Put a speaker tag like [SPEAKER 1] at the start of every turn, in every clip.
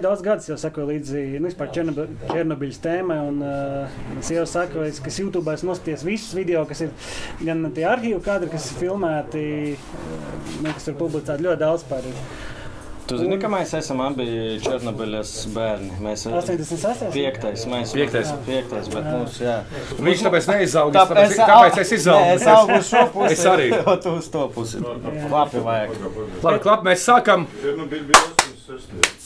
[SPEAKER 1] Daudz gadus jau sekoju līdzi nu, vispār Černobi- Černobiļas tēmai. Un, uh, es jau saku, es- ka YouTube noskaties visus video, kas ir gan tie arhīvu kadri, kas ir filmēti, uh, nu, kas tur publicēti ļoti daudz par
[SPEAKER 2] Tu zini, ka mēs esam abi Černobiļas bērni. Mēs
[SPEAKER 1] 86.
[SPEAKER 2] Piektais, mēs
[SPEAKER 3] Piektais.
[SPEAKER 2] piektais, bet mums jā.
[SPEAKER 3] Viņš tāpēc neizauga. Tāpēc, tāpēc es
[SPEAKER 2] Nē,
[SPEAKER 3] izaugu.
[SPEAKER 2] Es augu uz šo pusi.
[SPEAKER 3] Es arī.
[SPEAKER 2] O, tu uz to pusi. Labi, vajag.
[SPEAKER 3] Labi, klap, mēs sākam.
[SPEAKER 4] Černobiļ bija 86.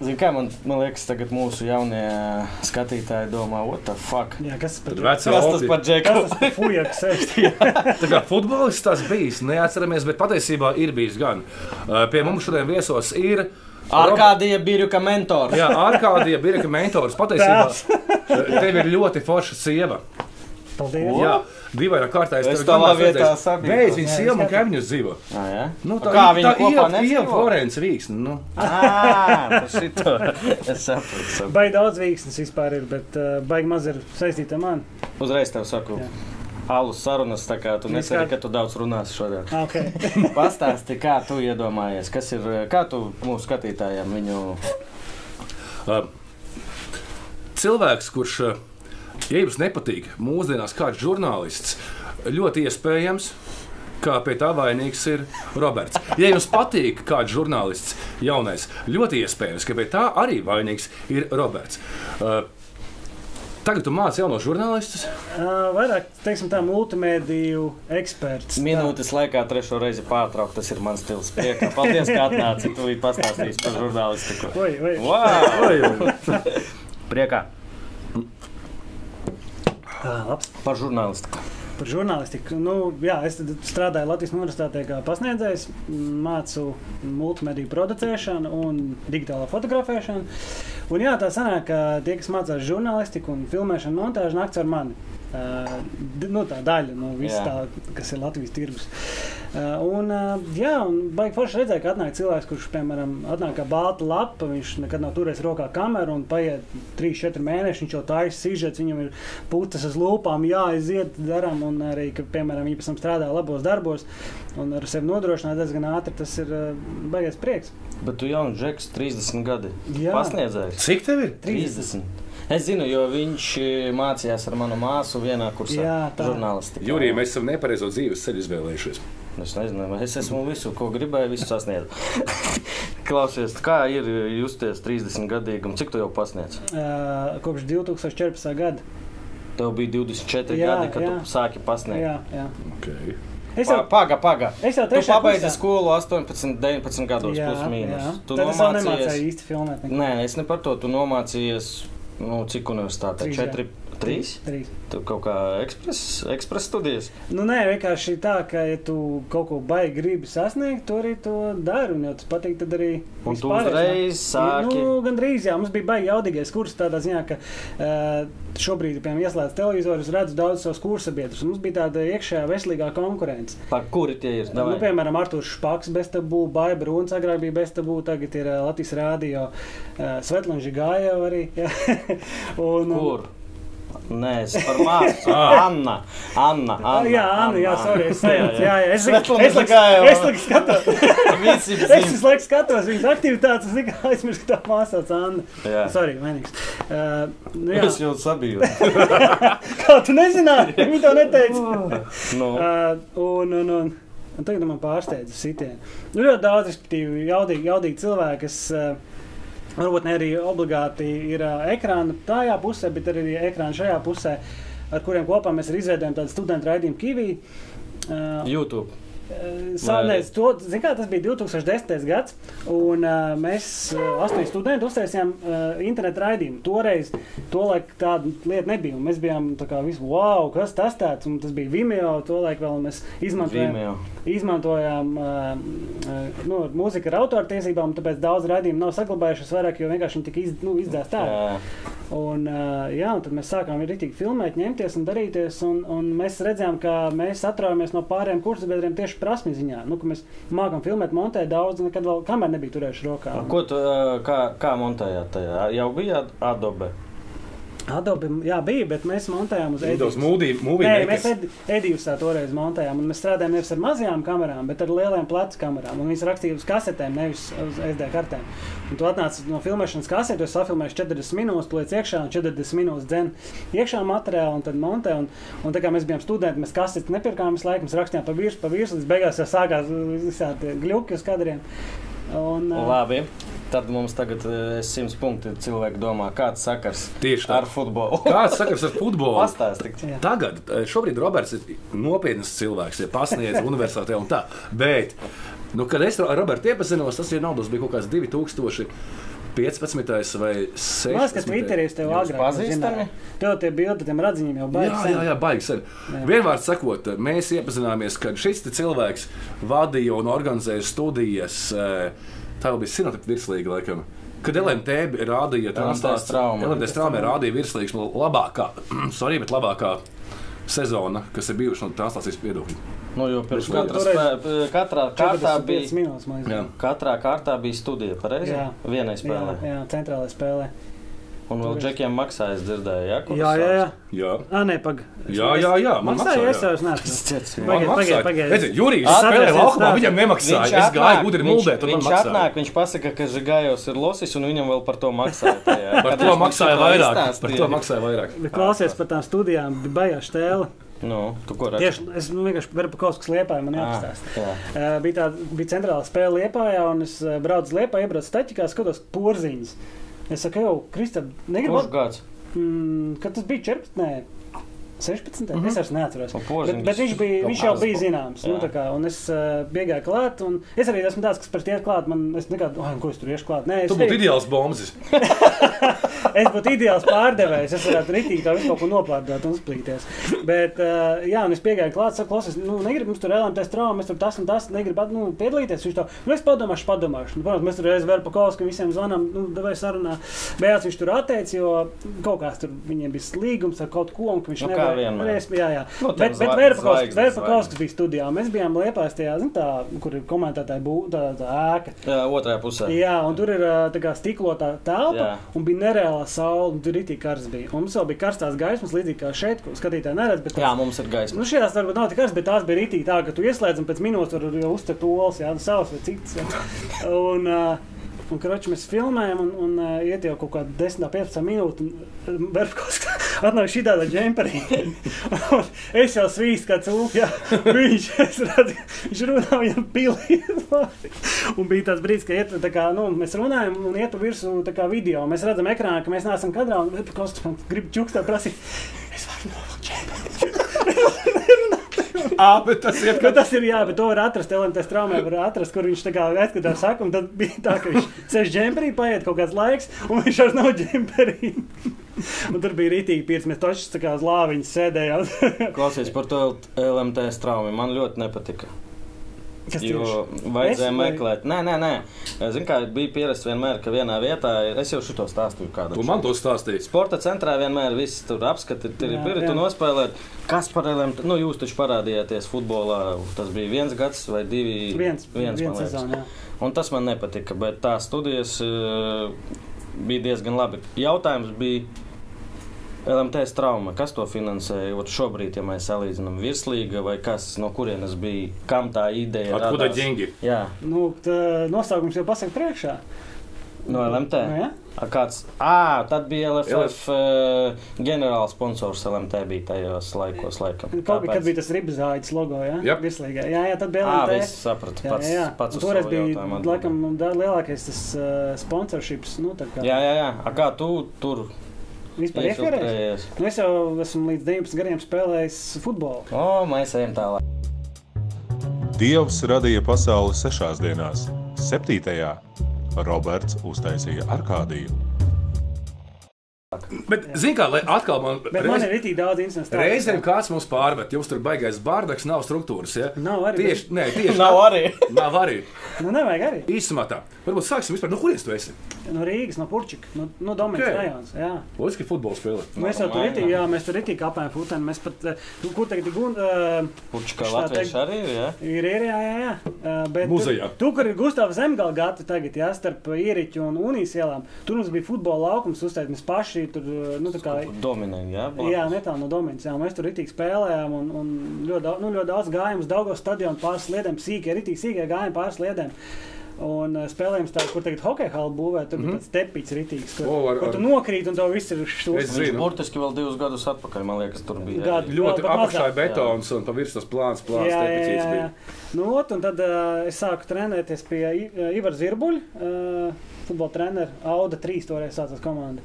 [SPEAKER 2] Zini, kā man, man liekas, tagad mūsu jaunie skatītāji domā, what the fuck?
[SPEAKER 1] Jā, kas tas par
[SPEAKER 3] Tad vecā
[SPEAKER 2] Kas tas
[SPEAKER 3] opcija.
[SPEAKER 2] par džeku?
[SPEAKER 1] Kas tas par fujaks?
[SPEAKER 3] Tā kā futbolists tas bijis, neatceramies, bet patiesībā ir bijis gan. Uh, Pie mums šodien viesos ir.
[SPEAKER 2] Arkādija Birjuka mentors.
[SPEAKER 3] Jā, Arkādija Birka mentors. Patiesībā tev ir ļoti forša sieva.
[SPEAKER 1] Paldies!
[SPEAKER 3] Jā, divainā kārtā es
[SPEAKER 2] Es
[SPEAKER 3] tevi
[SPEAKER 2] tavā
[SPEAKER 3] gan
[SPEAKER 2] vietā
[SPEAKER 3] redzēju.
[SPEAKER 2] sabiju.
[SPEAKER 3] Beidz, viņa
[SPEAKER 1] Jā,
[SPEAKER 3] sieva
[SPEAKER 1] es
[SPEAKER 3] un kaimiņus dzīvo.
[SPEAKER 2] Ā, Ah, jā?
[SPEAKER 3] Nu,
[SPEAKER 2] A kā viņi kopā
[SPEAKER 3] ir
[SPEAKER 2] nedzīvo?
[SPEAKER 3] Ieva Florence Vīksne. Nu.
[SPEAKER 2] Ā, par šito. Es saprotu. saprotu.
[SPEAKER 1] Baigi daudz vīksnes vispār ir, bet uh, baigi maz ir saistīta ar mani.
[SPEAKER 2] Uzreiz tev saku.
[SPEAKER 1] Jā.
[SPEAKER 2] Alu sarunas, tā kā tu
[SPEAKER 1] Mēs
[SPEAKER 2] neceri,
[SPEAKER 1] kā-
[SPEAKER 2] ka tu daudz runāsi šodien.
[SPEAKER 1] Ah, okay.
[SPEAKER 2] Pastāsti, kā tu iedomājies, kas ir, kā tu mūsu skatītājiem viņu
[SPEAKER 3] Uh, cilvēks, kurš, uh, ja jums nepatīk, mūsdienās kāds žurnālists, ļoti iespējams. Kā pie tā vainīgs ir Roberts. Ja jums patīk kāds žurnālists, jaunais, ļoti iespējams, ka pie tā arī vainīgs ir Roberts. Uh, tagad tu māci jauno žurnālistus.
[SPEAKER 1] uh, vairāk, teiksim, tā multimediju eksperts.
[SPEAKER 2] minūtes laikā trešo reizi pārtraukt, tas ir mans stils. Priekā. Paldies, ka atnāci, tu biji pastāstījis par žurnālistiku.
[SPEAKER 1] Vai, vai.
[SPEAKER 2] Wow! Priekā
[SPEAKER 1] Ah, labs.
[SPEAKER 2] par žurnālistiku.
[SPEAKER 1] Par žurnālistiku. Nu, jā, es tad strādāju Latvijas Universitātē kā pasniedzējs, mācu multimediju producēšanu un digitālo fotografēšanu. Un jā, tā sanāk, ka tie, kas mācās žurnālistiku un filmēšanu, montāžu nakts ar mani. Uh, d- nu, tā daļa no
[SPEAKER 2] Jā.
[SPEAKER 1] visā, tā, kas ir Latvijas tirgus. Uh, un, uh, jā, un baigi forši redzēt, ka atnāk cilvēks, kurš, piemēram, atnāk kā balta lapa, viņš nekad nav turējis rokā kameru un paiet 3-4 mēneši, viņš jau tā ir sižets, viņam ir putas uz lūpām, jāiziet, darām, un arī, ka, piemēram, viņi pēc tam strādā labos darbos un ar sevi nodrošināt diezgan ātri, tas ir uh, baigies prieks.
[SPEAKER 2] Bet tu jau džeks 30 gadi.
[SPEAKER 1] Jā.
[SPEAKER 2] Pasniedzējs.
[SPEAKER 3] Cik tev ir?
[SPEAKER 2] 30. Es zinu, jo viņš e, mācījās ar manu māsu vienā kursā
[SPEAKER 1] Jā, tā.
[SPEAKER 2] žurnālistikā.
[SPEAKER 3] Jurija, mēs esam nepareizo dzīves ceļu izvēlējušies.
[SPEAKER 2] Es nezinu, vai es esmu visu, ko gribēju, visu sasniedzu. Klausies, kā ir justies 30 gadīgam? Cik tu jau pasniedz?
[SPEAKER 1] Uh, kopš 2014. gada.
[SPEAKER 2] Tev bija 24 jā,
[SPEAKER 1] Jā,
[SPEAKER 2] gadi, kad jā.
[SPEAKER 1] jā.
[SPEAKER 2] tu sāki pasniegt.
[SPEAKER 1] Jā, jā.
[SPEAKER 3] Okay.
[SPEAKER 1] Es jau,
[SPEAKER 2] Pa- Paga, paga.
[SPEAKER 1] es jau
[SPEAKER 2] Tu
[SPEAKER 1] trešajā
[SPEAKER 2] pabeidzi
[SPEAKER 1] kursā-
[SPEAKER 2] skolu 18, 19 gados, jā, plus mīnus. Jā. Tu
[SPEAKER 1] Tad es vēl
[SPEAKER 2] nomācījies.
[SPEAKER 1] nemācīju īsti filmēt. neko.
[SPEAKER 2] Nē, es ne par to. Tu nomācījies, nu, cik universitātē?
[SPEAKER 1] Trīs,
[SPEAKER 2] 4, 3.
[SPEAKER 1] Trīs.
[SPEAKER 2] Tu kaut kā ekspres, ekspres studijas.
[SPEAKER 1] Nu, nē, vienkārši tā, ka, ja tu kaut ko baigi gribi sasniegt, to arī to dari. Un, ja tas patīk, tad arī.
[SPEAKER 2] Un
[SPEAKER 1] viss
[SPEAKER 2] tu
[SPEAKER 1] pārējais,
[SPEAKER 2] uzreiz
[SPEAKER 1] nā.
[SPEAKER 2] sāki.
[SPEAKER 1] Nu, gan drīz, jā, mums bija baigi jaudīgais kurs, tādā ziņā, ka uh, šobrīd, piemēram, ieslēdz televizoru, es redzu daudz savus kursabiedrus. un Mums bija tāda iekšējā veselīgā konkurence.
[SPEAKER 2] Par kuri tie ir?
[SPEAKER 1] Nu,
[SPEAKER 2] Davai.
[SPEAKER 1] piemēram, Arthurs Špaks, Bestabū, Baija Brūns, agrāk bija Bestabū, tagad ir uh, Latvijas Rādio, uh, Svetlana Žigāja arī. jā. un, un-
[SPEAKER 2] Kur? Nē, es par māsu. Anna. Anna.
[SPEAKER 1] Ah,
[SPEAKER 2] Anna
[SPEAKER 1] Jā, Anna, jā, sorry, es sajaucu. Jā, jā, es
[SPEAKER 2] Svetlana
[SPEAKER 1] es liks-
[SPEAKER 2] Žigājeva.
[SPEAKER 1] es liku skatos.
[SPEAKER 2] Visi
[SPEAKER 1] Es
[SPEAKER 2] zin.
[SPEAKER 1] visu laiku skatos viņas aktivitātes, es tikai aizmirsu, ka tā māsā ir Anna.
[SPEAKER 2] Jā.
[SPEAKER 1] Sorry, mainīgs. Uh, nu,
[SPEAKER 2] Es
[SPEAKER 1] jā,
[SPEAKER 2] jau sabiju.
[SPEAKER 1] kā tu nezināji, viņi to neteica.
[SPEAKER 2] nu,
[SPEAKER 1] Uh, un, un, un, un tagad man pārsteidz sitienu. Nu, ļoti daudz, respektīvi, jaudīgi, jaudīgi cilvēki, kas uh, varbūt ne arī obligāti ir uh, ekrāna tajā pusē, bet arī ekrāna šajā pusē, ar kuriem kopā mēs arī izveidojam tādu studentu raidījumu Kivī. Uh,
[SPEAKER 2] YouTube.
[SPEAKER 1] Sāpēs, to, zin kā, tas bija 2010. gads, un uh, mēs uh, astoņi studenti uztaisījām uh, internetu raidījumu. Toreiz tolaik tāda lieta nebija. un Mēs bijām tā kā visu, wow, kas tas tāds, un tas bija Vimeo, tolaik vēl mēs izmantojām
[SPEAKER 2] Vimeo.
[SPEAKER 1] izmantojām uh, uh, nu, mūziku ar autortiesībām, tāpēc daudz raidījumu nav saglabājušies vairāk, jo vienkārši viņi tika iz, nu, izdzēsta ārā.
[SPEAKER 2] Jā.
[SPEAKER 1] Un, uh, jā, un tad mēs sākām rītīgi filmēt, ņemties un darīties. Un, un mēs redzējām, ka mēs atraujamies no pārējiem kursabiedriem tieši prasmju ziņā. Nu, ka mēs mākam filmēt, montēt daudz, nekad vēl kamēr Ah. nebija turējuši rokā.
[SPEAKER 2] Ko tu, ā, kā, kā montējāt tajā? Jau bija Adobe.
[SPEAKER 1] Adobe jā, bija, bet mēs montējām uz
[SPEAKER 3] Windows
[SPEAKER 1] Ediju.
[SPEAKER 3] Movie
[SPEAKER 1] Nē,
[SPEAKER 3] Maker.
[SPEAKER 1] mēs ed- Edijus tā toreiz montējām, un mēs strādājām nevis ar mazajām kamerām, bet ar lielām plecu kamerām. Un viņas rakstīja uz kasetēm, nevis uz SD kartēm. Un tu atnāc no filmēšanas kasetē, tu safilmēsi 40 minūtes, plēc iekšā un 40 minūtes dzen iekšā materiālu un tad montē. Un, un tā kā mēs bijām studenti, mēs kasetes nepirkām visu laiku, mēs rakstījām pa virsmu, pa virsmu, līdz beigās jau sākās uh, visādi gļuki uz kadriem. Un, uh,
[SPEAKER 2] Labi. Tad mums tagad ir 100 punkti. Cilvēki domā, kāds sakars
[SPEAKER 3] Tieši tā.
[SPEAKER 2] ar futbolu.
[SPEAKER 3] Kāds sakars ar futbolu?
[SPEAKER 2] Pastāstīt.
[SPEAKER 1] Jā.
[SPEAKER 3] Tagad, eh, šobrīd Roberts ir nopietns cilvēks, ir pasniedzis universitātē un tā. Bet, nu, kad es ar Robertu iepazinos, tas ir naudas, bija kaut kāds 2015. vai 16.
[SPEAKER 1] Mākslinieks, kas Twitterī uz tevi agrāk
[SPEAKER 2] pazīstami?
[SPEAKER 1] zināja. Tev tie bildi, tiem radziņiem jau
[SPEAKER 3] Jā,
[SPEAKER 1] baidās.
[SPEAKER 3] jā, jā, baigi sen. Vienmēr sakot, mēs iepazināmies, kad šis te cilvēks vadīja un organizēja studijas. eh, Tā jau bija sinapta virslīga, laikam. Kad LMT bija- rādīja
[SPEAKER 2] LMTs traumu.
[SPEAKER 3] LMT strāmē rādīja virslīgas no labākā, sorry, bet labākā sezona, kas ir bijuši no translācijas viedokļa.
[SPEAKER 2] Nu, jo pirms
[SPEAKER 3] Nu,
[SPEAKER 2] katras,
[SPEAKER 1] toreiz-
[SPEAKER 2] spē- katrā kārtā
[SPEAKER 1] 45
[SPEAKER 2] bija.
[SPEAKER 1] minūtes, man liekas.
[SPEAKER 3] Jā.
[SPEAKER 2] Katrā kārtā bija studija, pareizi?
[SPEAKER 1] Jā.
[SPEAKER 2] Vienai
[SPEAKER 1] Jā,
[SPEAKER 2] spēlē.
[SPEAKER 1] jā, centrālajā spēlē.
[SPEAKER 2] Un vēl
[SPEAKER 1] Toreiz.
[SPEAKER 2] džekiem maksāja, es dzirdēju, jā, kur
[SPEAKER 1] Jā, jā, jā.
[SPEAKER 3] Jā.
[SPEAKER 1] Ah, nē, pagaidi.
[SPEAKER 3] Jā, jā, jā, man
[SPEAKER 1] Maksāju,
[SPEAKER 3] maksā,
[SPEAKER 1] es jau nesaku.
[SPEAKER 2] sācis.
[SPEAKER 1] Pagaid,
[SPEAKER 3] Man
[SPEAKER 1] pagaid,
[SPEAKER 3] maksāja.
[SPEAKER 1] pagaid.
[SPEAKER 3] Redziet, Jurijs
[SPEAKER 1] Atveries,
[SPEAKER 3] spēlēja laukumā,
[SPEAKER 1] tā.
[SPEAKER 3] viņam nemaksāja. Es gāju gudri muldē, tad man
[SPEAKER 2] viņš
[SPEAKER 3] maksāja.
[SPEAKER 2] atnāk, viņš pasaka, ka Žigājos ir losis, un viņam vēl par to maksāja. tajā.
[SPEAKER 3] Par
[SPEAKER 2] Kad
[SPEAKER 3] to
[SPEAKER 2] viņš
[SPEAKER 3] maksāja
[SPEAKER 2] mums to
[SPEAKER 3] vairāk. Par
[SPEAKER 2] izstāstīja.
[SPEAKER 3] to maksāja vairāk.
[SPEAKER 1] Bet klausies par tām studijām, bija baigā stēle.
[SPEAKER 2] Nu, tu ko redzi? Ah,
[SPEAKER 1] Tieši es nu, vienkārši varu par kaut kas liepāju, man jāapstāsta.
[SPEAKER 2] jā.
[SPEAKER 1] Uh, bija tāda bija centrāla spēle Lietpājā, un es uh, braucu uz Lietpāju, iebraucu staķikā, skatos porziņas. Es saku, jau, Kristap, negribu.
[SPEAKER 2] Kurš gads?
[SPEAKER 1] Mm, kad tas bija 14, nē, 16. Mm -hmm. Es vairs neatceros.
[SPEAKER 2] Nu, Porziņš.
[SPEAKER 1] Bet, bet viņš, bija, viņš jau bija zināms. Nu,
[SPEAKER 2] Jā.
[SPEAKER 1] tā kā, un es uh, biju klāt, un es arī esmu tāds, kas par tiem klāt. Man, es nekad, oh, ko es tur iešu klāt? Nē, es,
[SPEAKER 3] Tu būtu
[SPEAKER 1] arī-
[SPEAKER 3] ideāls bombs.
[SPEAKER 1] es būtu ideāls pārdevējs. Es varētu ritīgi tā visu kaut ko noplārdot un uzplīties. Bet, uh, jā, un es biju klāt, saku, klausies, nu, negribu, mums tur LMT traumas, mēs tur tas un tas, negribu nu, piedalīties. Viņš tā, nu, es padomāšu, padomāšu. Nu, protams, mēs tur reiz vēl pa kausku visiem zvanām, nu, devai sarunā. Beigās viņš tur atteicis, jo kaut kāds tur viņiem bija slīgums ar kaut ko, un ka viņš
[SPEAKER 2] Nu, kā
[SPEAKER 1] nevar-
[SPEAKER 2] vienmēr.
[SPEAKER 1] varēs- Jā, jā.
[SPEAKER 2] Nu,
[SPEAKER 1] Nu,
[SPEAKER 2] tev
[SPEAKER 1] bet bet
[SPEAKER 2] zvaigznes,
[SPEAKER 1] Verpakovskis
[SPEAKER 2] zvaigznes,
[SPEAKER 1] Verpakovskis bija studijā. Mēs bijām Liepājā, tajā, zin, tā, kur ir komentētāja bū- tā, tā ēka.
[SPEAKER 2] Jā, otrajā pusē.
[SPEAKER 1] Jā, un tur ir ā, tā kā stiklotā
[SPEAKER 2] Jā.
[SPEAKER 1] telpa, un bija nereāla saule, un tur bija tik karsts. bija. Un mums vēl bija karstās gaismas, līdzīgi kā šeit, ko skatītāji neredz. bet
[SPEAKER 2] Jā,
[SPEAKER 1] tās-
[SPEAKER 2] mums ir gaisma.
[SPEAKER 1] Nu, šajās varbūt nav tik karsts, bet tās bija rītīgi tā, ka tu ieslēdz un pēc minūtes tur jau uztekt olas, jā, nu, savas vai citas. jā. Un, ā, Un, kroči, mēs filmējam, un, un uh, iet jau kaut kāda 10, 15 minūte. Verpkovs atnāk šī tāda džemperī. Un es jau svīstu, kā cilvēks. Viņš, es redzu, viņš runā, viņam pilī. Un bija tāds brīdis, ka iet, tā kā, nu, mēs runājam un iet pa virsmu tā kā video. Mēs redzam ekrānā, ka mēs neesam kadrā, un Verpkovs man grib čukstā prasīt. Es varu novilkt džemperi.
[SPEAKER 3] Jā, bet tas ir.
[SPEAKER 1] Bet tas ir jā, bet to var atrast. Elementārs traumē var atrast, kur viņš tā kā aizskatās saku. un Tad bija tā, ka viņš sēž džemperī, paiet kaut kāds laiks, un viņš vairs nav džemperī. Un tur bija rītīgi pieci mēs toši tā kā uz lāviņas sēdējām.
[SPEAKER 2] Nu, Klausies par to LMT traumu. Man ļoti nepatika.
[SPEAKER 1] Kas tieši?
[SPEAKER 2] Jo vajadzēja
[SPEAKER 1] Es vai-
[SPEAKER 2] meklēt. Nē, nē, nē. Zinu, kā bija pierasts vienmēr, ka vienā vietā ir. Es jau šo stāstīju
[SPEAKER 3] Tu
[SPEAKER 2] kādam.
[SPEAKER 3] man to stāstīji.
[SPEAKER 2] Sporta centrā vienmēr viss tur apskati, tur ir
[SPEAKER 1] Jā,
[SPEAKER 2] pirti
[SPEAKER 1] jā.
[SPEAKER 2] un nospēlēt. Kas par LMT? Nu, jūs taču parādījāties futbolā. Tas bija viens gads vai divi.
[SPEAKER 1] Viens,
[SPEAKER 2] viens,
[SPEAKER 1] viens
[SPEAKER 2] man liekas.
[SPEAKER 1] sezonā.
[SPEAKER 2] Un tas man nepatika, bet tās studijas eh, bija diezgan labi. Jautājums bija LMTS trauma. Kas to finansēja? Ot šobrīd, ja mēs salīdzinām, virslīga vai kas, no kurienes bija, kam tā ideja
[SPEAKER 3] Откуда
[SPEAKER 2] radās?
[SPEAKER 3] деньги?
[SPEAKER 2] Jā,
[SPEAKER 1] Nu, tā nosaukums jau pasaka priekšā.
[SPEAKER 2] no LMT.
[SPEAKER 1] Nu, jā?
[SPEAKER 2] A, Kāds, à, tad bija LFF eh, ģenerāls sponsors LMT bija tajos laikos, laikam.
[SPEAKER 1] Nu, Kaut kad bija tas ribzāģis logo, jā?
[SPEAKER 3] Jep.
[SPEAKER 1] Virslīgā. Jā, jā, tad bija
[SPEAKER 2] Jā,
[SPEAKER 1] LMT.
[SPEAKER 2] viss sapratu.
[SPEAKER 1] Jā,
[SPEAKER 2] Pats,
[SPEAKER 1] jā, jā. Un
[SPEAKER 2] pats uz
[SPEAKER 1] toreiz
[SPEAKER 2] savu
[SPEAKER 1] bija
[SPEAKER 2] jautājumu atbildēju.
[SPEAKER 1] laikam da- lielākais tas uh, sponsorships, nu, tā kā
[SPEAKER 2] Jā, jā, jā. A, kā tu tur
[SPEAKER 1] vispār iekvarēs.
[SPEAKER 2] iekļāvies?
[SPEAKER 1] Nu, es jau esmu līdz 19 gadiem spēlējis futbolu.
[SPEAKER 2] O, mēs ejam tālāk.
[SPEAKER 5] Dievs radīja pasauli sešās dienās. Septītajā Roberts uztaisīja arkādiju.
[SPEAKER 3] Bet, zini, kā lai atkal man.
[SPEAKER 1] Bet reiz... man ir itī daudz interesantu
[SPEAKER 3] Reizēm kāds mums pārmet, jums tur baigais bārdaks, nav struktūras. Ja?
[SPEAKER 1] Nav arī.
[SPEAKER 3] Tieši, nē, tieši
[SPEAKER 2] Nav arī.
[SPEAKER 3] Nav arī.
[SPEAKER 1] Nu, nevajag arī.
[SPEAKER 3] Īsumā tā. Varbūt sāksim vispār, nu, no kurienes tu esi?
[SPEAKER 1] No Rīgas, no Purčika, no, no Dominas
[SPEAKER 3] Ok.
[SPEAKER 1] okay. rajons. Jā. Nu,
[SPEAKER 3] Loģiski futbola spēle.
[SPEAKER 1] Mēs jau tur
[SPEAKER 2] Normāli.
[SPEAKER 1] itī, jā, mēs tur itī kāpējam futeni. Mēs pat, eh, nu, kur tagad ir gunda, eh,
[SPEAKER 2] Kurš
[SPEAKER 1] Kurš
[SPEAKER 2] kā
[SPEAKER 1] tā
[SPEAKER 2] Latvijas
[SPEAKER 1] teikt?
[SPEAKER 2] arī ir? Ja?
[SPEAKER 1] ir ir, jā, jā, jā. Eh, Bet
[SPEAKER 3] Muzejā.
[SPEAKER 1] Tu, tu, kur ir Gustavs Zemgalgāti tagad, jā, starp Ieriķu un Unijas ielām, tur mums bija futbola laukums uzstādīt. Mēs paši bija tur, nu, tā kā.
[SPEAKER 2] Dominēja, jā, blakus.
[SPEAKER 1] Jā, netālu no Dominas. Jā, mēs tur ritīgi spēlējām, un, un ļoti, daudz, nu, ļoti daudz gājām uz Dāngos stadionu pāris sliedēm, sīkā, ritīgi sīkā gājām pāris sliedēm. Un eh, spēlējām tādu, kur tagad hokeja halu būvē, tur
[SPEAKER 2] Mhm.
[SPEAKER 1] bija tāds tepiņš rītīgs, kur,
[SPEAKER 3] O, ar-
[SPEAKER 1] kur tu
[SPEAKER 3] ar-
[SPEAKER 1] nokrīt un tev viss ir šūs.
[SPEAKER 3] Es-
[SPEAKER 2] Viņš
[SPEAKER 3] Zinu.
[SPEAKER 2] burtiski vēl divus gadus atpakaļ, man liekas, tur bija.
[SPEAKER 1] Gadu.
[SPEAKER 3] Ļoti
[SPEAKER 1] Vēl pat
[SPEAKER 3] apakšā
[SPEAKER 1] mazāk,
[SPEAKER 3] ir betons un pa virsmas plāns, plāns
[SPEAKER 1] Jā, jā,
[SPEAKER 3] tepicīts
[SPEAKER 1] jā, jā.
[SPEAKER 3] bija.
[SPEAKER 1] Nu, ot, un tad uh, es sāku trenēties pie I- eh, Ivar Zirbuļa, uh, futbola trenera Auda 3. Toreiz sācās komanda.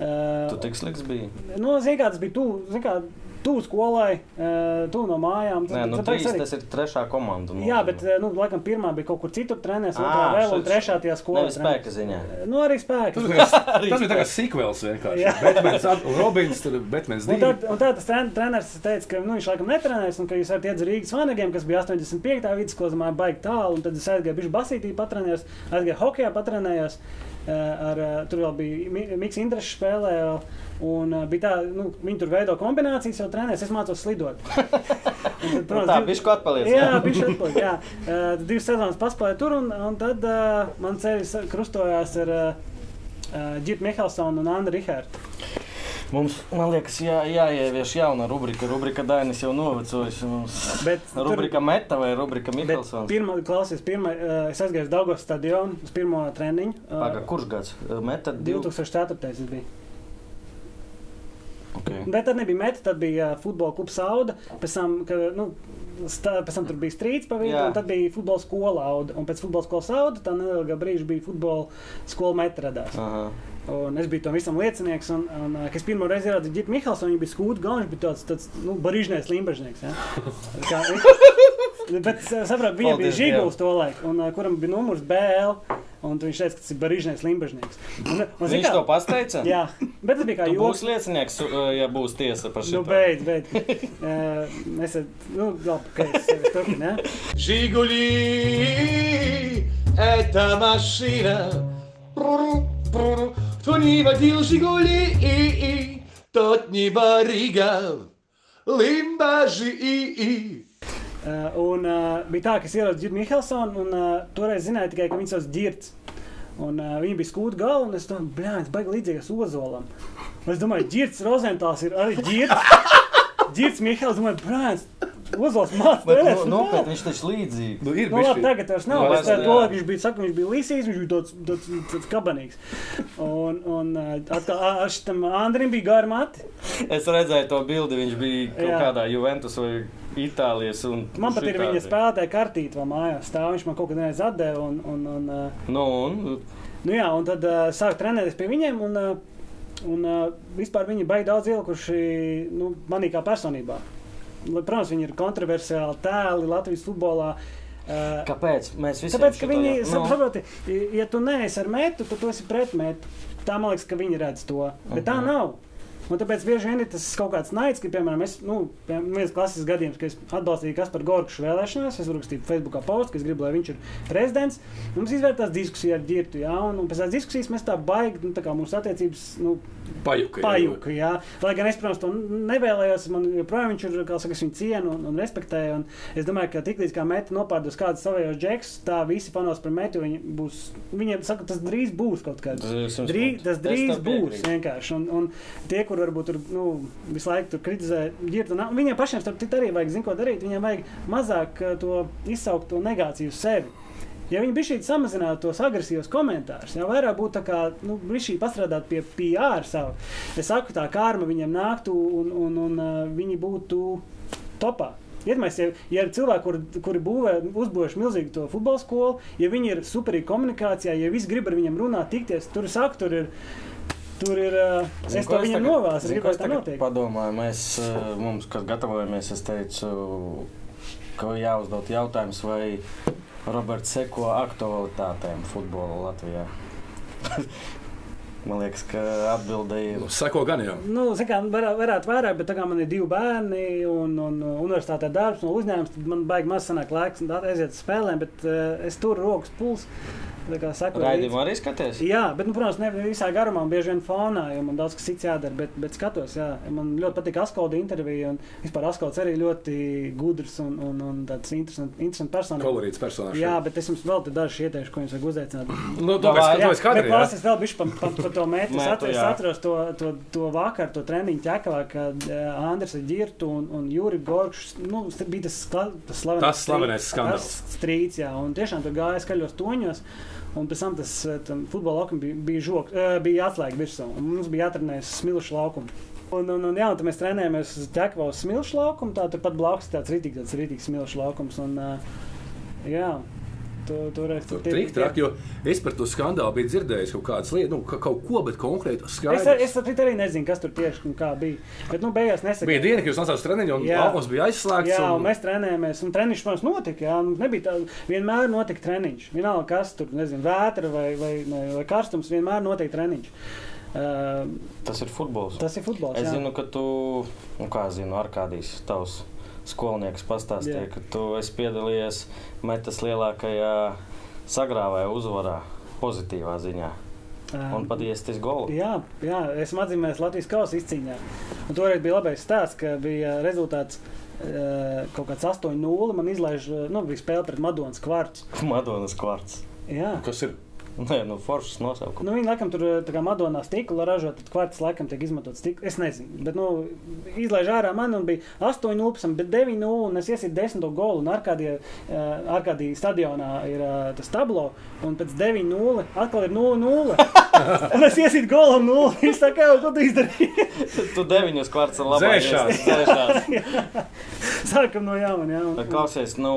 [SPEAKER 1] Uh,
[SPEAKER 2] Tu tik sliks bija.
[SPEAKER 1] nu, zini, kā tas bija tuvu tu skolai, uh, tuvu no mājām.
[SPEAKER 2] Nē, nu
[SPEAKER 1] tāpēc
[SPEAKER 2] trīs,
[SPEAKER 1] arī-
[SPEAKER 2] tas ir trešā komanda.
[SPEAKER 1] Jā, bet eh, nu, laikam pirmā bija kaut kur citur trenējies, otrā
[SPEAKER 2] Ā,
[SPEAKER 1] vēl un
[SPEAKER 2] šis-
[SPEAKER 1] trešā tajā skolā.
[SPEAKER 2] Nevis spēka ziņā.
[SPEAKER 1] Nu, arī
[SPEAKER 3] Tas
[SPEAKER 1] spēks.
[SPEAKER 3] bija tāds- tas bija tāds sīkvels vienkārši.
[SPEAKER 1] Jā.
[SPEAKER 3] Batmans, at- Robins, tur Batmans
[SPEAKER 1] Un
[SPEAKER 3] 2.
[SPEAKER 1] tad, un tad tas tren, treneris teica, ka nu, viņš laikam netrenēs, un ka jūs varat iet uz Rīgas vanagiem, kas bija 85. vidusskolas, domāju, baigi tālu. un Tad es aizgāju bišķi basītī, patrenējos, aizgāju hokeja, patrenējos. eh, Ar, eh, tur vēl bija mi- Mikls Indrišs spēlēja, un eh, bija tā, nu, viņi tur veido kombinācijas, jau trenējas, es mācos slidot. Un tad,
[SPEAKER 2] Nu, tā
[SPEAKER 1] div-
[SPEAKER 2] bija kaut kāda
[SPEAKER 1] Jā,
[SPEAKER 2] atpaliec.
[SPEAKER 1] bija šādi. Jā, uh, divas sezonas paspēja tur, un, un tad uh, man ceļš krustojās ar uh, Džitu Mihelsonu un Annu Rihārdu.
[SPEAKER 2] Mums, man liekas, jā, jāievieš jauna rubrika. Rubrika Dainis jau novecojis. Mums...
[SPEAKER 1] Bet tur-
[SPEAKER 2] Rubrika Meta vai Rubrika
[SPEAKER 1] Bet
[SPEAKER 2] Miklsons?
[SPEAKER 1] pirmā, klausies, pirmā, uh, es aizgāju uz Dāngas stadionu uz pirmo treniņu. eh,
[SPEAKER 2] Paga, kurš gads? Meta 2000.
[SPEAKER 1] 2004. tas bija.
[SPEAKER 2] Okay.
[SPEAKER 1] Bet tad nebija meta, tad bija uh, futbola klubs Auda. Pēc tam, ka, nu, stā, pēc tam tur bija strīds pa vidu,
[SPEAKER 2] Jā.
[SPEAKER 1] un tad bija futbola skola Auda. Un pēc futbola skolas Auda tā neilga brīža bija futbola skola meta radās.
[SPEAKER 2] Aha.
[SPEAKER 1] Un es biju tam visam liecinieks. Un, un, ā, kad es pirmo reizi ieraudzīju Džitu Mihālu, viņš bija skūts galvenais, bija tāds, tāds nu, barīžnieks, limbažnieks. Ja? Kā, bet es saprotu, viņam bija
[SPEAKER 2] Paldies
[SPEAKER 1] žigls
[SPEAKER 2] Dievam.
[SPEAKER 1] to laiku, un ā, kuram bija numurs BL. Un viņš teica, ka tas ir barīžnieks, limbažnieks. Un, un, Nu, zini
[SPEAKER 2] Viņš
[SPEAKER 1] kā-
[SPEAKER 2] to pasteica?
[SPEAKER 1] Jā, bet tas bija kā
[SPEAKER 2] Tu
[SPEAKER 1] joks.
[SPEAKER 2] būsi liecinieks, uh, ja būs tiesa par šo.
[SPEAKER 1] Nu, beidz, beidz. Uh, es nu, labi, ka es sevi turpinu. ja?
[SPEAKER 6] Gigoli è ta macchina. Prr, prr. Toniva dil Gigoli i i. Tot ni bariga. Limbaži i i.
[SPEAKER 1] Uh, un uh, bija tā, ka es ieraudzīju Džudu Mihelsonu, un uh, toreiz zināju tikai, ka viņš ir ģērbts. Un uh, viņi bija skūti galā, un es domāju, blēņas, baigi līdzīgas ozolam. Un es domāju, ģērbts Rozentāls ir arī ģērbts. Ģērbts Mihels, domāju, blēņas, ozols
[SPEAKER 2] Bet, nu,
[SPEAKER 1] mācās.
[SPEAKER 2] nu, bet viņš taču līdzīgi.
[SPEAKER 3] Nu, ir
[SPEAKER 1] Nu, labi,
[SPEAKER 3] bišķi.
[SPEAKER 1] tagad tas nav.
[SPEAKER 2] Nu,
[SPEAKER 1] Es
[SPEAKER 2] vairs
[SPEAKER 1] tam
[SPEAKER 2] ne, jā.
[SPEAKER 1] laikam viņš bija, saka, viņš bija līsīs, viņš bija tāds, tāds, tāds kabanīgs. Un, un uh, atkal, ā, ar šitam Andrim bija gara mati.
[SPEAKER 2] Es redzēju to bildi, viņš bija kaut
[SPEAKER 1] Jā.
[SPEAKER 2] jā. kādā Juventus vai Itālijas. un
[SPEAKER 1] Man pat ir
[SPEAKER 2] šitādi.
[SPEAKER 1] viņa spēlētāja kartīte vēl mājās. Tā viņš man kaut kad reiz atdeva. Un, un, un, uh,
[SPEAKER 2] Nu, un,
[SPEAKER 1] nu jā, un tad uh, sāku trenēties pie viņiem. Un, uh, un uh, vispār viņi baigi daudz ielikuši nu, manī kā personībā. Lai, Protams, viņi ir kontroversiāli tēli Latvijas futbolā. Uh,
[SPEAKER 2] kāpēc mēs visi
[SPEAKER 1] Tāpēc, ka viņi
[SPEAKER 2] Nu.
[SPEAKER 1] saprot, ja tu neesi ar metu, tad tu esi pret metu. Tā man liekas, ka viņi redz to. Bet tā
[SPEAKER 2] Mhm.
[SPEAKER 1] nav. Un tāpēc bieži vien ir tas kaut kāds naids, ka, piemēram, es, nu, piemēram, viens klases gadījums, ka es atbalstīju Kasparu Gorkšu vēlēšanās, es rakstīju Facebookā postu, ka es gribu, lai viņš ir prezidents. Un Mums izvērtās diskusija ar ģirtu, jā, un, un pēc tās diskusijas mēs tā baigi, nu, tā kā mūsu attiecības, nu,
[SPEAKER 3] Pajuka. jā.
[SPEAKER 1] pajuku. Jā. Lai gan es, protams, to nevēlējos, man joprojām viņš ir, kā saka, es viņu cienu un, un respektēju. Un es domāju, ka tiklīdz kā meta nopārdos kādu savējos džeksus, tā visi panos par metu, viņi būs, viņiem saka, tas drīz būs kaut kāds.
[SPEAKER 2] Tas ir
[SPEAKER 1] Drīz, tas
[SPEAKER 2] simts
[SPEAKER 1] drīz
[SPEAKER 2] procenti. Es tev
[SPEAKER 1] būs
[SPEAKER 2] piekrītu.
[SPEAKER 1] vienkārši. Un, un tie, kur varbūt tur nu, visu laiku tur kritizē, ģirta, nav- viņiem pašiem starp citu arī vajag zināt, ko darīt. Viņiem vajag mazāk eh, to izsaukt, to negāciju uz sevi. Ja viņi bija šī samazinātu tos agresīvos komentārus, jau vairāk būtu tā kā, nu, šī pastrādāt pie PR savu. Es saku, tā kārma viņiem nāktu un, un, un eh, viņi būtu topā. Iedomājieties, ja, ja ir cilvēki, kuri, kuri būvē, uzbūvējuši milzīgu to futbola skolu, ja viņi ir superīgi komunikācijā, ja visi grib ar viņiem runāt, tikties, tur sāk, tur ir. Tur ir uh,
[SPEAKER 2] Zini,
[SPEAKER 1] es
[SPEAKER 2] ko
[SPEAKER 1] to viņam
[SPEAKER 2] tagad-
[SPEAKER 1] novēlos, es
[SPEAKER 2] zini,
[SPEAKER 1] gribu,
[SPEAKER 2] ko
[SPEAKER 1] lai tā
[SPEAKER 2] tagad
[SPEAKER 1] notiek.
[SPEAKER 2] Padomāju, mēs, eh, mums, kad gatavojamies, es teicu, ka jāuzdod jautājums, vai Roberts seko aktualitātēm futbolā Latvijā. Man liekas, ka atbildēja
[SPEAKER 3] Nu,
[SPEAKER 2] ir.
[SPEAKER 3] Sako gan jau.
[SPEAKER 1] Nu, zini kā, varētu, varētu vairāk, bet tā kā man ir divi bērni un, un uh, universitātē darbs un uzņēmums, tad man baigi maz sanāk laiks un tā aiziet uz spēlēm, bet uh, es turu eh, rokas puls. Tā kā sekoju līdzi.
[SPEAKER 2] Raidījumu arī skaties?
[SPEAKER 1] Jā, bet, nu, protams, ne visā garumā, un bieži vien fonā, jo man daudz kas cits jādara. Bet, bet skatos, jā, man ļoti patīk Askolda intervija. Un vispār Askolds arī ļoti gudrs un, un, un tāds interesants interesant personīgs.
[SPEAKER 3] Kolorīts personāžs.
[SPEAKER 1] Jā, bet es jums vēl te dažus ieteikšu, ko jums vajag uzaicināt.
[SPEAKER 3] nu, to mēs, to
[SPEAKER 1] Jā,
[SPEAKER 3] mēs kādreiz.
[SPEAKER 1] bet
[SPEAKER 3] jā.
[SPEAKER 1] klausies vēl bišķi pa, pa, pa to mētu. Es
[SPEAKER 2] Mētu,
[SPEAKER 1] atceros,
[SPEAKER 2] jā.
[SPEAKER 1] atceros to, to, to vakar, to treniņu ķekavā, kad uh, Andris Girtu un, un Jūri Gorčs, nu, st- bija tas, skla- tas slavenais,
[SPEAKER 3] Tas slavenais
[SPEAKER 1] strīds-
[SPEAKER 3] skandāls.
[SPEAKER 1] Tas strīds, jā, un tiešām tur gāja skaļos toņos. Un pēc tam tas eh, tam futbola laukums bija, bija, žok, eh, bija atslēga virsū. un Mums bija jāatrenējas smilšu laukumu. Un, un, un, jā, un tad mēs trenējāmies uz ķekavā uz smilšu laukumu. Tā turpat blakus ir tāds rītīgs, tāds rītīgs smilšu laukums. Un, uh, jā, tu, toreiz
[SPEAKER 3] Tur
[SPEAKER 1] tie-
[SPEAKER 3] tik
[SPEAKER 1] tie-
[SPEAKER 3] traki, jo es par to skandālu biju dzirdējis kaut kādas lietas, nu, ka, kaut ko, bet konkrēti
[SPEAKER 1] Es, ar-
[SPEAKER 3] skaidrs.
[SPEAKER 1] es sapratu, arī nezinu, kas tur tieši un kā bija. Bet, nu, beigās nesaka,
[SPEAKER 3] Bija diena, kad jūs nācāt uz treniņu, un
[SPEAKER 1] Jā.
[SPEAKER 3] laukums bija aizslēgts.
[SPEAKER 1] Jā, un
[SPEAKER 3] un-
[SPEAKER 1] mēs trenējāmies, un treniņš mums notika. Jā, mums nebija tā, vienmēr notika treniņš. Vienalga, kas tur nezinu, vētra vai, vai, vai, vai karstums, vienmēr notiek treniņš. Uh,
[SPEAKER 2] Tas ir futbols.
[SPEAKER 1] tas ir futbols.
[SPEAKER 2] Es
[SPEAKER 1] jā.
[SPEAKER 2] zinu, ka tu, nu, kā zinu, Arkādijas tavs skolnieks
[SPEAKER 1] Jā.
[SPEAKER 2] pastāstīja, ka tu esi piedalījies metas lielākajā sagrāvajā uzvarā, pozitīvā ziņā.
[SPEAKER 1] Ā,
[SPEAKER 2] Un pat iestis golu.
[SPEAKER 1] Jā, jā, es mācījos Latvijas kausa izcīņā. Un toreiz bija labais stāsts, ka bija rezultāts eh, kaut kāds 8-0. Man izlaiž, eh, nu, bija spēle pret Madonas kvarts.
[SPEAKER 2] Madonas kvarts.
[SPEAKER 1] Jā.
[SPEAKER 3] Kas ir?
[SPEAKER 2] Nē, nu, foršs nosaukums.
[SPEAKER 1] Nu, viņi laikam tur tā kā Madonā stikla ražo, tad kvarts laikam tiek izmantots stikla. Es nezinu, bet nu, izlaiž ārā man un bija 8,0, bet 9,0 un es iesīju 10 golu. Un Arkādija, uh, Arkādija stadionā ir uh, tas tablo, un pēc 9,0 atkal ir 0,0. un es iesīju golu 0. Es tā kā, ko tu izdarīji?
[SPEAKER 2] Nu, Tu deviņus kvarts ar labu
[SPEAKER 3] Dzēšās.
[SPEAKER 2] Zēšās.
[SPEAKER 1] Sākam no jauna, jā. Un, un,
[SPEAKER 2] Klausies, nu,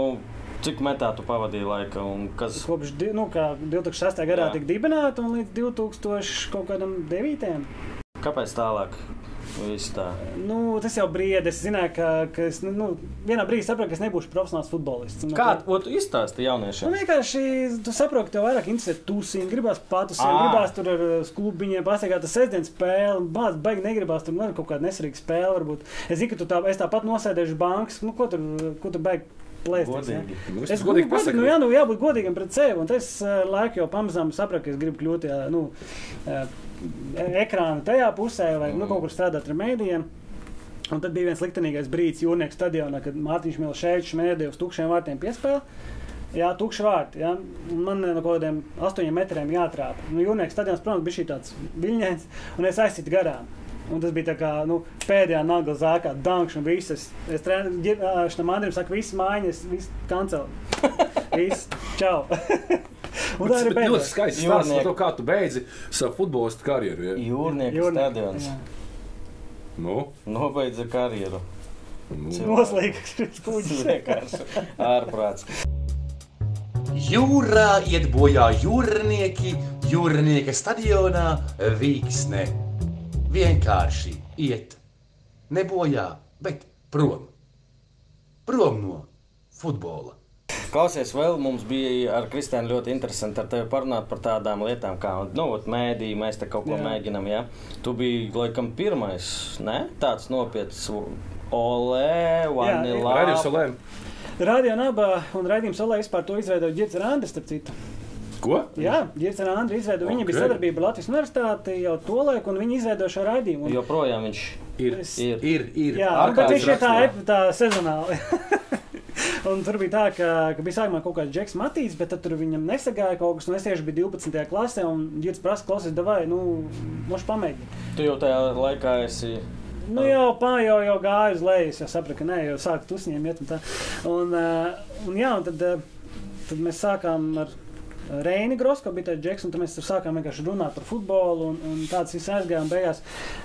[SPEAKER 2] cik metā tu pavadīji laika un kas
[SPEAKER 1] Kopš di- nu, kā 2006. gadā
[SPEAKER 2] Jā.
[SPEAKER 1] tika dibināta un līdz 2009.
[SPEAKER 2] Kāpēc tālāk? Viss tā.
[SPEAKER 1] Nu, tas jau brieda. Es zināju, ka, ka es nu, vienā brīdī sapratu, ka es nebūšu profesionāls futbolists. Nu,
[SPEAKER 2] Kādu to izstāsti
[SPEAKER 1] Nu,
[SPEAKER 2] jauniešiem?
[SPEAKER 1] vienkārši tu saproti, ka tev vairāk interesē tūsiņi, gribās patusēt,
[SPEAKER 2] Ā.
[SPEAKER 1] gribās tur ar uh, sklubiņiem, pasakāt, tas sestdienas spēle, bāz, baigi negribās tur nu, kaut kāda nesarīga spēle. Varbūt. Es zinu, ka tu tā, es tāpat nosēdēšu bankas, nu, ko tur, ko tur baigi plēsties. ja?
[SPEAKER 2] Godīgi.
[SPEAKER 3] Nu,
[SPEAKER 1] Es
[SPEAKER 3] es
[SPEAKER 1] godīgi
[SPEAKER 3] godīgi
[SPEAKER 1] pasaku, nu,
[SPEAKER 3] pasaku,
[SPEAKER 1] jā, nu, jābūt godīgam pret sevi. Un es uh, laiku jau pamazām sapratu, ka es gribu kļūt par nu, uh, ekrāna tajā pusē, vai nu, kaut kur strādāt ar mēdījiem. Un tad bija viens liktenīgais brīdis jūrnieku stadionā, kad Mārtiņš Mielšēvičs mēdīja uz tukšiem vārtiem piespēli. Jā, tukši vārti. Jā. Un Man no kaut kādiem astoņiem metriem jāatrāpa. Nu, jūrnieku stadions, protams, bija šī tāds viļņains, un es aizsitu garām. Un tas bija tā kā nu, pēdējā nagla zākā, dankšana, visas. Es treniņš tam Andriem saku, visas mājas, visas kancel. Viss, čau. un tā
[SPEAKER 3] Tas
[SPEAKER 1] arī
[SPEAKER 3] ir ļoti
[SPEAKER 1] pēdējais.
[SPEAKER 3] skaists stāsts par
[SPEAKER 2] Jūrnieki.
[SPEAKER 3] to, kā tu beidzi savu futbolistu karjeru. Ja?
[SPEAKER 2] Jūrnieku stadions
[SPEAKER 1] jā.
[SPEAKER 3] Nu,
[SPEAKER 2] nobeidza karjeru.
[SPEAKER 1] Noslīgs
[SPEAKER 2] Tas
[SPEAKER 1] kuģis.
[SPEAKER 2] vienkārši ārprāts.
[SPEAKER 6] Jūrā iet bojā jūrnieki, jūrnieka stadionā vīksne. Vienkārši iet, ne bojā, bet prom. Prom no futbola.
[SPEAKER 2] Klausies, vēl mums bija ar Kristānu ļoti interesanti ar tevi parunāt par tādām lietām, kā nu, ot, mēdī, mēs te kaut ko
[SPEAKER 1] Jā.
[SPEAKER 2] mēģinām. Ja? Tu biji laikam pirmais, ne? tāds nopietns. Olē, vanilā.
[SPEAKER 3] Raidījums Solēm.
[SPEAKER 1] Radio Naba un Raidījums Olē vispār to izveidoja Girts Randis, starp citu.
[SPEAKER 3] Ko?
[SPEAKER 1] Jā, Girts Randis izveidoja. Viņam bija
[SPEAKER 3] Ok.
[SPEAKER 1] sadarbība ar Latvijas universitāti jau tolaik, un viņi izveidoja šo raidījumu. Un,
[SPEAKER 2] Joprojām viņš
[SPEAKER 3] Ir.
[SPEAKER 1] Es-
[SPEAKER 2] ir.
[SPEAKER 3] Ir, ir.
[SPEAKER 1] jā, nu, bet
[SPEAKER 2] ārkārtīgi
[SPEAKER 1] viņš ir tā,
[SPEAKER 2] raksturā.
[SPEAKER 1] ep- tā sezonāli. Un tur bija tā, ka, ka bija sākumā kaut kāds Džeks Matīs, bet tad tur viņam nesagāja kaut kas. un Es tieši biju 12. klasē, un Girts prasa, klausies, davai, nu, moši pamēģini.
[SPEAKER 2] Tu jau tajā laikā esi.
[SPEAKER 1] Nu, jau pāri jau, jau gāju uz leju, es jau sapratu, ka nē, jau sāktu uzņemt. Un, tā. un, uh, un, jā, un tad, uh, tad mēs sākām ar Reini Grosko, bija tāds džeks, un tad mēs tur sākām vienkārši runāt par futbolu. Un, un tāds viss aizgāja un beigās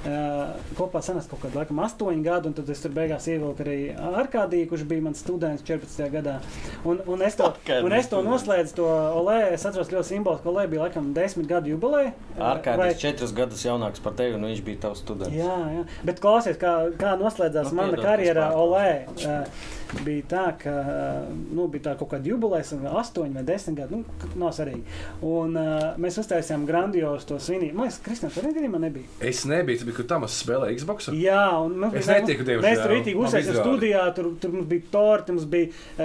[SPEAKER 1] uh, kopā sanāca kaut kāda laikam astoņi gadi, un tad es tur beigās ievilku arī Arkādiju, kurš bija mans students 14. gadā. Un, un es to,
[SPEAKER 2] Arkādijs
[SPEAKER 1] un es to
[SPEAKER 2] students.
[SPEAKER 1] noslēdzu, to Olē, es atceros ļoti simboliski, ka Olē bija laikam desmit gadu jubileja.
[SPEAKER 2] Arkādijs četrus gadus jaunāks par tevi, un viņš bija tavs students.
[SPEAKER 1] Jā, jā. bet klausies, kā, kā noslēdzās
[SPEAKER 2] Nu,
[SPEAKER 1] mana
[SPEAKER 2] piedod,
[SPEAKER 1] karjera
[SPEAKER 2] kas
[SPEAKER 1] Olē. Eh, bija tā, ka nu, bija tā kaut kāda jubilejas, un astoņi vai desmit gadi, nu, k- nav svarīgi. Un uh, mēs uztaisījām grandiozu to svinību. Man liekas, Kristēns, arī gadījumā nebija.
[SPEAKER 3] Es nebiju, tas bija, kad Tamas spēlēja Xbox.
[SPEAKER 1] Jā, un mēs,
[SPEAKER 3] Es
[SPEAKER 1] mēs-
[SPEAKER 3] netieku, diemžēl.
[SPEAKER 1] Mēs tur rītīgi
[SPEAKER 3] Man
[SPEAKER 1] uzsākām
[SPEAKER 3] izrādi.
[SPEAKER 1] studijā, tur, tur mums bija torti, mums bija uh,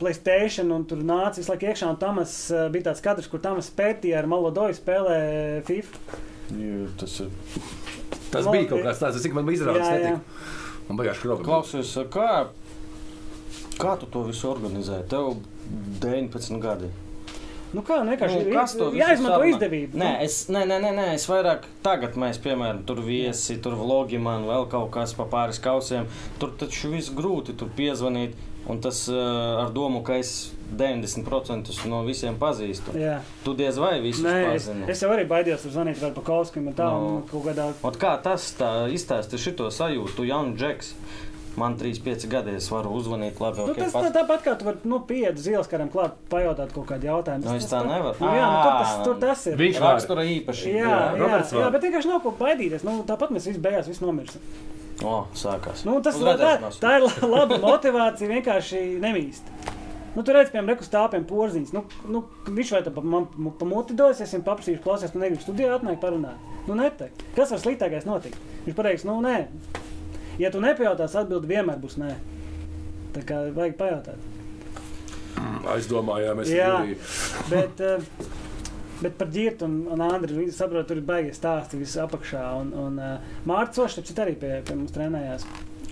[SPEAKER 1] Playstation, un tur nāca visu laiku iekšā, un Tamas uh, bija tāds kadrs, kur Tamas pētīja ar Malodoju spēlē FIFA.
[SPEAKER 2] Tas ir
[SPEAKER 3] Tas bija kaut kāds tāds, cik man bija izrādīts.
[SPEAKER 1] Jā, jā.
[SPEAKER 3] netika. Man bija jāsaka, ka
[SPEAKER 2] klausies, kā, kā tu to visu organizē? Tev 19 gadi.
[SPEAKER 1] Nu kā, nu vienkārši
[SPEAKER 2] Nu,
[SPEAKER 1] ir-
[SPEAKER 2] kas to visu
[SPEAKER 1] jāizmanto
[SPEAKER 2] sarunā?
[SPEAKER 1] izdevība. nu.
[SPEAKER 2] Nē, es, nē, nē, nē, nē, es vairāk tagad, mēs, piemēram, tur viesi, tur vlogi man vēl kaut kas pa pāris kausiem. Tur taču viss grūti tur piezvanīt. Un tas uh, ar domu, ka es 90% no visiem pazīstu.
[SPEAKER 1] Jā.
[SPEAKER 2] Tu diez vai visus
[SPEAKER 1] Nē, es,
[SPEAKER 2] pazini.
[SPEAKER 1] es jau arī baidījos tur zvanīt par Pakauskiem un tā,
[SPEAKER 2] Nu.
[SPEAKER 1] un kaut kādā.
[SPEAKER 2] Ot kā tas tā izstāsta šito sajūtu, tu jaunu džeks. Man 35 gadi, es varu uzzvanīt, labi,
[SPEAKER 1] Nu,
[SPEAKER 2] ok,
[SPEAKER 1] tas tā,
[SPEAKER 2] pats.
[SPEAKER 1] tāpat kā tu vari nu, pieiet uz ielas karam klāt, pajautāt kaut kādu jautājumu.
[SPEAKER 2] Nu,
[SPEAKER 1] Tas-
[SPEAKER 2] es
[SPEAKER 1] tas
[SPEAKER 2] tā nevaru.
[SPEAKER 1] Nu, jā, nu, tur tas,
[SPEAKER 2] Ā.
[SPEAKER 1] tur tas ir.
[SPEAKER 3] Viņš var.
[SPEAKER 2] Rakstura īpaši.
[SPEAKER 1] Jā, jā,
[SPEAKER 3] Roberts
[SPEAKER 1] jā,
[SPEAKER 3] var.
[SPEAKER 1] bet vienkārši nav ko baidīties. Nu, tāpat mēs visi beigās visi nomirsim.
[SPEAKER 2] O, sākās.
[SPEAKER 1] Nu, tas,
[SPEAKER 2] Uz
[SPEAKER 1] tā,
[SPEAKER 2] redzēšanos.
[SPEAKER 1] tā ir la- laba motivācija vienkārši nemīst. Nu, tur redzat, piemēram, reku stāpiem porziņš. Nu, nu, viņš vai tā pa, man- mu- pa muti dos, es viņam paprasīšu, klausies, tu negribi studijā atnākt parunāt. Nu, netek. Kas var sliktākais notikt? Viņš pateiks, nu, nē. Ja tu nepajautās, atbildi vienmēr būs nē. Tā kā vajag pajautāt.
[SPEAKER 3] mm, aizdomājāmies.
[SPEAKER 1] Jā.
[SPEAKER 3] ka bija-
[SPEAKER 1] Bet, eh, bet par ģērbu un, un Andriu viņi saprot, tur ir baigies stāsti viss apakšā. Un, un eh, Mārcis Ošs, taču arī pie, pie mums trenējās.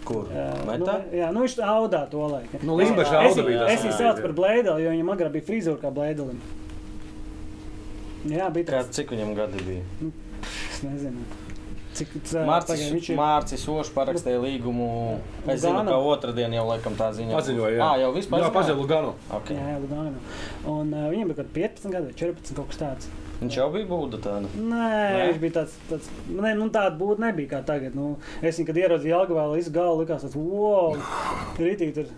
[SPEAKER 2] Kur?
[SPEAKER 1] Eh,
[SPEAKER 2] Metā?
[SPEAKER 1] Nu, jā, nu viņš audā to laiku.
[SPEAKER 3] Nu, Limbaža
[SPEAKER 1] Es-
[SPEAKER 3] auda bija tas,
[SPEAKER 1] Es viņu
[SPEAKER 2] jā,
[SPEAKER 1] saucu
[SPEAKER 3] jā.
[SPEAKER 1] par blēdeli, jo viņam agrāk bija frizūra kā blēdelim. Jā, bija
[SPEAKER 2] Kā,
[SPEAKER 1] tāds,
[SPEAKER 2] cik viņam gadi bija?
[SPEAKER 1] es nezinu. Cik tas
[SPEAKER 2] Mārcis,
[SPEAKER 1] viņš ir?
[SPEAKER 2] Mārcis Ošs parakstīja līgumu. Es zinu,
[SPEAKER 1] Lugano.
[SPEAKER 2] ka otrdien jau laikam tā ziņa.
[SPEAKER 3] Paziņoja, jā.
[SPEAKER 2] jā. Ā, jau vispār.
[SPEAKER 3] Jā, paziņoja Lugano.
[SPEAKER 1] Jā,
[SPEAKER 2] Okay.
[SPEAKER 1] jā, Lugano. Un uh, viņam bija kaut kādi 15 gadi, vai 14 kaut kas tāds.
[SPEAKER 2] Viņš jau bija būda tāda.
[SPEAKER 1] Nē,
[SPEAKER 2] Nē?
[SPEAKER 1] Nē. viņš bija tāds, tāds nē, nu tāda būtu nebija kā tagad. Nu, es viņu, kad ieraudzīju Jelgavā, līdz galu likās, tas, wow, rītīgi tur.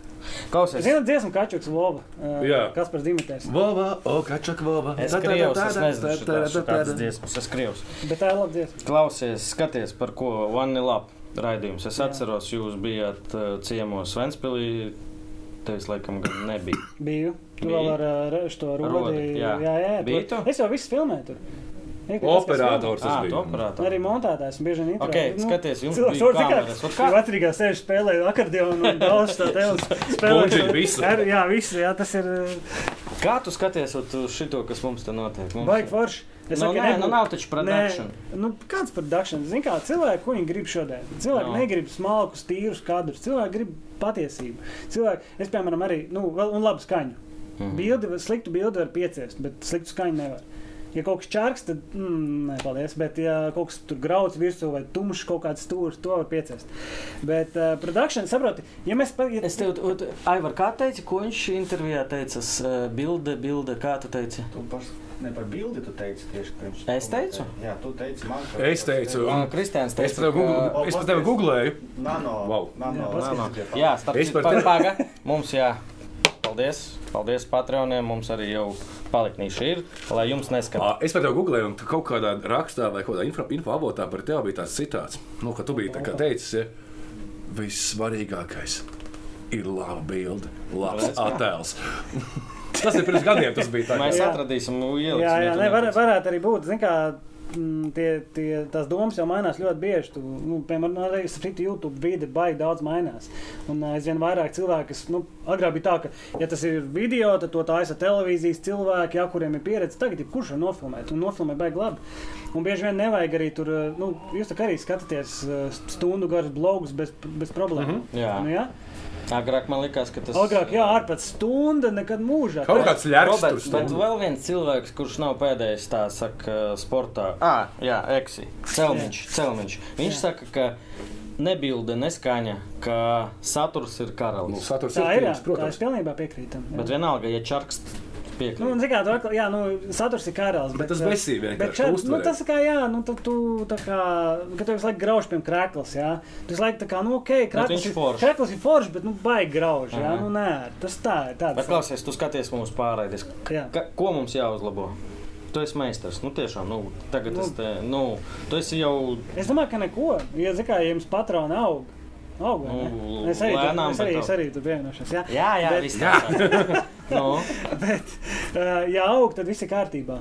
[SPEAKER 2] Klausies,
[SPEAKER 1] Zinu, dziesmu kačuks Vova, uh,
[SPEAKER 3] Jā.
[SPEAKER 1] kas par Dimitēs.
[SPEAKER 3] Vova, o, kačak, vova.
[SPEAKER 2] es
[SPEAKER 3] Tā, tā, tā,
[SPEAKER 2] krievs,
[SPEAKER 3] tā,
[SPEAKER 2] es
[SPEAKER 3] tā,
[SPEAKER 2] nezinu,
[SPEAKER 3] tā, tā,
[SPEAKER 2] šitās-
[SPEAKER 3] tā, tā,
[SPEAKER 2] šitās dziesmas, es krievs.
[SPEAKER 1] Bet tā ir laba dziesma.
[SPEAKER 2] Klausies, skaties, par ko Vanilla raidījums. Es atceros, jūs bijāt eh, ciemos Ventspīlī. Tevis laikam gan nebija.
[SPEAKER 1] Biju. Tur
[SPEAKER 2] Biji?
[SPEAKER 1] vēl ar ā, šo to
[SPEAKER 2] Rodi,
[SPEAKER 1] rodi.
[SPEAKER 2] jā.
[SPEAKER 1] jā, jā
[SPEAKER 2] Biji
[SPEAKER 1] tur-
[SPEAKER 2] tu?
[SPEAKER 1] Es jau visu filmēju tur. Vienkārši tas, kas
[SPEAKER 3] Operators tas
[SPEAKER 2] Ā, tu
[SPEAKER 3] bija.
[SPEAKER 1] filmē. Arī
[SPEAKER 2] operātori.
[SPEAKER 1] montētājs un bieži vien intro.
[SPEAKER 2] Ok, skaties, jums
[SPEAKER 1] cilvēks
[SPEAKER 2] bija
[SPEAKER 1] var tikai-
[SPEAKER 2] kameras. Ot kā?
[SPEAKER 1] Viņš atrīgā sēž spēlē akordeonu un daudz tā tev spēlē.
[SPEAKER 3] Buldžiņu, visu.
[SPEAKER 1] Ar, jā, visu, jā, tas ir eh, ā,
[SPEAKER 2] Kā tu skaties ot, uz šito, kas mums te notiek? Mums...
[SPEAKER 1] baigi forši. Es
[SPEAKER 2] Nu,
[SPEAKER 1] saku,
[SPEAKER 2] nē,
[SPEAKER 1] nebūtu-
[SPEAKER 2] nu nav taču produkcija.
[SPEAKER 1] Nē, Nu, kāds par dakšanu? Zini, kā cilvēki, ko viņi grib šodien? Cilvēki no.
[SPEAKER 2] Nu.
[SPEAKER 1] negrib smalkus, tīrus kadrus. Cilvēki grib patiesību. Cilvēki, es, piemēram, arī, nu, vēl un labu skaņu.
[SPEAKER 2] Mhm.
[SPEAKER 1] Mm. Bildi, var- sliktu bildi var pieciest, bet sliktu skaņu nevar. Ja kaut kas čārks, tad, mm, nē, paldies. Bet, ja kaut kas tur grauds virsū vai tumšs kaut kāds stūris, to var pieciest. Bet, uh, produkcija, saproti, ja mēs pat. Ja,
[SPEAKER 2] Es tev, ot, Aivar, kā teici, ko viņš intervijā teica? S, eh, Bilde, bilde, kā tu teici?
[SPEAKER 4] Tu par, ne par bildi tu teici tieši pirms.
[SPEAKER 2] Es teicu?
[SPEAKER 4] Jā, tu teici man. ka-
[SPEAKER 3] Es teicu,
[SPEAKER 2] Ā, Kristians
[SPEAKER 3] Es
[SPEAKER 2] teica,
[SPEAKER 3] pat tevi
[SPEAKER 2] ka-
[SPEAKER 3] googl- es pat tevi googlēju.
[SPEAKER 4] Nano.
[SPEAKER 3] Vau.
[SPEAKER 4] Nano.
[SPEAKER 1] Jā,
[SPEAKER 4] nano.
[SPEAKER 2] Jā, starp
[SPEAKER 3] Es
[SPEAKER 2] citu,
[SPEAKER 3] par
[SPEAKER 2] par
[SPEAKER 3] te-
[SPEAKER 2] paga. Mums jā. Paldies, paldies patroniem. Mums arī jau paliknīši ir, lai jums neskatās.
[SPEAKER 3] Ā, Es pat tevi googlēju, un tu kaut kādā rakstā vai kādā info, info avotā par tevi bija tāds citāts. Nu, ka tu biji tā kā teicis, ja, vissvarīgākais ir laba bilde, labs attēls. tas ir pirms gadiem, tas bija tā.
[SPEAKER 2] Mēs
[SPEAKER 1] Jā.
[SPEAKER 2] atradīsim ielu.
[SPEAKER 1] Jā, jā ne, var, varētu arī būt. Zin, kā, mm, tie, tie, tās domas jau mainās ļoti bieži. Tu, nu, piemēram, arī citu YouTube vide baigi daudz mainās. Un ā, aizvien vairāk cilvēku, kas nu, agrāk bija tā, ka, ja tas ir video, tad to taisa televīzijas cilvēki, ja, kuriem ir pieredze. Tagad ir kurš var nofilmēt, un nofilmē baigi labi. Un bieži vien nevajag arī tur, ā, nu, jūs tā kā arī skatāties ā, stundu garus blogus bez, bez problēmām. Mm
[SPEAKER 2] Jā.
[SPEAKER 1] Nu, jā?
[SPEAKER 2] Agrāk man likās, ka tas
[SPEAKER 1] Agrāk, jā, ārpēc stunda nekad mūžā.
[SPEAKER 3] Kaut kāds ļāvis tur
[SPEAKER 2] Roberts, bet vēl viens cilvēks, kurš nav pēdējais tā saka, sportā. Ah, jā, Eksi. Celmiņš, celmiņš. Viņš jā. saka, ka nebilde neskaņa, ka saturs ir
[SPEAKER 3] Nu,
[SPEAKER 2] karalis.
[SPEAKER 3] saturs
[SPEAKER 1] Tā ir, jā,
[SPEAKER 3] pirms,
[SPEAKER 1] tā es
[SPEAKER 3] protams.
[SPEAKER 1] pilnībā piekrītu. tam, jā.
[SPEAKER 2] Bet vienalga, ja čarks piekrīt.
[SPEAKER 1] Nu, un, zin kā, tu atkal, jā, nu, saturs ir karalis.
[SPEAKER 3] Bet tas
[SPEAKER 1] eh,
[SPEAKER 3] besī vienkārši,
[SPEAKER 1] bet
[SPEAKER 3] tu
[SPEAKER 1] šeit,
[SPEAKER 3] uztvari.
[SPEAKER 1] Nu, tas ir kā, jā, nu, tad tu, tā kā, kad tev visu laiku grauž pie krāklas, jā. Tu visu laiku tā kā, nu, ok, krāklas
[SPEAKER 2] viņš
[SPEAKER 1] ir
[SPEAKER 2] foršs.
[SPEAKER 1] Krāklas ir foršs, bet, nu, baigi grauž, jā.
[SPEAKER 2] Aha.
[SPEAKER 1] Nu, nē, tas tā ir tāds.
[SPEAKER 2] Bet klausies, tu skaties mūsu pārraides.
[SPEAKER 1] Jā.
[SPEAKER 2] Ka, ko mums jāuzlabo? Tu esi meistars. Nu, tiešām, nu, tagad nu.
[SPEAKER 1] Nu.
[SPEAKER 2] es te, nu, tu esi jau
[SPEAKER 1] Es domāju, ka neko. Ja, zin kā, ja jums patrona aug, Auga, ne?
[SPEAKER 2] Nu,
[SPEAKER 1] Es arī,
[SPEAKER 2] lēnām,
[SPEAKER 1] tur, es arī,
[SPEAKER 2] bet
[SPEAKER 1] es arī tur pievienošos. Jā,
[SPEAKER 2] Jā, jā,
[SPEAKER 1] Bet-
[SPEAKER 2] viss tā. nu,
[SPEAKER 1] bet, eh, ja aug, tad viss ir kārtībā.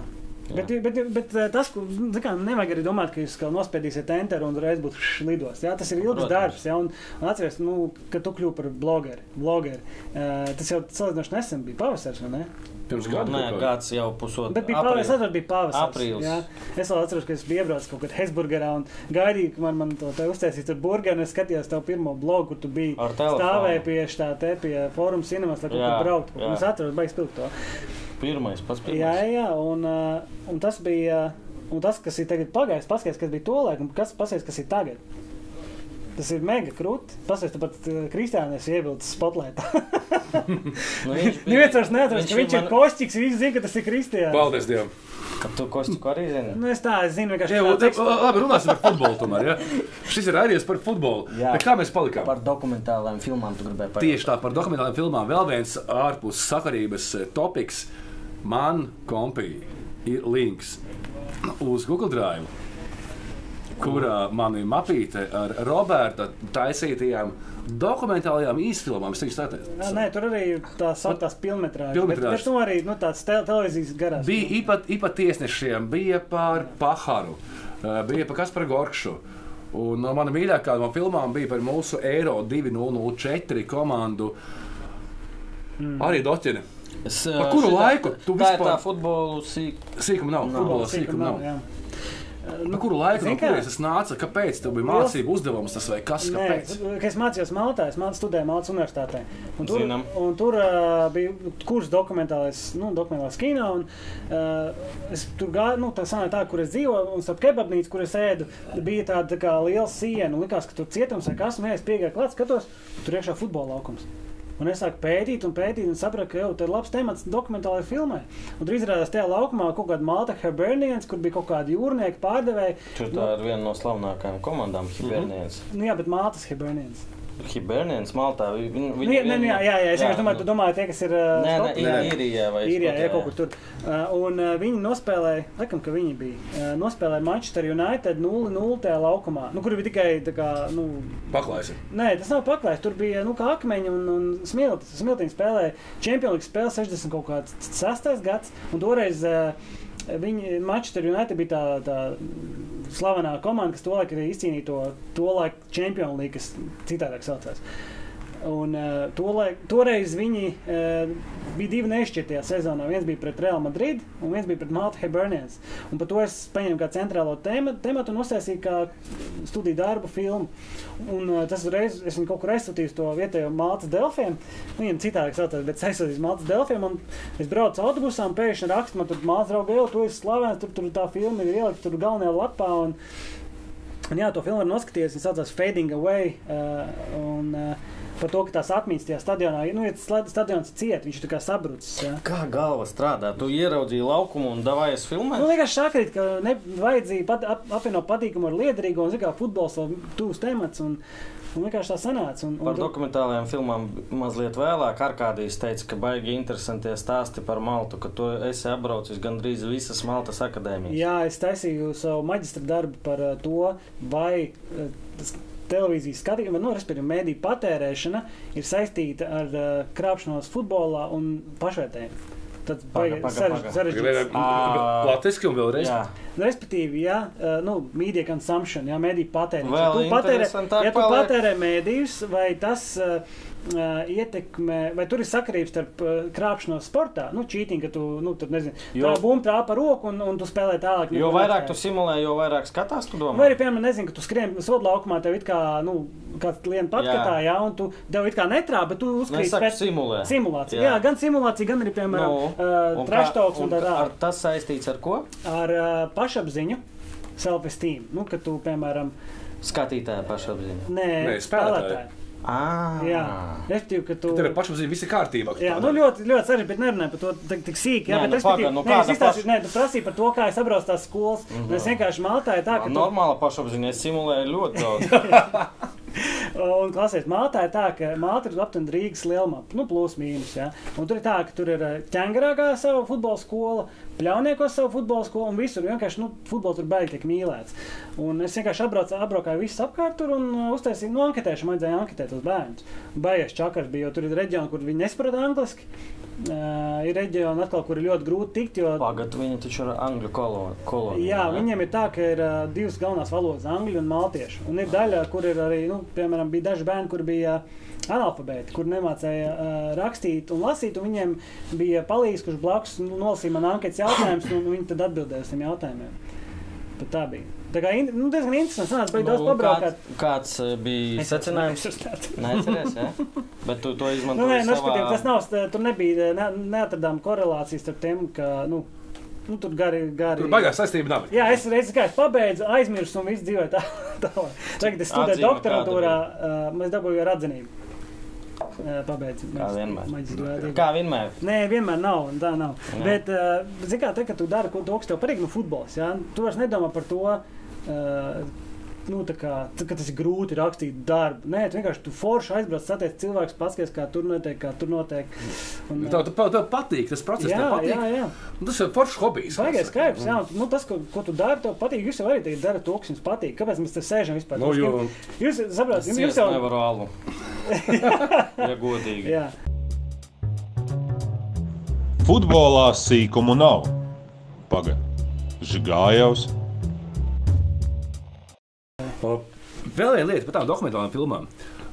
[SPEAKER 1] Bet, bet, bet eh, tas, ko nu, tā kā, nevajag arī domāt, ka jūs kā nospiedīsiet enteru un reiz būs šlidos. Jā, tas ir ilgs
[SPEAKER 2] Protams.
[SPEAKER 1] darbs. Jā, un, un atceries, nu, ka tu kļūsi par blogeri. blogeri. Eh, Tas jau salīdzinoši nesen bija pavasaris, vai ne?
[SPEAKER 3] Pirms gada
[SPEAKER 2] Nu, nē,
[SPEAKER 3] kaut kā.
[SPEAKER 2] gads jau pusotru.
[SPEAKER 1] Bet bija pavasaris, tad bija pavasaris.
[SPEAKER 2] Aprīlis.
[SPEAKER 1] Jā. Es vēl atceros, ka es biju iebraucis kaut kad Hesburgerā un gaidīju, ka man, man to te uztaisīs tur burgeri. un Es skatījos tev pirmo blogu, kur tu biji.
[SPEAKER 2] Ar telefonu.
[SPEAKER 1] Stāvēju pie šī te pie foruma cinemas, lai kaut
[SPEAKER 2] Jā,
[SPEAKER 1] kur brauktu.
[SPEAKER 2] jā.
[SPEAKER 1] Un Es atceros, baigs pilkt to.
[SPEAKER 2] Pirmais, pats
[SPEAKER 1] Jā,
[SPEAKER 2] pirmais.
[SPEAKER 1] jā, jā, un, ā, un tas bija. Un tas, kas ir tagad pagājis, paskatās, kas bija tolaik, un kas, paskatās, kas ir tagad. Tas ir mega krūti. Paskatās, pat ā, Kristiānis iebildes spotlightā.
[SPEAKER 2] Nu, viņš
[SPEAKER 1] Neviens vairs neatrādās, ka viņš ir
[SPEAKER 2] man-
[SPEAKER 1] košķīgs, visi zina, ka tas ir Kristiānis.
[SPEAKER 3] Paldies Dievam!
[SPEAKER 2] Ka tu kostiku arī zini.
[SPEAKER 1] Nu, es tā, es zinu, vienkārši
[SPEAKER 3] Jā,
[SPEAKER 1] tā
[SPEAKER 3] un te-
[SPEAKER 1] tekstu-
[SPEAKER 3] labi, runāsim par futbolu. Tomēr, ja? Šis ir arī par futbolu.
[SPEAKER 2] Jā.
[SPEAKER 3] Bet Kā mēs palikām?
[SPEAKER 2] Par dokumentālām filmām tu gribēji pateikt.
[SPEAKER 3] Tieši tā par dokumentālajām filmām. Vēl viens ārpus sakarības eh, topiks. Man kompī ir links uz Google Drive, kurā man ir mapīte ar Roberta taisītajām dokumentālajām īstfilmām. Es teikšu, tā
[SPEAKER 1] Nā,
[SPEAKER 3] tā.
[SPEAKER 1] Nē, tur arī tā sauktās filmetrāžas. Bet,
[SPEAKER 3] Pilnmetrāžas.
[SPEAKER 1] bet nu arī nu, tāds te, televīzijas garās.
[SPEAKER 3] Bija īpat, īpat tiesnešiem, bija par Paharu, eh, bija par Kasparu Gorkšu. Un no manām mīļākajām filmām bija par mūsu Eiro 204 komandu. Mm. Arī Doķina.
[SPEAKER 2] Es, eh,
[SPEAKER 3] Par kuru
[SPEAKER 2] šitā-
[SPEAKER 3] laiku
[SPEAKER 2] Tā
[SPEAKER 3] tu
[SPEAKER 2] ir
[SPEAKER 3] vispār-
[SPEAKER 2] tā futbolu sīk.
[SPEAKER 3] Sīkuma nav. Futbola sīkuma nav.
[SPEAKER 1] jā.
[SPEAKER 3] Nu, kuru laiku no
[SPEAKER 1] Zini kā?
[SPEAKER 3] kurienes tas nāca? Kāpēc tev bija
[SPEAKER 1] Liels-
[SPEAKER 3] mācību uzdevums tas vai kas?
[SPEAKER 1] Nē,
[SPEAKER 3] Kāpēc?
[SPEAKER 1] kad es mācījos Maltā, es mācījos studēju Maltas universitātē. Un tur
[SPEAKER 2] Zinām.
[SPEAKER 1] un tur uh, bija kurs dokumentālais, nu, dokumentālais kino. Un, uh, es tur gāju, nu, tā sanāk tā, kur es dzīvoju, un starp kebabnīcu, kur es ēdu, bija tāda tā kā liela siena. un Likās, ka tur cietums vai kas, un es piegāju klāt, skatos, tur iekšā futbola laukums. Un es sāku pētīt, un pētīt, un sapratu, ka jau tā ir labs temats dokumentālajai filmai. Un tur izrādās, tajā laukumā kaut kāda Malta Hibernians, kur bija kaut kāda jūrnieka pārdevēja.
[SPEAKER 2] Tur tā ir viena no slavnākajām komandām - Hibernians.
[SPEAKER 1] Nu, jā, bet Maltas Hibernians.
[SPEAKER 2] Hibernians Maltā. vi- Viņu,
[SPEAKER 1] Nu, jā, nē, nu, jā, jā, jā, es vienkārši domāju, tu
[SPEAKER 2] nu,
[SPEAKER 1] domāji, tie, kas ir. uh,
[SPEAKER 2] Nē, nē, ir- Īrijā vai
[SPEAKER 1] Ir jā, jā,
[SPEAKER 2] Skotijā,
[SPEAKER 1] kaut kur tur. Uh, un uh, viņi nospēlēja, laikam, ka viņi bija. Uh, nospēlēja Manchester United 0-0 tajā laukumā. Nu, kur bija tikai tā kā. Nu,
[SPEAKER 3] Paklājas.
[SPEAKER 1] nē, tas nav paklājs. Tur bija nu, kā akmeņi un, un smilts. Smiltiņa spēlēja Champions League spēle 60 kaut kāds 6. gads. Un toreiz uh, viņi Manchester United bija tā. tā Slavenā komanda, kas tolaik arī izcīnīja to, to laiku Champions League, kas citādāk saucās. Un, uh, tolaik, toreiz viņi uh, bija divi nešķirtie sezonā. Viens bija pret Real Madrid, un viens bija pret Malta Hibernians. Un par to es paņēmu kā centrālo tēmu tematu un uztaisīju kā studiju darbu filmu. Un, uh, tas reiz es viņu kaut kur aizsūtīju uz to vietējo Maltas delfiem. Viņam citādi saucās, bet es aizsūtīju uz Maltas delfiem. un Es braucu autobusā un pēkšņi rakstu man tur mātes draugu, jau tu esi slavens, tur, tur tā filma ir ielikt tur galvenajā lapā. Un, Un jā, to filmu var noskatīties. Viņa saucās Fading Away. Uh, un, uh, par to, ka tās atmiņas tajā stadionā, nu, ja tas sled- stadions ciet, viņš tā kā sabrucis. Jā.
[SPEAKER 2] Kā galva strādā? Tu ieraudzīji laukumu un davājies
[SPEAKER 1] Nu,
[SPEAKER 2] filmēt?
[SPEAKER 1] vienkārši sakrīt, ka nevajadzēja pat, ap, apvienot patīkamu ar liederīgu, un zina, kā futbols vēl tūs temats. Un, un vienkārši tā sanāca. Un,
[SPEAKER 2] Par
[SPEAKER 1] un,
[SPEAKER 2] dokumentālajām filmām mazliet vēlāk Arkādijas teica, ka baigi interesantie stāsti par Maltu, ka tu esi apbraucis gandrīz visas Maltas akadēmijas.
[SPEAKER 1] jā, es taisīju savu maģistra darbu par uh, to, vai uh, tas televīzijas skatījuma, nu, respektīvi, mēdīju patērēšana ir saistīta ar uh, krāpšanos futbolā un pašvērtējumu. Tad
[SPEAKER 2] Paga,
[SPEAKER 1] baigi
[SPEAKER 2] paga,
[SPEAKER 1] sarež-
[SPEAKER 2] paga.
[SPEAKER 1] sarežģīts. Ah.
[SPEAKER 2] Ā.
[SPEAKER 3] Latvijas un vēlreiz.
[SPEAKER 2] Jā.
[SPEAKER 1] Nu, Respektīvi, ja nu, media consumption, ja mediju patēriņš, ja
[SPEAKER 2] Vēl
[SPEAKER 1] tu patērē,
[SPEAKER 2] interesantāk
[SPEAKER 1] ja tu
[SPEAKER 2] paliek.
[SPEAKER 1] patērē mēdījus, vai tas uh, uh, ietekmē, vai tur ir sakarības starp uh, krāpšanos sportā, nu, čīting, ka tu, nu, tur nezinu,
[SPEAKER 2] Jo-
[SPEAKER 1] tā bumba trāpa roku un, un tu spēlē tālāk.
[SPEAKER 2] Jo
[SPEAKER 1] nekā
[SPEAKER 2] vairāk
[SPEAKER 1] otrādi.
[SPEAKER 2] tu simulē, jo vairāk skatās, tu domā.
[SPEAKER 1] Vai nu, arī, piemēram, nezinu, ka tu skrieni sodu laukumā, tev it kā, nu, kāds klients patkatā, jā. jā, un tu tev it kā netrāp, bet tu
[SPEAKER 2] Nu, Es
[SPEAKER 1] uzkrīt
[SPEAKER 2] saku,
[SPEAKER 1] pēc
[SPEAKER 2] simulē.
[SPEAKER 1] simulācija.
[SPEAKER 2] Jā.
[SPEAKER 1] Jā. jā, gan simulācija, gan arī, piemēram,
[SPEAKER 2] Nu,
[SPEAKER 1] no. uh,
[SPEAKER 2] un kā-
[SPEAKER 1] trash talks un, un tā
[SPEAKER 2] kā-
[SPEAKER 1] tālāk.
[SPEAKER 2] ar Tas saistīts ar ko?
[SPEAKER 1] ar uh, pašapziņu, self-esteem. Nu, kad tu, piemēram,
[SPEAKER 2] Skatītāja pašapziņa.
[SPEAKER 1] nē,
[SPEAKER 3] Nē, spēlētāji.
[SPEAKER 2] Ah,
[SPEAKER 1] Jā, respektīvi, ka tu.
[SPEAKER 3] Tev ir pašapziņa, viss ir kārtībā.
[SPEAKER 1] Jā, nu ļoti, ļoti sarežģīti, bet nerunājot par to tik, tik sīki. Jā,
[SPEAKER 2] Nē,
[SPEAKER 1] bet
[SPEAKER 2] nu,
[SPEAKER 1] respektīvi,
[SPEAKER 2] paga, nu,
[SPEAKER 1] nē, es
[SPEAKER 2] kāda
[SPEAKER 1] izstāstīju,
[SPEAKER 2] paša- Mhm.
[SPEAKER 1] nē, tu prasīji par to, kā es apbraucu tās
[SPEAKER 2] Nu,
[SPEAKER 1] skolas. Mm -hmm. Es vienkārši maltāju tā, ka
[SPEAKER 2] Man
[SPEAKER 1] tu,
[SPEAKER 2] normāla pašapziņa es simulēju ļoti daudz.
[SPEAKER 1] Un klasies, mātā ir tā, ka māte ir aptuveni Rīgas lielumā, nu, plus mīnus. Ja? Un tur ir tā, ka tur ir ķēngarākā sava futbola skola, pļauniekos sava futbola skola un visur vienkārši nu, futbols tur beigti tiek mīlēts. Un es vienkārši apbraucu, apbraukāju visus apkārt tur un uh, uztaisīju, nu, anketēšu, man vajadzēja anketēt tos bērnus. Baigies čakars bija, jo tur ir reģioni, kur viņi nesaprot angliski. Uh, ir reģioni, atkal, kur ir ļoti grūti tikt, jo
[SPEAKER 2] Pagaidā, viņi taču ir angļu kolonija. Kolon,
[SPEAKER 1] Jā, viņiem ir tā, ka ir uh, divas galvenās valodas, angļu un maltiešu. Un ir daļa, kur ir arī, nu, piemēram, bija daži bērni, kur bija analfabēti, kur nemācīja uh, rakstīt un lasīt. Un viņiem bija palīgs, kurš blakus nu, nolasīja man anketas jautājumus, un viņi tad atbildēja uz tiem jautājumiem. Pat tā bija. Tā kā in, nu, diezgan interesanti. Sanāca, bija daudz pabraukāt.
[SPEAKER 2] Nu, kāds, kāds eh, bija secinājums? Nē, cerēs, jā. Bet tu to
[SPEAKER 1] Nu, nē,
[SPEAKER 2] izmantoji.
[SPEAKER 1] nu, savā... tas nav, st- tur nebija, ne, neatradām korelācijas starp tiem, ka, nu, nu tur gari, gari.
[SPEAKER 3] Tur baigās saistība nav.
[SPEAKER 1] Jā, es reizē gāju, pabeidzu, aizmirsu, un viss dzīvoja tā, tālāk. Tagad es studēju
[SPEAKER 2] Atzīme
[SPEAKER 1] doktorantūrā, uh, mēs dabūjām ar atzinību. Uh, Pabeidzu.
[SPEAKER 2] Kā vienmēr.
[SPEAKER 1] vienmēr.
[SPEAKER 2] Kā vienmēr.
[SPEAKER 1] Nē, vienmēr nav. un Tā nav.
[SPEAKER 2] Jā.
[SPEAKER 1] Jā. Bet, uh, zini, kā te, kad tu dari, ko tu augstu tev patīk, nu, futbols. Ja? Tu vairs nedomā par to. Uh, Nu, tā kā tā, ka tas ir grūti rakstīt darbu. Nē, tu vienkārši tu forši aizbrauc, satiek cilvēks, paskaties, kā tur notiek, kā tur notiek.
[SPEAKER 2] Mm.
[SPEAKER 1] Un,
[SPEAKER 3] Tev, tev, tev patīk tas process,
[SPEAKER 1] jā,
[SPEAKER 3] tev patīk.
[SPEAKER 1] jā, jā.
[SPEAKER 3] Un Tas ir foršs hobijs. kā
[SPEAKER 1] Svaigais
[SPEAKER 3] saka.
[SPEAKER 1] skaips, jā, nu, tas, ko, ko tu dari, tev patīk. Jūs jau arī tagad darat to, kas jums patīk. Kāpēc mēs te sēžam vispār?
[SPEAKER 3] Nu, jo-
[SPEAKER 1] Jūs saprotat,
[SPEAKER 2] Es
[SPEAKER 1] jums, jums
[SPEAKER 2] ciest
[SPEAKER 1] jau
[SPEAKER 2] nevaru alu. Ja godīgi.
[SPEAKER 1] Jā,
[SPEAKER 5] Futbolā sīkumu nav. Paga. Žigājovs,
[SPEAKER 3] O, Vēl viena lieta par tām dokumentālām filmām.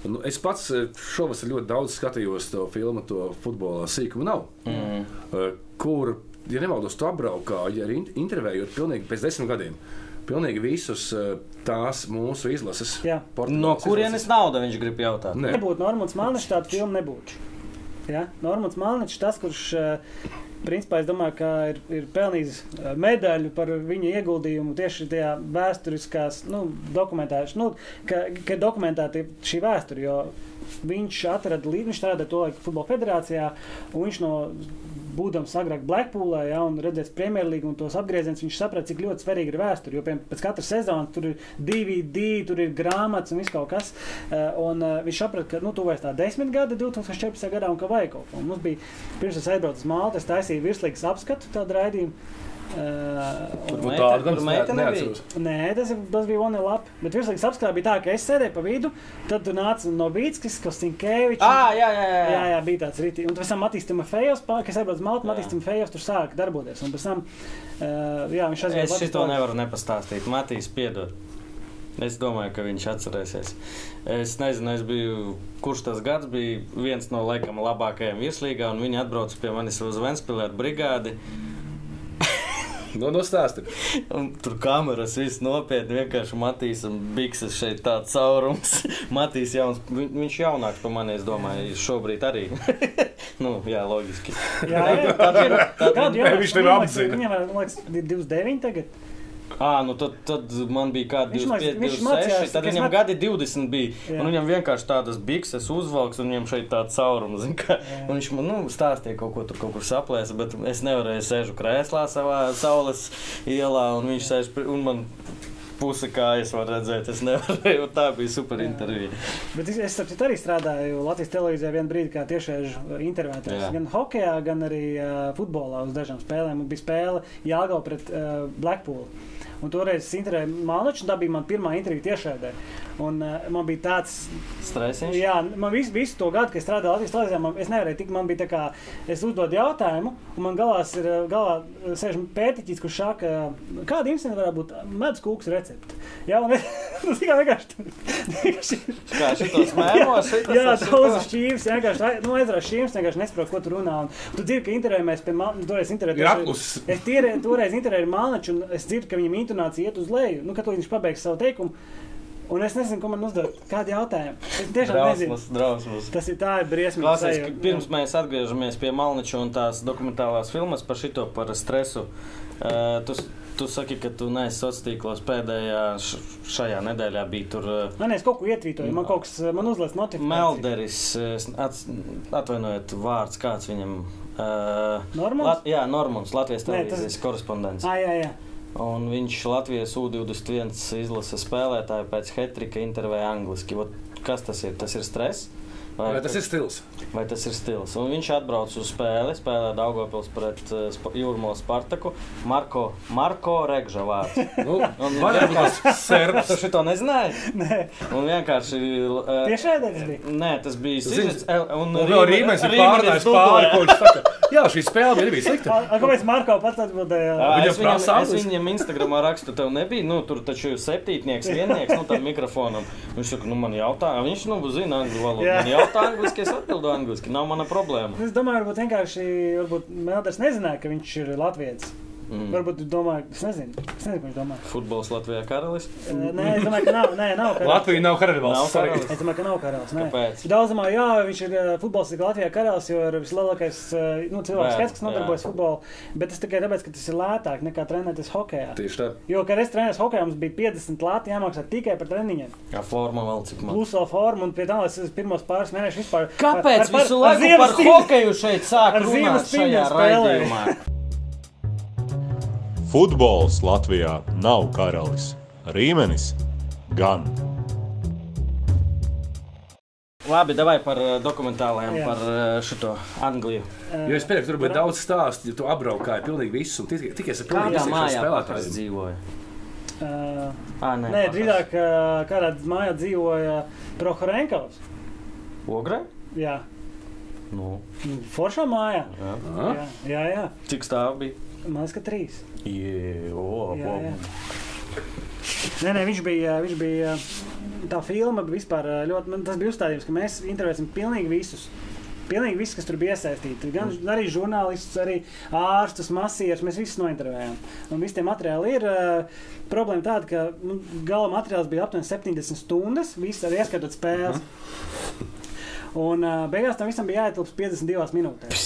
[SPEAKER 3] Nu, es pats eh, šovasar ļoti daudz skatījos to filmu, to futbola sīkumu nav. Mm. Kur, ja nemaldos, tu apbraukāji ar in- intervējot pilnīgi pēc desmit gadiem. Pilnīgi visus eh, tās mūsu izlases.
[SPEAKER 1] Jā.
[SPEAKER 3] Portugāles
[SPEAKER 2] No
[SPEAKER 3] izlases.
[SPEAKER 2] kurienes nauda viņš grib jautāt?
[SPEAKER 3] Nē, Nu,
[SPEAKER 1] nebūtu Normons Malničs, tāda filma nebūtu. Jā, Normons Malničs, tas, kurš, eh, principā, es domāju, ka ir, ir pelnījis eh, medaļu par viņa ieguldījumu tieši tajā vēsturiskās, nu, dokumentēšanā, nu, ka, ka dokumentēta ir šī vēsture, jo viņš atrada līdzi, viņš strādāja to laiku Futbola federācijā, un viņš no būdams agrāk Blackpoolā, ja, un redzēs Premjerlīgu un tos apgriezienus, viņš saprata, cik ļoti svarīga ir vēsture. Jo piemēram, pēc katras sezonas tur ir DVD, tur ir grāmatas un viss kaut kas. eh, Un eh, viņš saprata, ka nu, tuvojas tā desmit gadi, 2014. gadā, un ka vajag kaut ko. Un Mums bija pirms es aizbraucu uz Maltu, es taisīju virslīgas apskatu tādu raidījumu. eh, un-
[SPEAKER 2] Tur meita-
[SPEAKER 3] Nu,
[SPEAKER 2] tur
[SPEAKER 3] tāda gan
[SPEAKER 2] meita
[SPEAKER 3] ne-
[SPEAKER 2] nebija?
[SPEAKER 3] neatceros.
[SPEAKER 1] Nē, tas, ir, tas bija One Lapa. Bet virslīgas apskatā bija tā, ka es sēdēju pa vidu, tad tu nāc no Bītskis, Kostinkēvičs.
[SPEAKER 2] Ā, Ah, jā, jā, jā.
[SPEAKER 1] Jā, jā, bija tāds rītī. Un pēc tam attīstīja Fejos, kas aizbrauca uz Maltu,
[SPEAKER 2] Jā.
[SPEAKER 1] attīstīja Fejos, tur sāka darboties. Un pēc tam, uh, jā, viņš aizbrauca
[SPEAKER 2] Es šito nevaru nepastāstīt. Matīs, piedod. Es domāju, ka viņš atcerēsies. Es nezinu, es biju, kurš tas gads bija. Viens no laikam labākajiem virslīgā, un viņi atbrauca pie manis uz Vēnspilsēta brigādi.
[SPEAKER 3] No, no stāsta.
[SPEAKER 2] Un Tur kameras viss nopietni. Vienkārši Matīs un Bikses šeit tāds caurums. Matīs jauns, vi- viņš jaunāks par mani, es domāju, šobrīd arī. nu, jā, loģiski.
[SPEAKER 1] Jā, jā, tā ir. Kādu
[SPEAKER 3] Nē, viņš tevi apzina.
[SPEAKER 1] Viņam, man liekas, ir 29 tagad.
[SPEAKER 2] À, nu tad, tad man bija kādi
[SPEAKER 1] Viņš māc-
[SPEAKER 2] 25,
[SPEAKER 1] viņš
[SPEAKER 2] 26,
[SPEAKER 1] mācījās,
[SPEAKER 2] tad
[SPEAKER 1] kas
[SPEAKER 2] viņam
[SPEAKER 1] māc-
[SPEAKER 2] gadi 20 bija.
[SPEAKER 1] Jā.
[SPEAKER 2] Un viņam vienkārši tādas bikses uzvalks, un viņam šeit tāds caurums. zini, kā. Un viņš man nu, stāstīja kaut ko tur kaut kur saplēs, bet es nevarēju sēžu krēslā savā saules ielā, un viņš sēž pri- un man pusi kājas var redzēt. Es nevarēju, un tā bija super intervija.
[SPEAKER 1] Bet es, es starp citu, arī strādāju Latvijas televīzijā vienu brīdi kā tiešai intervētājs.
[SPEAKER 2] Jā.
[SPEAKER 1] Gan hokeja, gan arī uh, futbolā uz dažām spēlēm. Un bija spēle Jāgauta pret uh, Blackpool. Un toreiz es intervēju Malniču, un tā bija mana pirmā intervija tiešraidē. Un uh, man bija tāds
[SPEAKER 2] Stresiņš.
[SPEAKER 1] Jā, man visu, visu to gadu, kad es strādāju Latvijas televīzijā, man- es nevarēju tikt. Man bija tā, kā es uzdodu jautājumu, un man galās ir eh, galā eh, sēž pētījis, kurš saka, eh, kāda imsena varētu būt medus kūks recepte. Jā, un es tas tikai vienkārši.
[SPEAKER 2] Kā šitos mēmos, šitas
[SPEAKER 1] Jā,
[SPEAKER 2] ar šito.
[SPEAKER 1] daudz šķīvis, vienkārši ai- nu, aizrauju šķīvis, vienkārši nesaprotu, ko tu runā. Un tu dzirdi, ka intervējāmies pie manis, toreiz intervējāmies.
[SPEAKER 3] Ir aplusis.
[SPEAKER 1] Es tīri, toreiz intervēju ar Malniču, un es dzirdu, ka viņam intonācija iet uz leju, nu, kad viņš pabeigs savu teikumu. Un es nezinu, ko man uzdot, kādu jautājumu. Es tiešām nezinu.
[SPEAKER 2] Drausmas, drausmas.
[SPEAKER 1] Tas ir tā, ir briesmīgi.
[SPEAKER 2] Klausies, ka pirms mēs atgriežamies pie Malniča un tās dokumentālās filmas par šito par stresu. Uh, tu, s- tu saki, ka tu neesi sociālos tīklos pēdējā š, šajā nedēļā bija tur. Uh,
[SPEAKER 1] Man es kaut ko ietvītoju, man kaut kas, eh, man uzlēs notifikācija.
[SPEAKER 2] Melderis, eh, s- ats- atvainojiet, vārds kāds viņam. Uh,
[SPEAKER 1] Normons?
[SPEAKER 2] jā, Normons, Latvijas
[SPEAKER 1] Nē, tas-
[SPEAKER 2] televīzijas korespondents.
[SPEAKER 1] Ah, jā, jā.
[SPEAKER 2] Un viņš Latvijas U-21 izlases spēlētāju pēc Hetrika intervēja angliski. Vot kas tas ir. Tas ir stress.
[SPEAKER 3] Vai tas ir stils?
[SPEAKER 2] vai tas ir stils. Un viņš atbrauc uz spēli, spēlē Daugopils pret uh, Sp Jūrmālu Spartaku. Marko, Marko Regža vārds.
[SPEAKER 3] Nu,
[SPEAKER 2] Un
[SPEAKER 3] varētu būt
[SPEAKER 2] vienkārši-
[SPEAKER 3] tas serbs.
[SPEAKER 2] Tu šito nezināji? Nē. Un vienkārši... Uh,
[SPEAKER 1] Tiešai daļai bija.
[SPEAKER 2] Nē, tas bija
[SPEAKER 3] Zini,
[SPEAKER 2] Sīsīs. Un,
[SPEAKER 3] Un Nu, vēl Rīmenis ir pārnājis pāri, ko viņš saka. Jā, šī spēle bija arī
[SPEAKER 1] A,
[SPEAKER 3] slikta.
[SPEAKER 1] a, Kāpēc Marko pats atbildēja?
[SPEAKER 3] Viņam
[SPEAKER 2] Viņam viņam,
[SPEAKER 3] prasa
[SPEAKER 2] es
[SPEAKER 3] anglis?
[SPEAKER 2] viņam Instagramā rakstu, tev nebija, nu, tur taču ir septītnieks, viennieks, nu, tam mikrofonam. Viņš saka, nu, man jautā, viņš, nu, zina angļu valodu.
[SPEAKER 1] Jā.
[SPEAKER 2] Man jautā angliski, es atbildu angliski, nav mana problēma.
[SPEAKER 1] Es domāju, varbūt vienkārši varbūt Melders nezināja, ka viņš ir Latvijas. Mm. Varbūt viņš domā, es nezinu, es nezinu, ko viņš domā.
[SPEAKER 2] Futbols Latvijā karalis.
[SPEAKER 1] Eh, Nē, es domāju, ka nav. Nē, nav karalis.
[SPEAKER 3] Latvija nav
[SPEAKER 2] Nav
[SPEAKER 3] karavīrs.
[SPEAKER 2] karalis.
[SPEAKER 1] Es domāju, ka nav karalis. nē.
[SPEAKER 2] Kāpēc?
[SPEAKER 1] Daudz domā, jā, viņš ir eh, futbolists Latvijā karalis, jo ir vislielākais eh, nu, cilvēks,
[SPEAKER 2] Jā,
[SPEAKER 1] skaits, kas nodarbojas futbolu. Bet tas tikai tāpēc, ka tas ir lētāk nekā trenēties hokeja.
[SPEAKER 3] Tieši tā.
[SPEAKER 1] Jo, kad es trenējos hokeja, mums bija 50 lati jāmaksā tikai par treniņiem.
[SPEAKER 2] Jā, forma vēl cik man.
[SPEAKER 1] Pluso formu un pie tā, es es pirmos pāris mēnešus vispār.
[SPEAKER 2] Kāpēc
[SPEAKER 1] ar- par-
[SPEAKER 2] par, par, visu
[SPEAKER 1] ar
[SPEAKER 2] laiku par
[SPEAKER 1] ziemas cīņu?
[SPEAKER 2] hokeju šeit sāk
[SPEAKER 1] ar
[SPEAKER 2] runāt
[SPEAKER 1] ziemas
[SPEAKER 2] šajā
[SPEAKER 1] cīņas spēlē?
[SPEAKER 2] raidījumā?
[SPEAKER 5] Futbols Latvijā nav karalis. Rīmenis gan.
[SPEAKER 2] Labi, davai par eh, dokumentālajiem,
[SPEAKER 1] Jā.
[SPEAKER 2] par eh, šito Angliju.
[SPEAKER 3] Jo es pieņemu, ka tur bija daudz stāstu, ja tu apbraukāji pilnīgi visus un tikai tikai ar
[SPEAKER 2] Kādā
[SPEAKER 3] pilnīgi visiem šiem
[SPEAKER 2] mājā tas
[SPEAKER 3] spēlētājiem.
[SPEAKER 2] dzīvoja?
[SPEAKER 1] Ā,
[SPEAKER 2] Ā, nē,
[SPEAKER 1] Nē,
[SPEAKER 2] pakas.
[SPEAKER 1] drīzāk ā, kādā mājā dzīvoja Prohorenkovs.
[SPEAKER 2] Ogre?
[SPEAKER 1] Jā,
[SPEAKER 2] Nu,
[SPEAKER 1] Foršā mājā.
[SPEAKER 2] jā.
[SPEAKER 1] Jā, jā, jā.
[SPEAKER 2] Cik stāv bija?
[SPEAKER 1] man liekas, ka trīs.
[SPEAKER 2] Jē, o,
[SPEAKER 1] Jā,
[SPEAKER 2] o.
[SPEAKER 1] jā. Nē, nē, viņš bija. Viņš bija tā filma bija vispār ļoti. Man tas bija uzstādījums, ka mēs intervēsim pilnīgi visus. Pilnīgi viss, kas tur bija iesaistīts. Gan arī žurnālistus, arī ārstus, masīvus. Mēs visus nointervējām. Un visi tie materiāli ir. eh, Problēma tāda, ka nu, gala materiāls bija aptuveni 70 stundas, viss arī ieskatot spēles. Un uh, beigās tam visam bija jāietilpst 52 minūtēs.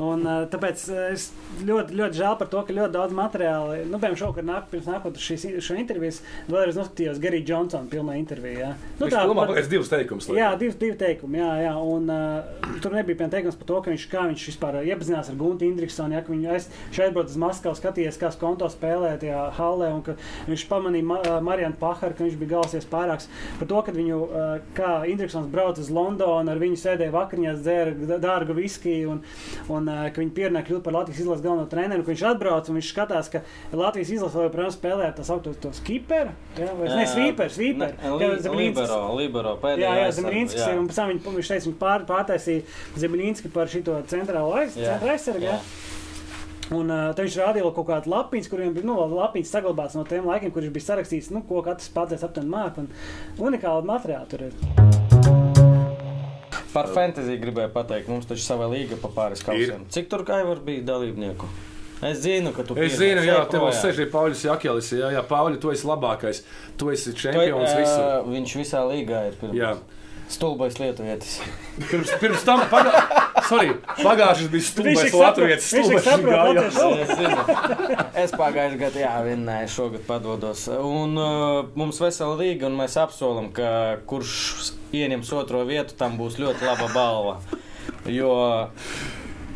[SPEAKER 1] Un, uh, tāpēc uh, es ļoti, ļoti žēl par to, ka ļoti daudz materiāla, nu, piemēram, šovakar nāk, pirms nākot uz šīs in- šo interviju, vēlreiz noskatījos Garija Džonsona pilnā intervijā.
[SPEAKER 3] Nu, tā domā, pagaidz divas teikumus.
[SPEAKER 1] Jā, divi, divi teikumi. Jā, jā. Un, uh, tur nebija piemēram teikums par to, ka viņš, kā viņš vispār eh, iepazinās ar Guntu Indriksonu. Jā, ka viņš aiz- šeit aizbrauca uz Maskavu, skatījās, kā skonto spēlē tajā hallē, un ka viņš pamanīja Ma Marijanu Paharu, ka viņš bija galsies pārāks par to, ka viņu, uh, kā Indriksons brauca uz Londonu, ar viņu sēdēja vakariņās, dzēra dārgu viskiju, un, un uh, ka viņi pierunāja kļūt par Latvijas izlases galveno treneru, ka viņš atbrauc un viņš skatās, ka Latvijas izlase joprojām spēlē ar tā saucamo skiperu, jā, vai ne,
[SPEAKER 2] Jā,
[SPEAKER 1] svīperu, svīperu.
[SPEAKER 2] ne,
[SPEAKER 1] Jā,
[SPEAKER 2] li-
[SPEAKER 1] Zemlīnskis.
[SPEAKER 2] Libero, libero,
[SPEAKER 1] Jā,
[SPEAKER 2] pēdējā.
[SPEAKER 1] jā
[SPEAKER 2] aizsardz,
[SPEAKER 1] Zemlīnskis
[SPEAKER 2] jā.
[SPEAKER 1] ir. un Pēc tam viņš, viņš teica, viņš pār, pārtaisīja Zemlīnski par šo centrālo aiz-
[SPEAKER 2] Jā,
[SPEAKER 1] centra aizsargu. jā.
[SPEAKER 2] jā.
[SPEAKER 1] Un uh, tur viņš rādīja vēl kaut kādu lapiņu, kuriem bija nu, vēl lapiņas saglabāts no tiem laikiem, kurš bija sarakstījis, nu, ko katrs pats aptuveni māca. Un Unikāli materiāli tur ir.
[SPEAKER 2] Par fantasy gribēju pateikt, mums taču sava līga pa pāris kausiem. Cik tur kā jau bija dalībnieku? Es zinu, ka tu
[SPEAKER 3] Es
[SPEAKER 2] pirmais.
[SPEAKER 3] zinu, jā,
[SPEAKER 2] Ej
[SPEAKER 3] tev vēl
[SPEAKER 2] projām.
[SPEAKER 3] sēž arī Pauļus Jakelis. Jā, jā, Pauļi, tu esi labākais. Tu esi
[SPEAKER 2] Tu,
[SPEAKER 3] čempions
[SPEAKER 2] ā,
[SPEAKER 3] visur.
[SPEAKER 2] Viņš visā līgā ir pirmais.
[SPEAKER 3] Jā.
[SPEAKER 2] Stulbais lietuvietis.
[SPEAKER 3] Pirms, pirms tam pagā... Sorry, pagājušas bija stulbais latviešu stulbais.
[SPEAKER 1] latviešu.
[SPEAKER 2] Es, zinu. es pagājušajā gadā, jā, vinnēju, šogad padodos. Un uh, mums vesela līga, un mēs apsolam, ka kurš ieņems otro vietu, tam būs ļoti laba balva. Jo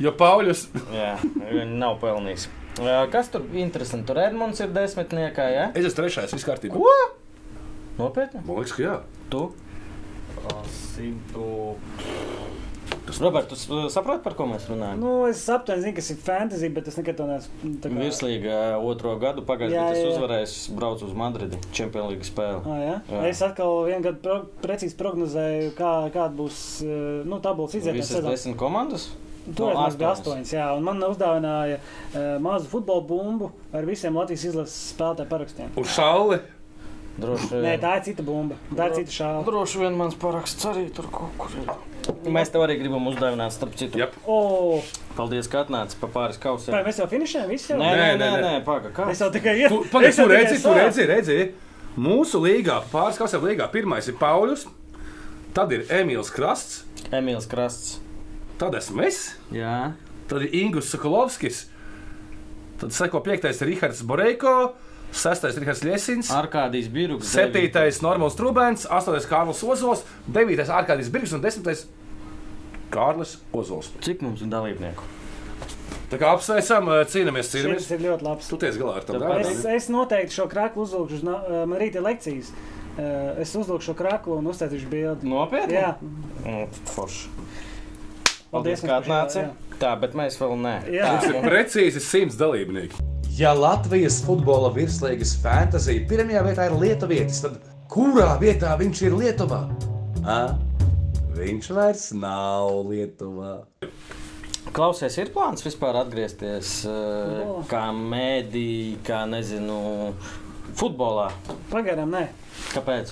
[SPEAKER 3] Jo Pauļus
[SPEAKER 2] jā, viņi nav pelnījis. Uh, Kas tur interesants? Tur Edmunds ir desmitniekā, jā?
[SPEAKER 3] Es esmu trešais, viss kārtībā.
[SPEAKER 2] Ko? Nopietni?
[SPEAKER 3] Man liekas, ka jā.
[SPEAKER 2] Tu?
[SPEAKER 4] Simtu.
[SPEAKER 2] Robert, tu s- saproti, par ko mēs runājam?
[SPEAKER 1] Nu, es aptuveni zinu, kas ir fantasy, bet es nekad to neesmu. nu, tā kā-
[SPEAKER 2] Virslīga otro gadu pagājušajā
[SPEAKER 1] Jā,
[SPEAKER 2] gadā
[SPEAKER 1] jā, jā.
[SPEAKER 2] es uzvarēju, braucu uz Madridi, Čempionu līgas spēli.
[SPEAKER 1] Ah, jā?
[SPEAKER 2] Jā.
[SPEAKER 1] Jā. Es atkal vienu gadu pro precīzi prognozēju, kā, kāda būs eh, nu, tabulas izvērtējuma
[SPEAKER 2] Visas desmit komandas?
[SPEAKER 1] Tur
[SPEAKER 2] No,
[SPEAKER 1] no, bija
[SPEAKER 2] astoņas.
[SPEAKER 1] astoņas, jā, un man uzdāvināja uh, mazu futbola bumbu ar visiem Latvijas izlases spēlētāju parakstiem.
[SPEAKER 3] Un šādi E.
[SPEAKER 2] Droši
[SPEAKER 1] Nē,
[SPEAKER 2] vien.
[SPEAKER 1] tā ir cita bumba. Tā ir cita
[SPEAKER 3] Nu,
[SPEAKER 1] šāva.
[SPEAKER 2] Droši vien mans paraksts arī tur kaut kur ir. Mēs tev arī gribam uzdāvināt, starp citu.
[SPEAKER 3] Jep.
[SPEAKER 1] O,
[SPEAKER 2] Paldies, ka atnāci pa pāris kausiem.
[SPEAKER 1] vai mēs jau finišējam? Visi jau?
[SPEAKER 2] Nē, nē,
[SPEAKER 3] Nē,
[SPEAKER 2] nē,
[SPEAKER 3] nē,
[SPEAKER 2] nē, pagaidi. Kā?
[SPEAKER 1] Es jau tikai ietu.
[SPEAKER 3] pagaidi, tur redzi, tur redzi, redzi. Mūsu līgā, pāris kasēm līgā, pirmais ir Pauļus, tad ir Emīls Krasts,
[SPEAKER 2] Emīls Krasts.
[SPEAKER 3] tad esmu es,
[SPEAKER 2] Jā.
[SPEAKER 3] tad ir Ingus Sokolovskis, tad seko piektais ir Rihards Boreiko, sestais ir Rihards
[SPEAKER 2] Ah,
[SPEAKER 3] Liesins.
[SPEAKER 2] Arkādijas biruks.
[SPEAKER 3] Septītais Normons Trubens, astotais Kārlis Ozols, devītais Arkādijs Birgs un desmitais Kārlis Ozols.
[SPEAKER 2] Cik mums ir dalībnieku?
[SPEAKER 3] Tā kā apsveicam, eh, cīnāmies,
[SPEAKER 1] Tas
[SPEAKER 3] cīnāmies.
[SPEAKER 1] ir ļoti labs.
[SPEAKER 3] Tu tiec galā ar tādu
[SPEAKER 2] Tāpēc
[SPEAKER 1] Es, es noteikti šo krāklu uzvilkšu. uz na- eh, Man rīt ir e, lekcijas. eh, es uzliku šo krāklu un uztaisīšu bildi.
[SPEAKER 2] Nopietni?
[SPEAKER 1] Jā,
[SPEAKER 2] Mm, Forši.
[SPEAKER 1] Paldies,
[SPEAKER 2] Paldies, ka
[SPEAKER 1] mums par
[SPEAKER 2] atnāci.
[SPEAKER 1] šo,
[SPEAKER 2] Tā, bet mēs vēl nē.
[SPEAKER 1] Jā.
[SPEAKER 2] Tā,
[SPEAKER 3] Ir precīzi simts dalībnieki.
[SPEAKER 6] Ja Latvijas futbola virslīgas fantāzija pirmajā vietā ir Lietuvietis, tad kurā vietā viņš ir Lietuvā? A? Viņš vairs nav Lietuvā.
[SPEAKER 2] Klausies, ir plāns vispār atgriezties eh,
[SPEAKER 1] Futbolā?
[SPEAKER 2] kā mēdī, kā nezinu, futbolā.
[SPEAKER 1] pagaidām nē.
[SPEAKER 2] Kāpēc?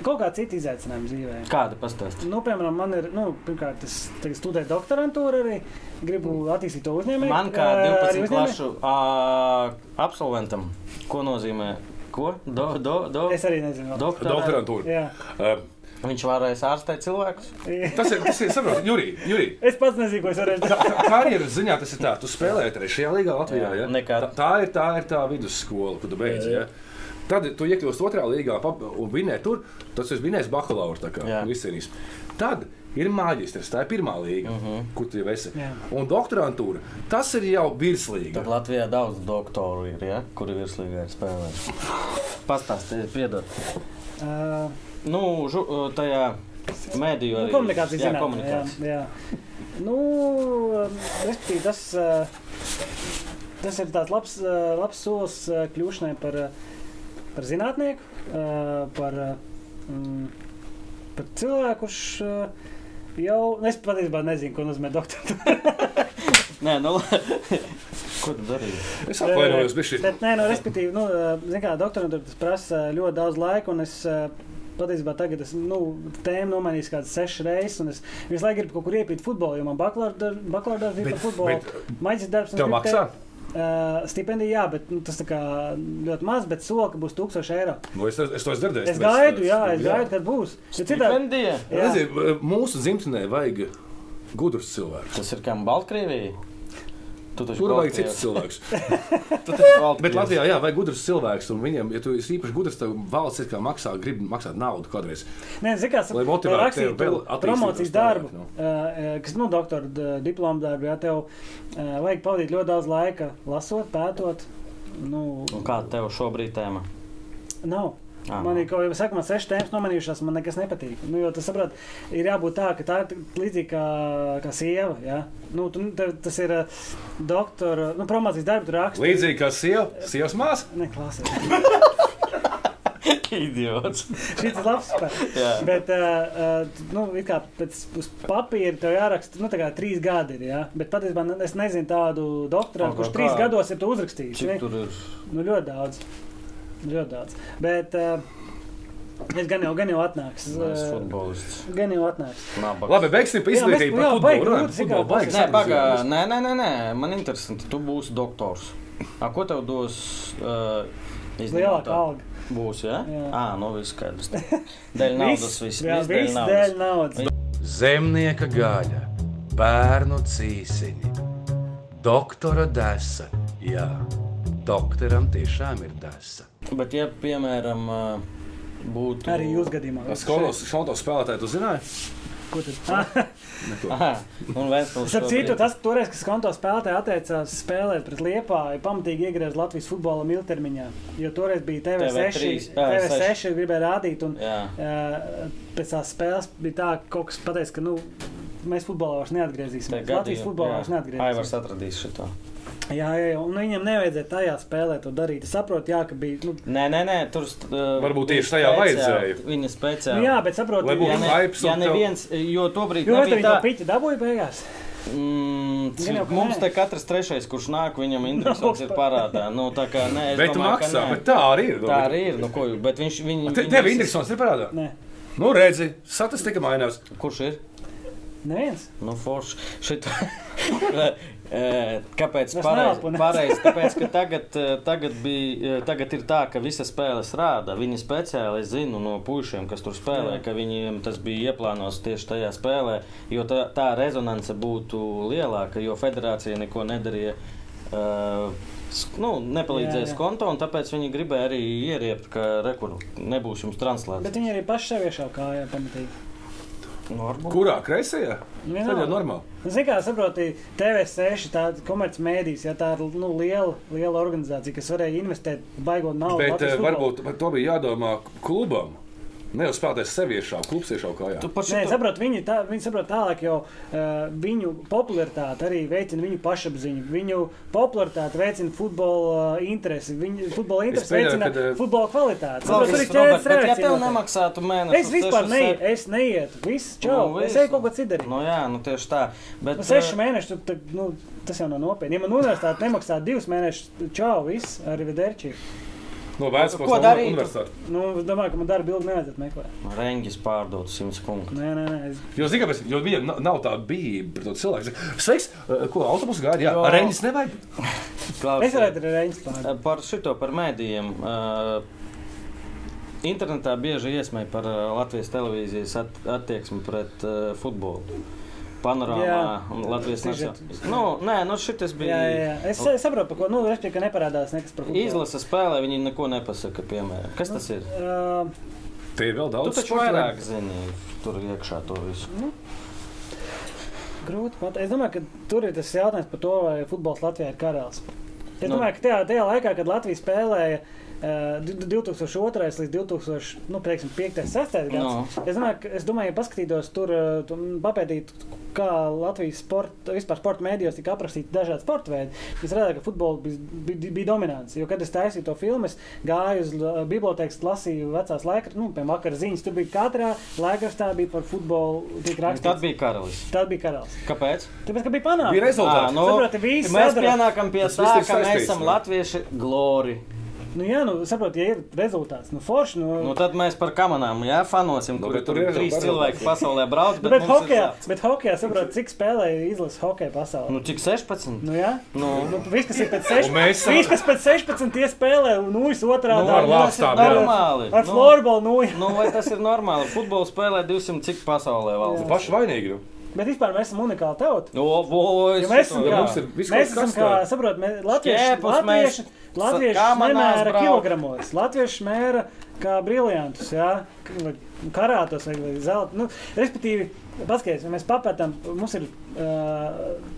[SPEAKER 1] Kaut kā cita izaicinājuma dzīvē.
[SPEAKER 2] Kāda pastāst?
[SPEAKER 1] Nu, piemēram, man ir, nu, pirmkārt, es tagad studēju doktorantūru arī. Gribu attīstīt to uzņēmēju.
[SPEAKER 2] Man kā
[SPEAKER 1] eh, arī
[SPEAKER 2] 12
[SPEAKER 1] uzņēmēju.
[SPEAKER 2] klašu ā, absolventam, ko nozīmē? Ko? Do, do, do.
[SPEAKER 1] Es arī nezinu. vēl.
[SPEAKER 2] Doktorē.
[SPEAKER 3] Doktorantūra.
[SPEAKER 1] Jā.
[SPEAKER 3] Uh,
[SPEAKER 2] Viņš varēs ārstēt cilvēkus.
[SPEAKER 3] tas ir, tas ir, saprotiet, Jurī, Jurī.
[SPEAKER 1] Es pats nezinu, ko es varētu darīt.
[SPEAKER 3] Karjeras ziņā tas ir tā, tu spēlēji trešajā līgā Latvijā.
[SPEAKER 2] Jā,
[SPEAKER 3] Ja?
[SPEAKER 2] nekad.
[SPEAKER 3] Tā, tā, ir, tā ir tā vidusskola, kur tu beidz. Ja? Tad tu iekļūsi otrā līgā pap- un vinēji tur, tas ir vinējis bakalaura. tā kā,
[SPEAKER 2] Jā.
[SPEAKER 3] un izcīnījis. Tad ir maģistrs, tā ir pirmā līga, uh
[SPEAKER 1] Mhm.
[SPEAKER 3] -huh. kur tu jau esi.
[SPEAKER 1] Jā.
[SPEAKER 3] Un doktorantūra, tas ir jau virslīga.
[SPEAKER 2] Tad Latvijā daudz doktoru ir, ja? kuri virslīgā ir spēlējuši. Pastāstiet, eh, piedod.
[SPEAKER 1] Uh,
[SPEAKER 2] Nu, žu, tajā mēdīju
[SPEAKER 1] nu,
[SPEAKER 2] arī.
[SPEAKER 1] komunikācija
[SPEAKER 2] jā,
[SPEAKER 1] zinātnē.
[SPEAKER 2] komunikācija.
[SPEAKER 1] Jā, jā. Nu, um, respektīvi, tas, uh, tas ir tāds labs, uh, labs solis uh, kļūšanai par, uh, par zinātnieku, uh, par, uh, mm, par cilvēku, kurš uh, jau, es patiesībā nezinu, ko nozīmē doktora.
[SPEAKER 2] Nē, nu, la- ko tu darīji?
[SPEAKER 3] Es atvainojos, bet šī
[SPEAKER 1] Bet, nē, no, respektīvi, nu, zin kā, doktoram tur tas prasa ļoti daudz laika, un es eh, patiesībā tagad es, nu, tēmu nomainīju kādas sešas reizes, un es visu laiku gribu kaut kur iepīt futbolu, jo man bakalaura dar- bakalaura darbs ir
[SPEAKER 3] Bet-
[SPEAKER 1] par futbolu.
[SPEAKER 3] bet-
[SPEAKER 1] Maģis darbs un
[SPEAKER 3] tev
[SPEAKER 1] skriptē-
[SPEAKER 3] maksā.
[SPEAKER 1] Eh, stipendija, jā, bet nu, tas tā kā ļoti maz, bet soka būs 1000 eiro.
[SPEAKER 3] Nu, es, es to esmu dzirdējis.
[SPEAKER 1] Es gaidu, jā, es gaidu, kad būs. Jo citādi,
[SPEAKER 2] Stipendija.
[SPEAKER 1] jā.
[SPEAKER 3] Redzi, mūsu dzimtenē vajag gudrus cilvēkus.
[SPEAKER 2] Tas ir kā Baltkrievija. Tu taču
[SPEAKER 3] Tur vajag
[SPEAKER 2] Baltkrievs.
[SPEAKER 3] citus cilvēkus.
[SPEAKER 2] Tu taču Baltkrievs.
[SPEAKER 3] Bet Latvijā jā, vajag gudrus cilvēkus, un viņiem, ja tu esi īpaši gudrs, tad valsts ir kā maksā, grib maksāt naudu kādreiz.
[SPEAKER 1] Nē, zin kā,
[SPEAKER 3] Lai motivētu
[SPEAKER 1] rakstītu
[SPEAKER 3] tevi vēl attīstīt
[SPEAKER 1] promocijas
[SPEAKER 3] tos
[SPEAKER 1] darbu,
[SPEAKER 3] tālāk, nu.
[SPEAKER 1] eh, eh, kas, nu, doktora d- diplomu darbu, jā, tev eh, vajag pavadīt ļoti daudz laika lasot, pētot. Nu,
[SPEAKER 2] Un kāda tev šobrīd tēma?
[SPEAKER 1] nav.
[SPEAKER 2] Ā,
[SPEAKER 1] Man
[SPEAKER 2] nu.
[SPEAKER 1] ir kaut kāda saka, man sešas tēmas nomainījušās, man nekas nepatīk. Nu, jo, tu saprati, ir jābūt tā, ka tā ir t- līdzīga kā, kā sieva. Ja? Nu, tu, tev, tas ir eh, doktora, nu, promocijas darbu raksts.
[SPEAKER 3] Līdzīgi kā sieva, sievas māsa.
[SPEAKER 1] Neklāsies.
[SPEAKER 2] Idiots.
[SPEAKER 1] Šis ir labs
[SPEAKER 2] Jā.
[SPEAKER 1] spēks. Bet, uh, uh, nu, it kā pēc uz papīra tev jāraksta, nu, tā kā trīs gadi ir. Ja? Bet patiesībā ne- es nezinu tādu doktoru,
[SPEAKER 2] Kaut
[SPEAKER 1] kurš
[SPEAKER 2] kā
[SPEAKER 1] trīs
[SPEAKER 2] kā-
[SPEAKER 1] gados ir to uzrakstījis.
[SPEAKER 2] Cik
[SPEAKER 1] ne?
[SPEAKER 2] tur ir?
[SPEAKER 1] Nu, ļoti daudz. Ļoti daudz. Bet uh, es gan jau, gan jau atnāks.
[SPEAKER 2] Nē, Es
[SPEAKER 1] eh,
[SPEAKER 2] futbolists.
[SPEAKER 1] Gan jau atnāks.
[SPEAKER 2] Nabaks.
[SPEAKER 3] Labi, beigsim par
[SPEAKER 1] Jā, mēs-
[SPEAKER 3] izglītību.
[SPEAKER 1] jā,
[SPEAKER 3] par
[SPEAKER 1] baigi
[SPEAKER 3] futbolu, runājam,
[SPEAKER 1] grūti,
[SPEAKER 3] futbolu,
[SPEAKER 1] zin kā,
[SPEAKER 3] baigi
[SPEAKER 1] tas
[SPEAKER 2] Nē,
[SPEAKER 1] ir-
[SPEAKER 3] sākt
[SPEAKER 2] pagā,
[SPEAKER 3] dzīvot.
[SPEAKER 2] nē, nē, nē, nē, man interesanti, tu būsi doktors. A, ko tev dos uh,
[SPEAKER 1] Lielāka alga.
[SPEAKER 2] Būs, jā? Ja?
[SPEAKER 1] Nu Jā.
[SPEAKER 2] Ā, nu viss skaidrs. Dēļ naudas viss.
[SPEAKER 1] jā,
[SPEAKER 2] viss
[SPEAKER 1] viss dēļ naudas.
[SPEAKER 6] Zemnieka gaļa, bērnu cīsiņi, doktora desa. Jā, doktoram tiešām ir desa.
[SPEAKER 2] Bet, ja, piemēram, ā, būtu...
[SPEAKER 1] Arī jūs gadījumā.
[SPEAKER 3] Skolos šauto spēlētāju, tu zināji?
[SPEAKER 1] Ko tad? Ah,
[SPEAKER 2] Aha, un Vēstpils
[SPEAKER 1] Starp citu, tas, ka toreiz, kad skonto spēlētāji atteicās spēlēt pret Liepāju, pamatīgi iegriez Latvijas futbolam ilgtermiņā. Jo toreiz bija TV6,
[SPEAKER 2] TV3,
[SPEAKER 1] TV6 gribēja rādīt, un
[SPEAKER 2] Jā.
[SPEAKER 1] eh, pēc tās spēles bija tā, ka kaut kas pateica, ka, nu, mēs futbolā vairs
[SPEAKER 2] Te
[SPEAKER 1] neatgriezīsimies.
[SPEAKER 2] gadījum-
[SPEAKER 1] Latvijas futbolā
[SPEAKER 2] jā.
[SPEAKER 1] vairs neatgriezīsimies.
[SPEAKER 2] Aivars atradīs šito.
[SPEAKER 1] Jā, jā, jā, un viņam nevajadzēja tajā spēlē to darīt. Es saprotu, jā, ka bija, nu,
[SPEAKER 2] Nē, nē, nē, tur... st- ā,
[SPEAKER 3] Varbūt
[SPEAKER 2] bija
[SPEAKER 3] tieši tajā
[SPEAKER 2] speciāli-
[SPEAKER 3] vajadzēja.
[SPEAKER 2] Viņa
[SPEAKER 1] nu
[SPEAKER 2] speciāli.
[SPEAKER 1] jā, bet saprotu,
[SPEAKER 3] Lai būtu
[SPEAKER 2] Ja,
[SPEAKER 1] jā,
[SPEAKER 2] ne,
[SPEAKER 1] ne,
[SPEAKER 3] Hypes
[SPEAKER 2] ja
[SPEAKER 3] un tev-
[SPEAKER 2] neviens, e, jo tobrīd
[SPEAKER 1] jo vai tu viņu
[SPEAKER 2] nebija
[SPEAKER 1] to
[SPEAKER 2] tā,
[SPEAKER 1] piķi dabūji beigās?
[SPEAKER 2] Mm,
[SPEAKER 1] Gan jau, ka
[SPEAKER 2] mums
[SPEAKER 1] nē.
[SPEAKER 2] te katrs trešais, kurš nāk, viņam interesants ir parādā. Nu, tā kā nē, es
[SPEAKER 3] Bet tu
[SPEAKER 2] domāju, ka
[SPEAKER 3] maksā,
[SPEAKER 2] nē.
[SPEAKER 3] bet tā arī ir.
[SPEAKER 2] tā arī ir. Nu, ko, jūs- bet viņš, viņ,
[SPEAKER 3] Te- Tev interesants ir parādā.
[SPEAKER 1] Nē,
[SPEAKER 3] Nu, redzi, statistika mainās.
[SPEAKER 2] Kurš ir?
[SPEAKER 1] neviens.
[SPEAKER 2] Nu, forši. Šito... Eh, kāpēc
[SPEAKER 1] Es
[SPEAKER 2] pareizi?
[SPEAKER 1] neelpu, ne?
[SPEAKER 2] Pareiz, tāpēc, ka tagad, eh, tagad, bija, eh, tagad ir tā, ka visas spēles rāda. Viņi speciāli es zinu no puišiem, kas tur spēlē,
[SPEAKER 1] Jā.
[SPEAKER 2] ka viņiem tas bija ieplānots tieši tajā spēlē, jo tā, tā rezonance būtu lielāka, jo federācija neko nedarīja. eh, s- Nu,
[SPEAKER 1] Jā,
[SPEAKER 2] nepalīdzēs
[SPEAKER 1] jā.
[SPEAKER 2] konto, un tāpēc viņi gribēja arī ieriept, ka rekur nebūs jums translācija.
[SPEAKER 1] Bet viņi arī paši sev iešāva kājā pamatīgi.
[SPEAKER 2] Norbu?
[SPEAKER 3] Kurā kreisajā?
[SPEAKER 1] Vienalga.
[SPEAKER 3] Tad jau normāli.
[SPEAKER 1] Ziniet, Nu, kā saprotiet, TV6, tā ir komercmedijas, ja tā ir nu, liela, liela organizācija, kas varēja investēt baigot naudu.
[SPEAKER 3] Bet
[SPEAKER 1] Latvijas
[SPEAKER 3] eh,
[SPEAKER 1] futbolā.
[SPEAKER 3] varbūt par to bija jādomā klubam. Ne jau spēlētājs sevi iešāva, klubs iešāva kājā.
[SPEAKER 2] Tu par
[SPEAKER 1] Nē,
[SPEAKER 2] šo
[SPEAKER 1] saprot, viņi, tā, viņi saprot tālāk, jo uh, viņu popularitāte arī veicina viņu pašapziņu. Viņu popularitāte veicina futbola uh, interesi. Viņu futbola interesi
[SPEAKER 3] pieļauju,
[SPEAKER 1] veicina
[SPEAKER 3] kad, eh,
[SPEAKER 1] futbola kvalitāti.
[SPEAKER 2] Klausies,
[SPEAKER 1] Saprot, arī
[SPEAKER 2] Robert,
[SPEAKER 1] ķēdes
[SPEAKER 2] bet ja tev
[SPEAKER 1] reakcija notiek.
[SPEAKER 2] nemaksātu mēnesi,
[SPEAKER 1] Es vispār neietu, es neietu. Viss, čau,
[SPEAKER 2] Nu,
[SPEAKER 1] es
[SPEAKER 2] visu.
[SPEAKER 1] eju kaut ko citu darīt.
[SPEAKER 2] Nu, jā, nu tieši tā. Bet,
[SPEAKER 1] Nu, seši
[SPEAKER 2] eh,
[SPEAKER 1] mēneši, tu, tad, nu, tas jau nav nopietni. Ja man universitāte nemaksā divus mēnešus, čau, viss, arī vederči.
[SPEAKER 3] No vecās
[SPEAKER 2] Ko
[SPEAKER 3] pasaules
[SPEAKER 2] darītu?
[SPEAKER 3] universitātes.
[SPEAKER 1] Nu, es domāju, ka man darba ilgi neaiziet meklēt.
[SPEAKER 2] nu, Rengis pārdod 100 punktus.
[SPEAKER 1] Nē, nē, nē. Es...
[SPEAKER 3] Jo, zini, kāpēc? Jo viņam na- nav tā bija par to cilvēku. Sveiks, eh, ko autobusu gāja? Jā,
[SPEAKER 2] Jo.
[SPEAKER 3] Reņģis nevajag.
[SPEAKER 1] Es varētu arī rēķināt pāri.
[SPEAKER 2] eh, Par šito, par mēdījiem. eh, Internetā bieži iesmēja par eh, Latvijas televīzijas at attieksmi pret uh, futbolu. Panorāmā
[SPEAKER 1] Jā.
[SPEAKER 2] un Latvijas
[SPEAKER 1] Tiešām.
[SPEAKER 2] nacionālajā. Nu, nē, nu šitas bija.
[SPEAKER 1] Jā, jā, jā. Es sa- saprotu, par ko. Nu, es tikai ka neparādās nekas par futbolu.
[SPEAKER 2] Izlasa spēlē, viņi neko nepasaka, piemēram. Kas tas ir?
[SPEAKER 1] Uh,
[SPEAKER 3] Tie ir vēl
[SPEAKER 2] Tu
[SPEAKER 1] Nu,
[SPEAKER 3] daudz.
[SPEAKER 2] taču
[SPEAKER 3] sporta
[SPEAKER 2] vairāk zini, tur iekšā to visu.
[SPEAKER 1] grūti pateikt. Es domāju, ka tur ir tas jautājums par to, vai futbols Latvijā ir karalis. Es
[SPEAKER 2] Nu.
[SPEAKER 1] domāju, ka tajā, tajā laikā, kad Latvija spēlēja uh, 2002. līdz 2005. Nu, prieksim, piektais, sestais
[SPEAKER 2] Nu.
[SPEAKER 1] gads, es domāju, ka, es domāju, ja paskatītos tur, uh, tu- m, papētītu, kā Latvijas sporta, vispār sporta mēdījos tika aprakstīti dažādi sporta veidi, es redzēju, ka futbols bija, bija, bija dominants. Jo, kad es taisīju to filmu, es gāju uz uh, bibliotekas, lasīju vecās laikrakstus, nu, piemēram, vakar ziņas, tur bija katrā laikrakstā bija par futbolu tik
[SPEAKER 2] Tad
[SPEAKER 1] rakstīts.
[SPEAKER 2] bija karalis.
[SPEAKER 1] Tad bija karalis.
[SPEAKER 2] Kāpēc?
[SPEAKER 1] Tāpēc, ka bija
[SPEAKER 3] veidā. Bija
[SPEAKER 1] panākums. Ah,
[SPEAKER 3] rezultāti.
[SPEAKER 2] Ā,
[SPEAKER 3] Nu.
[SPEAKER 2] nu,
[SPEAKER 1] Saproti, visi
[SPEAKER 2] mēs
[SPEAKER 1] sadara-
[SPEAKER 2] pienākam pie
[SPEAKER 3] Tas
[SPEAKER 2] tā,
[SPEAKER 3] viss ir
[SPEAKER 2] ka mēs
[SPEAKER 3] saistīts,
[SPEAKER 2] esam
[SPEAKER 3] nu.
[SPEAKER 2] latvieši glori.
[SPEAKER 1] Nu, jā, nu, saprotiet, ja ir rezultāts, nu, forši. Nu,
[SPEAKER 2] Nu, tad mēs par kamerām jā, fanosim,
[SPEAKER 3] Nu,
[SPEAKER 2] kur
[SPEAKER 3] bet
[SPEAKER 2] tur
[SPEAKER 3] tur
[SPEAKER 2] ir
[SPEAKER 3] ir
[SPEAKER 2] trīs
[SPEAKER 3] jau
[SPEAKER 2] cilvēki pasaulē brauc.
[SPEAKER 1] nu, bet,
[SPEAKER 2] mums ir
[SPEAKER 1] hokejā,
[SPEAKER 2] tāds.
[SPEAKER 1] bet hokejā, saprotiet, cik spēlēja izlases hokeja pasaulē.
[SPEAKER 2] Nu, cik 16?
[SPEAKER 1] Nu, jā,
[SPEAKER 2] Nu,
[SPEAKER 1] nu, viss, kas ir pēc
[SPEAKER 3] Un
[SPEAKER 1] 16,
[SPEAKER 3] mēs esam-
[SPEAKER 1] viss, kas pēc 16 tie spēlē, un nu, viss otrā
[SPEAKER 2] nu,
[SPEAKER 3] ar
[SPEAKER 1] daļa.
[SPEAKER 2] vai tas
[SPEAKER 3] lāpstām,
[SPEAKER 2] ir
[SPEAKER 3] jā.
[SPEAKER 2] normāli.
[SPEAKER 1] Ar
[SPEAKER 2] Nu,
[SPEAKER 1] florbola, nu, jā.
[SPEAKER 2] Nu, vai tas ir normāli? Futbolu spēlē 200 cik pasaulē valsts. Nu,
[SPEAKER 3] Paši vainīgi. nu.
[SPEAKER 1] Bet vispār mēs esam unikāla tauta.
[SPEAKER 2] O, boy,
[SPEAKER 1] Jo mēs esam
[SPEAKER 3] Jo
[SPEAKER 1] kā,
[SPEAKER 3] mums ir viss
[SPEAKER 1] mēs
[SPEAKER 3] kaut
[SPEAKER 1] esam
[SPEAKER 3] kas
[SPEAKER 1] kā
[SPEAKER 3] tāds.
[SPEAKER 1] saprotiet, mēs latvieši,
[SPEAKER 2] Ķēpus mēs
[SPEAKER 1] latvieši, latvieši
[SPEAKER 2] kamanās
[SPEAKER 1] nemēra
[SPEAKER 2] brauc.
[SPEAKER 1] kilogramos, latvieši mēra kā briliantus, jā, k- vai karātos vai, vai zelta. Nu, respektīvi, paskaties, ja mēs papētām, mums ir uh,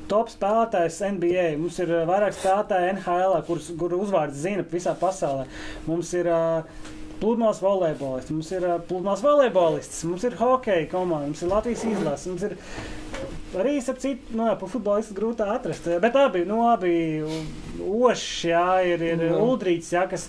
[SPEAKER 1] top spēlētājs NBA, mums ir ā, vairāk spēlētāji NHL, kurus kur uzvārds zina visā pasaulē. Mums ir uh, Pludmales volejbolists, mums ir ā, pludmales volejbolists, mums ir hokeja komanda, mums ir Latvijas izlase, mums ir Arī ar citu, nu, jā, pa futbolistu grūti atrast. Bet abi, nu, abi ošs, jā, ir, ir
[SPEAKER 3] Nu.
[SPEAKER 1] mm. Uldrīts, jā, kas.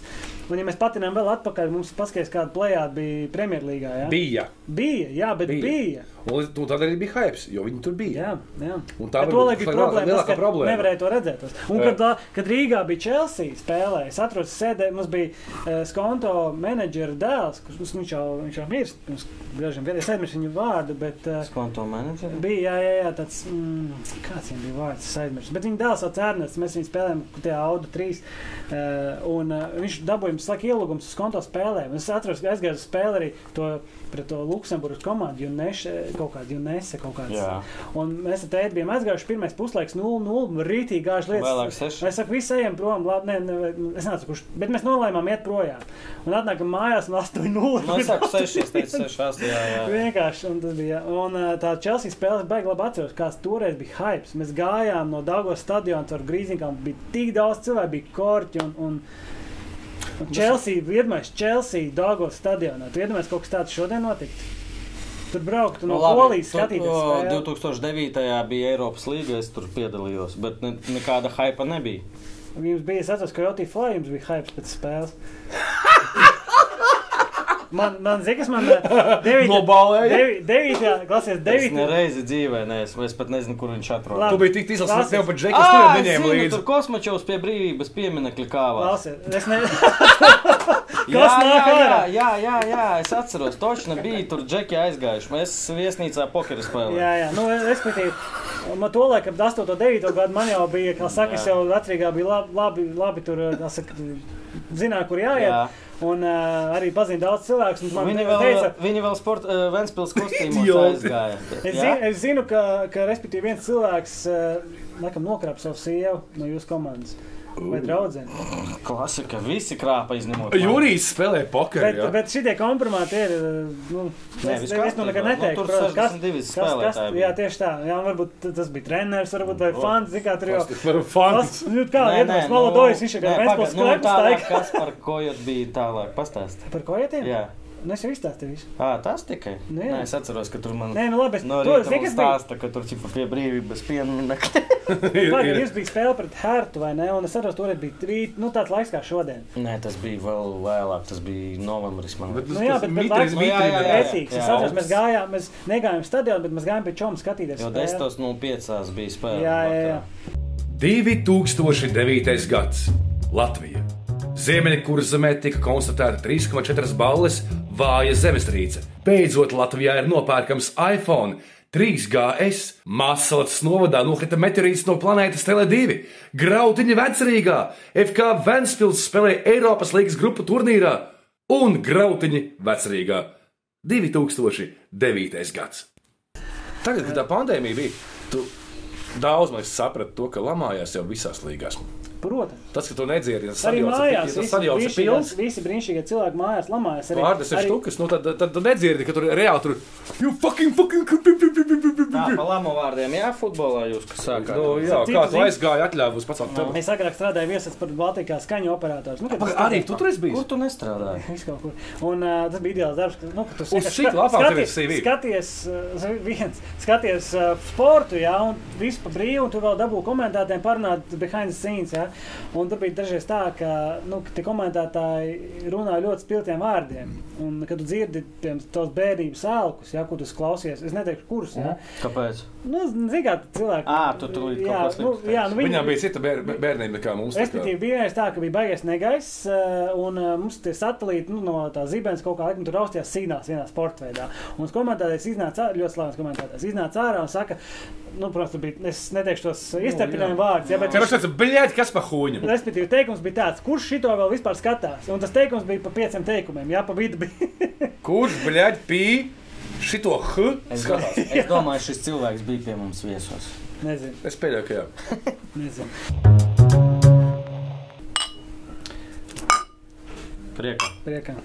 [SPEAKER 1] Un, ja mēs patinām vēl atpakaļ, mums paskatās, kāda plējāda bija Premjerlīgā. Jā,
[SPEAKER 3] Bija.
[SPEAKER 1] bija, jā, bet
[SPEAKER 3] Bija.
[SPEAKER 1] bija. bija.
[SPEAKER 3] Un līdz- un tad arī bija hype, jo viņi tur bija.
[SPEAKER 1] Jā, jā.
[SPEAKER 3] Un tā
[SPEAKER 1] Bet
[SPEAKER 3] varbūt
[SPEAKER 1] to, lai bija
[SPEAKER 3] lielākā-
[SPEAKER 1] problēma.
[SPEAKER 3] lielākā
[SPEAKER 1] Tas, problēma.
[SPEAKER 3] problēma.
[SPEAKER 1] Nevarēja to redzēt. tas. Un,
[SPEAKER 3] Jā.
[SPEAKER 1] kad, tā- kad Rīgā bija Chelsea spēlē, es atrodos sēdē, mums bija uh, skonto menedžera dēls, kurš nu, viņš jau, viņš jau mirst. Mums dažiem vienreiz aizmirst viņu vārdu, bet. Uh,
[SPEAKER 2] Skonto menedžeri.
[SPEAKER 1] Bija, jā, jā, jā tāds, mm, kāds viņam bija vārds, es aizmirsu. Bet viņa dēls vēl cērnēs, mēs viņu spēlējām, tajā Audi 3. Uh, un uh, viņš dabūja mums slēgt ielūgums uz konto spēlēm. Es atceros, ka aizgāju uz spēli arī to, pret to Luksemburgas komandu, Junese kaut kādu, Junese kaut kāds.
[SPEAKER 2] Jā.
[SPEAKER 1] Un mēs ar tēti bijām aizgājuši pirmais puslaiks 0-0, rītīgi gājuši lietas.
[SPEAKER 2] Vēlāk seši.
[SPEAKER 1] Es saku, visi ejam prom, labi, ne, ne, es nezinu, kurš, bet mēs nolēmām iet projām. Un atnākam mājās un 8-0.
[SPEAKER 2] Nu, es saku 6, es teicu 6, 8, jā, jā.
[SPEAKER 1] Vienkārši un tas bija. Un ā, tā Chelsea spēle baigi labi atceros, kāds toreiz bija hype. Mēs gājām no Dāngas stadiona ar grīziņām, bija tik daudz cilvēku, bija korķi. Un, un, un Chelsea, vienmēr Chelsea, Dāngas stadionā. Tu iedomājies, kaut kas tāds šodien notikt? Tur braukt no
[SPEAKER 2] Nu, labi,
[SPEAKER 1] Polijas,
[SPEAKER 2] tu-
[SPEAKER 1] skatīties.
[SPEAKER 2] o,
[SPEAKER 1] spēli.
[SPEAKER 2] 2009. bija Eiropas līga, es tur piedalījos, bet ne, nekāda hypa nebija.
[SPEAKER 1] Jums bija jāatcerās, ka Jotī Falks jums bija hype pēc spēles. Man, man zina, kas man
[SPEAKER 3] Nobalēja?
[SPEAKER 1] 9. klasē,
[SPEAKER 2] Es
[SPEAKER 1] 9.
[SPEAKER 2] nereizi dzīvē neesmu, es pat nezinu, kur viņš atrodas.
[SPEAKER 1] Labi.
[SPEAKER 3] Tu biji tik izlasīts, ka
[SPEAKER 1] Lasis.
[SPEAKER 3] tev pat džekas tur
[SPEAKER 2] Ah, es
[SPEAKER 3] neņēma
[SPEAKER 2] zinu,
[SPEAKER 3] līdzi.
[SPEAKER 2] Tur kosmočos pie brīvības pieminekļa kāvā.
[SPEAKER 1] klasē. Es ne...
[SPEAKER 2] Jā,
[SPEAKER 1] Kas
[SPEAKER 2] jā,
[SPEAKER 1] nāk
[SPEAKER 2] jā,
[SPEAKER 1] ārā?
[SPEAKER 2] jā, jā, jā, es atceros, točna bija tur džeki aizgājuši. Mēs viesnīcā pokeru
[SPEAKER 1] Jā,
[SPEAKER 2] spēlējām.
[SPEAKER 1] jā, nu, respektīvi, man to laikam, 8, 9 gadu man jau bija, kā saka, es
[SPEAKER 2] Jā.
[SPEAKER 1] jau vecrīgā bija labi, labi, labi tur, eh, kā saka, zināja, kur jāiet.
[SPEAKER 2] Jā.
[SPEAKER 1] Jā. Un uh, arī pazina daudz cilvēku. un Man
[SPEAKER 2] Viņi
[SPEAKER 1] viņa
[SPEAKER 2] vēl,
[SPEAKER 1] teica,
[SPEAKER 2] viņi vēl sporta uh, Ventspils kostīmos
[SPEAKER 3] Idioti.
[SPEAKER 2] aizgāja.
[SPEAKER 1] es,
[SPEAKER 2] Jā?
[SPEAKER 1] zinu, es eh, zinu, ka, ka respektīvi, viens cilvēks, uh, laikam, nokrapa savu sievu no jūsu komandas. vai draudzene.
[SPEAKER 2] Klasika, visi krāpa izņemot. mani.
[SPEAKER 3] Jurijs spēlē pokeru.
[SPEAKER 1] Bet,
[SPEAKER 3] ja?
[SPEAKER 1] bet šitie kompromati ir. Nu,
[SPEAKER 2] Nē,
[SPEAKER 1] es-
[SPEAKER 2] viss
[SPEAKER 1] es nu nekad
[SPEAKER 2] kārtībā. Nu,
[SPEAKER 1] neteiktu,
[SPEAKER 2] tur
[SPEAKER 1] protams, kas-
[SPEAKER 2] 62
[SPEAKER 1] Kas, kas,
[SPEAKER 2] spēlētāji bija.
[SPEAKER 1] jā, tieši tā. Jā, varbūt t- tas bija treneris, varbūt vai fans. Zikā, tur jau
[SPEAKER 3] Par fanu.
[SPEAKER 1] tas nu, kā Edmunds Malodojas izšķirā. Mēs
[SPEAKER 2] pagaid,
[SPEAKER 1] pēc
[SPEAKER 2] nu,
[SPEAKER 1] klēpas
[SPEAKER 2] tālāk,
[SPEAKER 1] taika.
[SPEAKER 2] kas par ko jūt bija tālāk, pastāst.
[SPEAKER 1] Par ko ietiem?
[SPEAKER 2] Jā,
[SPEAKER 1] Nu, es jau izstāstīju visu.
[SPEAKER 2] à, tas tikai.
[SPEAKER 1] Nu,
[SPEAKER 2] Nē,
[SPEAKER 1] jā.
[SPEAKER 2] Nē es atceros, ka tur man.
[SPEAKER 1] Nē, nu labi, es
[SPEAKER 2] No
[SPEAKER 1] to zinu,
[SPEAKER 2] rīta mums
[SPEAKER 1] kas bija.
[SPEAKER 2] stāsta, ka tur čipa pie brīvības pieminekļa.
[SPEAKER 3] Ir-
[SPEAKER 1] Pagaid,
[SPEAKER 3] ir-
[SPEAKER 1] Jūs bijat spēlē pret Hārtu, vai ne? Un es saprotu, tur bija trīs, nu tāds laiks kā šodien.
[SPEAKER 2] Nē, tas bija vēl vēlāk, tas bija novembris. Man
[SPEAKER 3] Bet
[SPEAKER 2] liekas.
[SPEAKER 3] tas-
[SPEAKER 1] Nu jā,
[SPEAKER 3] tas
[SPEAKER 1] bet- bet
[SPEAKER 3] mitris
[SPEAKER 1] laiks-
[SPEAKER 2] Nu jā, jā, jā, jā.
[SPEAKER 3] bija.
[SPEAKER 1] Etīks, es
[SPEAKER 2] jā,
[SPEAKER 1] saprotu,
[SPEAKER 2] augs.
[SPEAKER 1] mēs gājām, mēs negājām stadionā, bet mēs gājām pie čoma skatīties.
[SPEAKER 2] Jau
[SPEAKER 1] spēli.
[SPEAKER 2] 10.05. bija
[SPEAKER 1] Jā,
[SPEAKER 2] spēle.
[SPEAKER 1] jā, jā.
[SPEAKER 2] vakarā.
[SPEAKER 3] 2009. gads Latvija. Ziemeļkuras zemē tika konstatēta 3,4 balles vāja zemestrīce. Beidzot, Latvijā ir nopērkams iPhone 3GS. Mākslinieks novadā nokrita meteorīts no planētas Tele2. Grautiņa vecrīgā FK Vanspils spēlēja Eiropas līnijas grupu turnīrā un Grautiņa vecrīgā 2009. gads. Tagad, kad tā pandēmija bija, tu daudz mēs sapratām to, ka lamājās jau visās līgās.
[SPEAKER 1] Protams.
[SPEAKER 3] Tas, ka tu nedziedi, tas
[SPEAKER 1] Arī
[SPEAKER 3] sajauca
[SPEAKER 1] mājās.
[SPEAKER 3] pie- tas
[SPEAKER 1] visi-
[SPEAKER 3] sajauca
[SPEAKER 1] visi-
[SPEAKER 3] pilns.
[SPEAKER 1] Visi brīnišķīgie cilvēki mājās lamājas. Arī,
[SPEAKER 3] Vārdas ir
[SPEAKER 1] arī-
[SPEAKER 3] štukas, nu tad, tad, tad nedzirdi, ka tur reāli tur ir fucking, fucking, fucking.
[SPEAKER 2] Tā, pa lamo vārdiem, jā, futbolā jūs kas sākāt.
[SPEAKER 3] Nu, jā,
[SPEAKER 1] Citu
[SPEAKER 3] kāds
[SPEAKER 1] zini-
[SPEAKER 3] aizgāja, atļāva uz pacelt tevi.
[SPEAKER 1] Es agrāk strādāju viesis par Baltijas skaņu operators. Nu, kad
[SPEAKER 3] Paga,
[SPEAKER 1] tas-
[SPEAKER 3] Arī tu tur esi
[SPEAKER 2] Kur
[SPEAKER 3] bijis.
[SPEAKER 2] tu nestrādāji?
[SPEAKER 1] Viss kaut kur. Un uh, tas bija ideāls darbs. ka, Nu, ka tu
[SPEAKER 3] šī lapā tev ir
[SPEAKER 1] skaties,
[SPEAKER 3] CV.
[SPEAKER 1] skaties, uh, viens, skaties uh, sportu, jā, un viss pa brīvu, un tu vēl dabū komentētājiem parunāt behind the scenes, jā. Un tur bija dažreiz tā, ka, nu, ka tie komentētāji runā ļoti spiltiem vārdiem. Un, kad tu dzirdi, piemēram, tos bērnības sēlkus, jā, kur tu klausies, es neteikšu, kurus, jā.
[SPEAKER 2] Kāpēc?
[SPEAKER 1] Nu, zigāt cilvēki.
[SPEAKER 2] Mhm. Ā, tu tūlīt kaut
[SPEAKER 1] jā,
[SPEAKER 2] ko
[SPEAKER 1] nu,
[SPEAKER 2] sliktu
[SPEAKER 1] jā, nu, viņi,
[SPEAKER 3] Viņām bija cita bēr, bērnība nekā mums. tā kā.
[SPEAKER 1] Respektīvi, bija viens tā, ka bija baigais negaiss, eh, un eh, mums tie satelīti nu, no tā zibens kaut kā laikam tur raustījās sīnās vienā sporta veidā. Un tas komentētājs iznāca, ā- ļoti slavens komentētājs, iznāca ārā un saka, nu, protams, tur bija, es neteikšu tos
[SPEAKER 3] Nu,
[SPEAKER 1] iztepinājumu vārdus, jā, bet
[SPEAKER 3] Kā rakstās, bļēd, kas pa huņam?
[SPEAKER 1] Respektīvi, teikums bija tāds, kurš šito vēl vispār skatās? Un tas teikums bija pa pieciem teikumiem, jā, pa vidu bija.
[SPEAKER 3] Kurš, bļēd, pī šito h?
[SPEAKER 2] Es, do,
[SPEAKER 3] skatās?
[SPEAKER 2] es domāju, šis cilvēks bija pie mums viesos.
[SPEAKER 1] nezinu,
[SPEAKER 3] Es pēļēju, ka jā.
[SPEAKER 1] nezinu.
[SPEAKER 2] Priekā.
[SPEAKER 1] Priekā.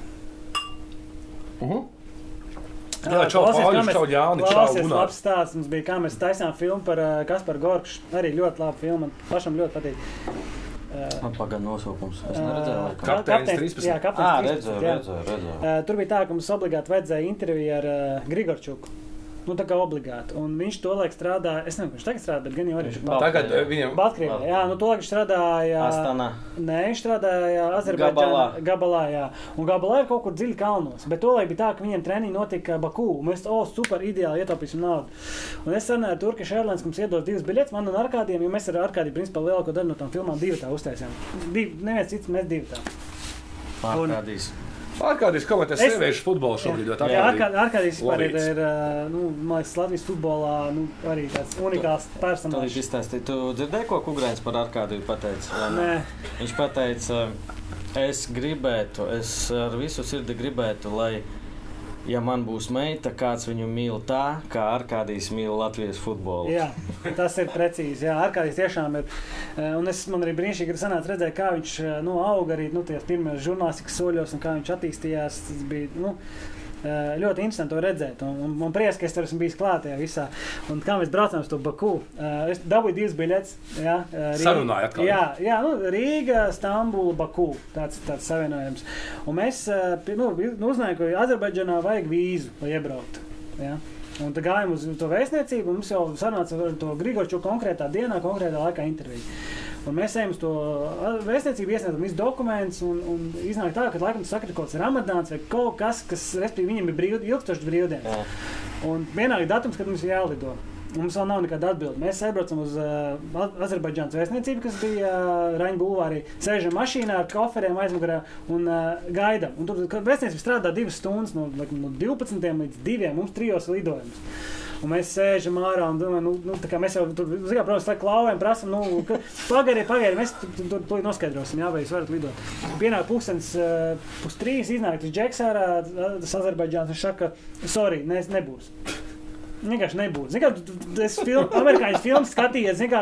[SPEAKER 3] Jā, čau, Pāvils, čau, Jāni, čau,
[SPEAKER 1] Tas bija
[SPEAKER 3] Gunār.
[SPEAKER 1] labs stāsts. Mums bija kā mēs taisām filmu par uh, Kasparu Gorkšu. Arī ļoti laba filma. Man pašam ļoti patīk. Uh,
[SPEAKER 2] Man pagaida nosaukums. Es neredzēju,
[SPEAKER 1] uh,
[SPEAKER 2] laikam.
[SPEAKER 3] Ka- Kapteinis 13.
[SPEAKER 1] Jā,
[SPEAKER 2] Ā,
[SPEAKER 1] kapteinis 13.
[SPEAKER 2] Ah, redzēju,
[SPEAKER 1] jā.
[SPEAKER 2] redzēju, redzēju.
[SPEAKER 1] Uh, tur bija tā, ka mums obligāti vajadzēja interviju ar uh, Grigorčuku. Nu, tā kā obligāti. Un viņš to laiku strādāja. Es nezinu, kurš tagad strādā, bet gan jau arī
[SPEAKER 2] Viņš
[SPEAKER 1] viņš
[SPEAKER 2] Baltkrievijā.
[SPEAKER 3] Tagad eh, viņam
[SPEAKER 1] Baltkrievijā. Jā, nu, to laiku viņš strādāja.
[SPEAKER 2] Astana.
[SPEAKER 1] Nē, viņš strādāja Azerbaidžānā.
[SPEAKER 2] Gabalā.
[SPEAKER 1] Gabalā, jā. Un gabalā ir kaut kur dziļi kalnos. Bet tolaik bija tā, ka viņiem treniņi notika Bakū. un Mēs to oh, super ideāli ietaupīsim naudu. Un es runāju ar Turkish Airlines, ka mums iedos divas biļetes, man un Arkādiem, jo mēs ar Arkādiju principā lielāko daļu no tām filmām divi tā uztaisījām. Div, neviens cits, mēs divi tā.
[SPEAKER 2] Pārkādīs.
[SPEAKER 3] ārkārtīgi komentē
[SPEAKER 1] Es-
[SPEAKER 3] sieviešu futbolu šobrīd. jo tā
[SPEAKER 1] Jā,
[SPEAKER 3] kā arī-
[SPEAKER 1] Arkā- Arkādijs vispār ir,
[SPEAKER 3] Lovīts.
[SPEAKER 1] ir ā, nu, man liekas, Latvijas futbolā nu, arī tāds unikāls
[SPEAKER 2] Tu viņš
[SPEAKER 1] personāžs.
[SPEAKER 2] izstāstīja, tu dzirdēji, ko Kungrēns par ārkārtību pateica? vai ne?
[SPEAKER 1] Nē,
[SPEAKER 2] Viņš teica, es gribētu, es ar visu sirdi gribētu, lai, ja man būs meita, kāds viņu mīl tā, kā Arkādijas mīl Latvijas futbolu.
[SPEAKER 1] Jā, tas ir precīzi. Jā, ārkārtīgi tiešām ir. Eh, Un es man arī brīnišķīgi ir sanācis redzēt, kā viņš eh, nu, auga arī nu, tajos pirmajos žurnālistikas soļos un kā viņš attīstījās. Tas bija nu, eh, ļoti interesanti to redzēt. Un, un man prieks, ka es tur esmu bijis klātajā visā. Un kā mēs braucām uz to Baku, eh, es dabūju divas biļetes. jā, eh, Rīga-
[SPEAKER 3] Sarunāji atkal,
[SPEAKER 1] Jā, jā nu, Rīga, Stambula, Baku. Tāds, tāds savienojums. Un mēs eh, pi- nu, uzzinājām, ka Azerbaidžanā vajag vīzu, lai iebrauktu. Ja? Un tad gājām uz to vēstniecību, un mums jau sanāca ar to Grigorču konkrētā dienā, konkrētā laikā interviju. Un mēs ejam uz to ā, vēstniecību, iesniedzam visus dokumentus, un, un iznāk tā, ka laikam tas sakrit kaut kāds ramadāns vai kaut kas, kas, respektīvi, viņam ir brīv, ilgstošs brīvdienas.
[SPEAKER 2] Jā.
[SPEAKER 1] Un vienādi datums, kad mums ir jālido. Un Mums vēl nav nekāda atbilde. Mēs aizbraucam uz uh, Azerbaidžānas vēstniecību, kas bija uh, Raņģa būvārī. Sēžam mašīnā ar koferiem aizmugurē un uh, gaidām. Un Tur ka vēstniecība strādā divas stundas, no, laikam no 12 līdz 2. Mums trijos lidojums. Un mēs sēžam ārā un domājam, nu, nu, tā kā mēs jau tur, zikā, protams, tā klauvējam, prasam, nu, ka- pagaidiet, pagaidiet, mēs tur tu, tu, tu noskaidrosim, jā, vai jūs varat lidot. Pienāk pūkstens, uh, pus eh, trīs, iznāk tas džeks ārā, tas Azerbaidžāns, viņš saka, sorry, ne, nebūs. vienkārši nebūtu. Zini, kā, tu- tu- tu- es film, amerikāņu filmu skatījos, zini, kā,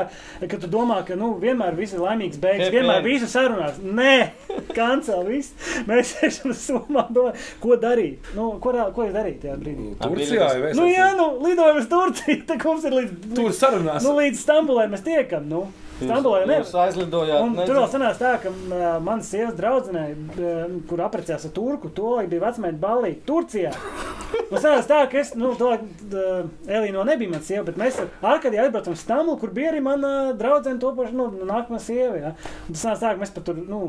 [SPEAKER 1] ka tu domā, ka nu, vienmēr viss ir laimīgs beigas,
[SPEAKER 2] Happy
[SPEAKER 1] vienmēr
[SPEAKER 2] end.
[SPEAKER 1] visu sarunās. Nē, kancel, viss. Mēs esam sumā, domā, ko darīt. Nu, ko, rā- ko es darīju tajā brīdī?
[SPEAKER 3] Turcijā jau es
[SPEAKER 1] Nu, jā, nu, lidojam uz Turciju, tad mums ir līdz,
[SPEAKER 3] Tur sarunās.
[SPEAKER 1] nu, līdz Stambulē mēs tiekam. Nu. Stambulē nevar.
[SPEAKER 2] Jūs aizlidojāt.
[SPEAKER 1] Un tur vēl sanāca tā, ka uh, manas sievas draudzenei, uh, kur apprecējās ar turku, to laikam bija vecmēneša balīja Turcijā. Un sanāca tā, ka es, nu, to uh, Elīno nebija mana sieva, bet mēs ar Arkādiju aizbraucam uz Stambulu, kur bija arī mana draudzene topoša, nu, nākamā sieva. Ja? Un tas sanāca tā, ka mēs pat tur, nu,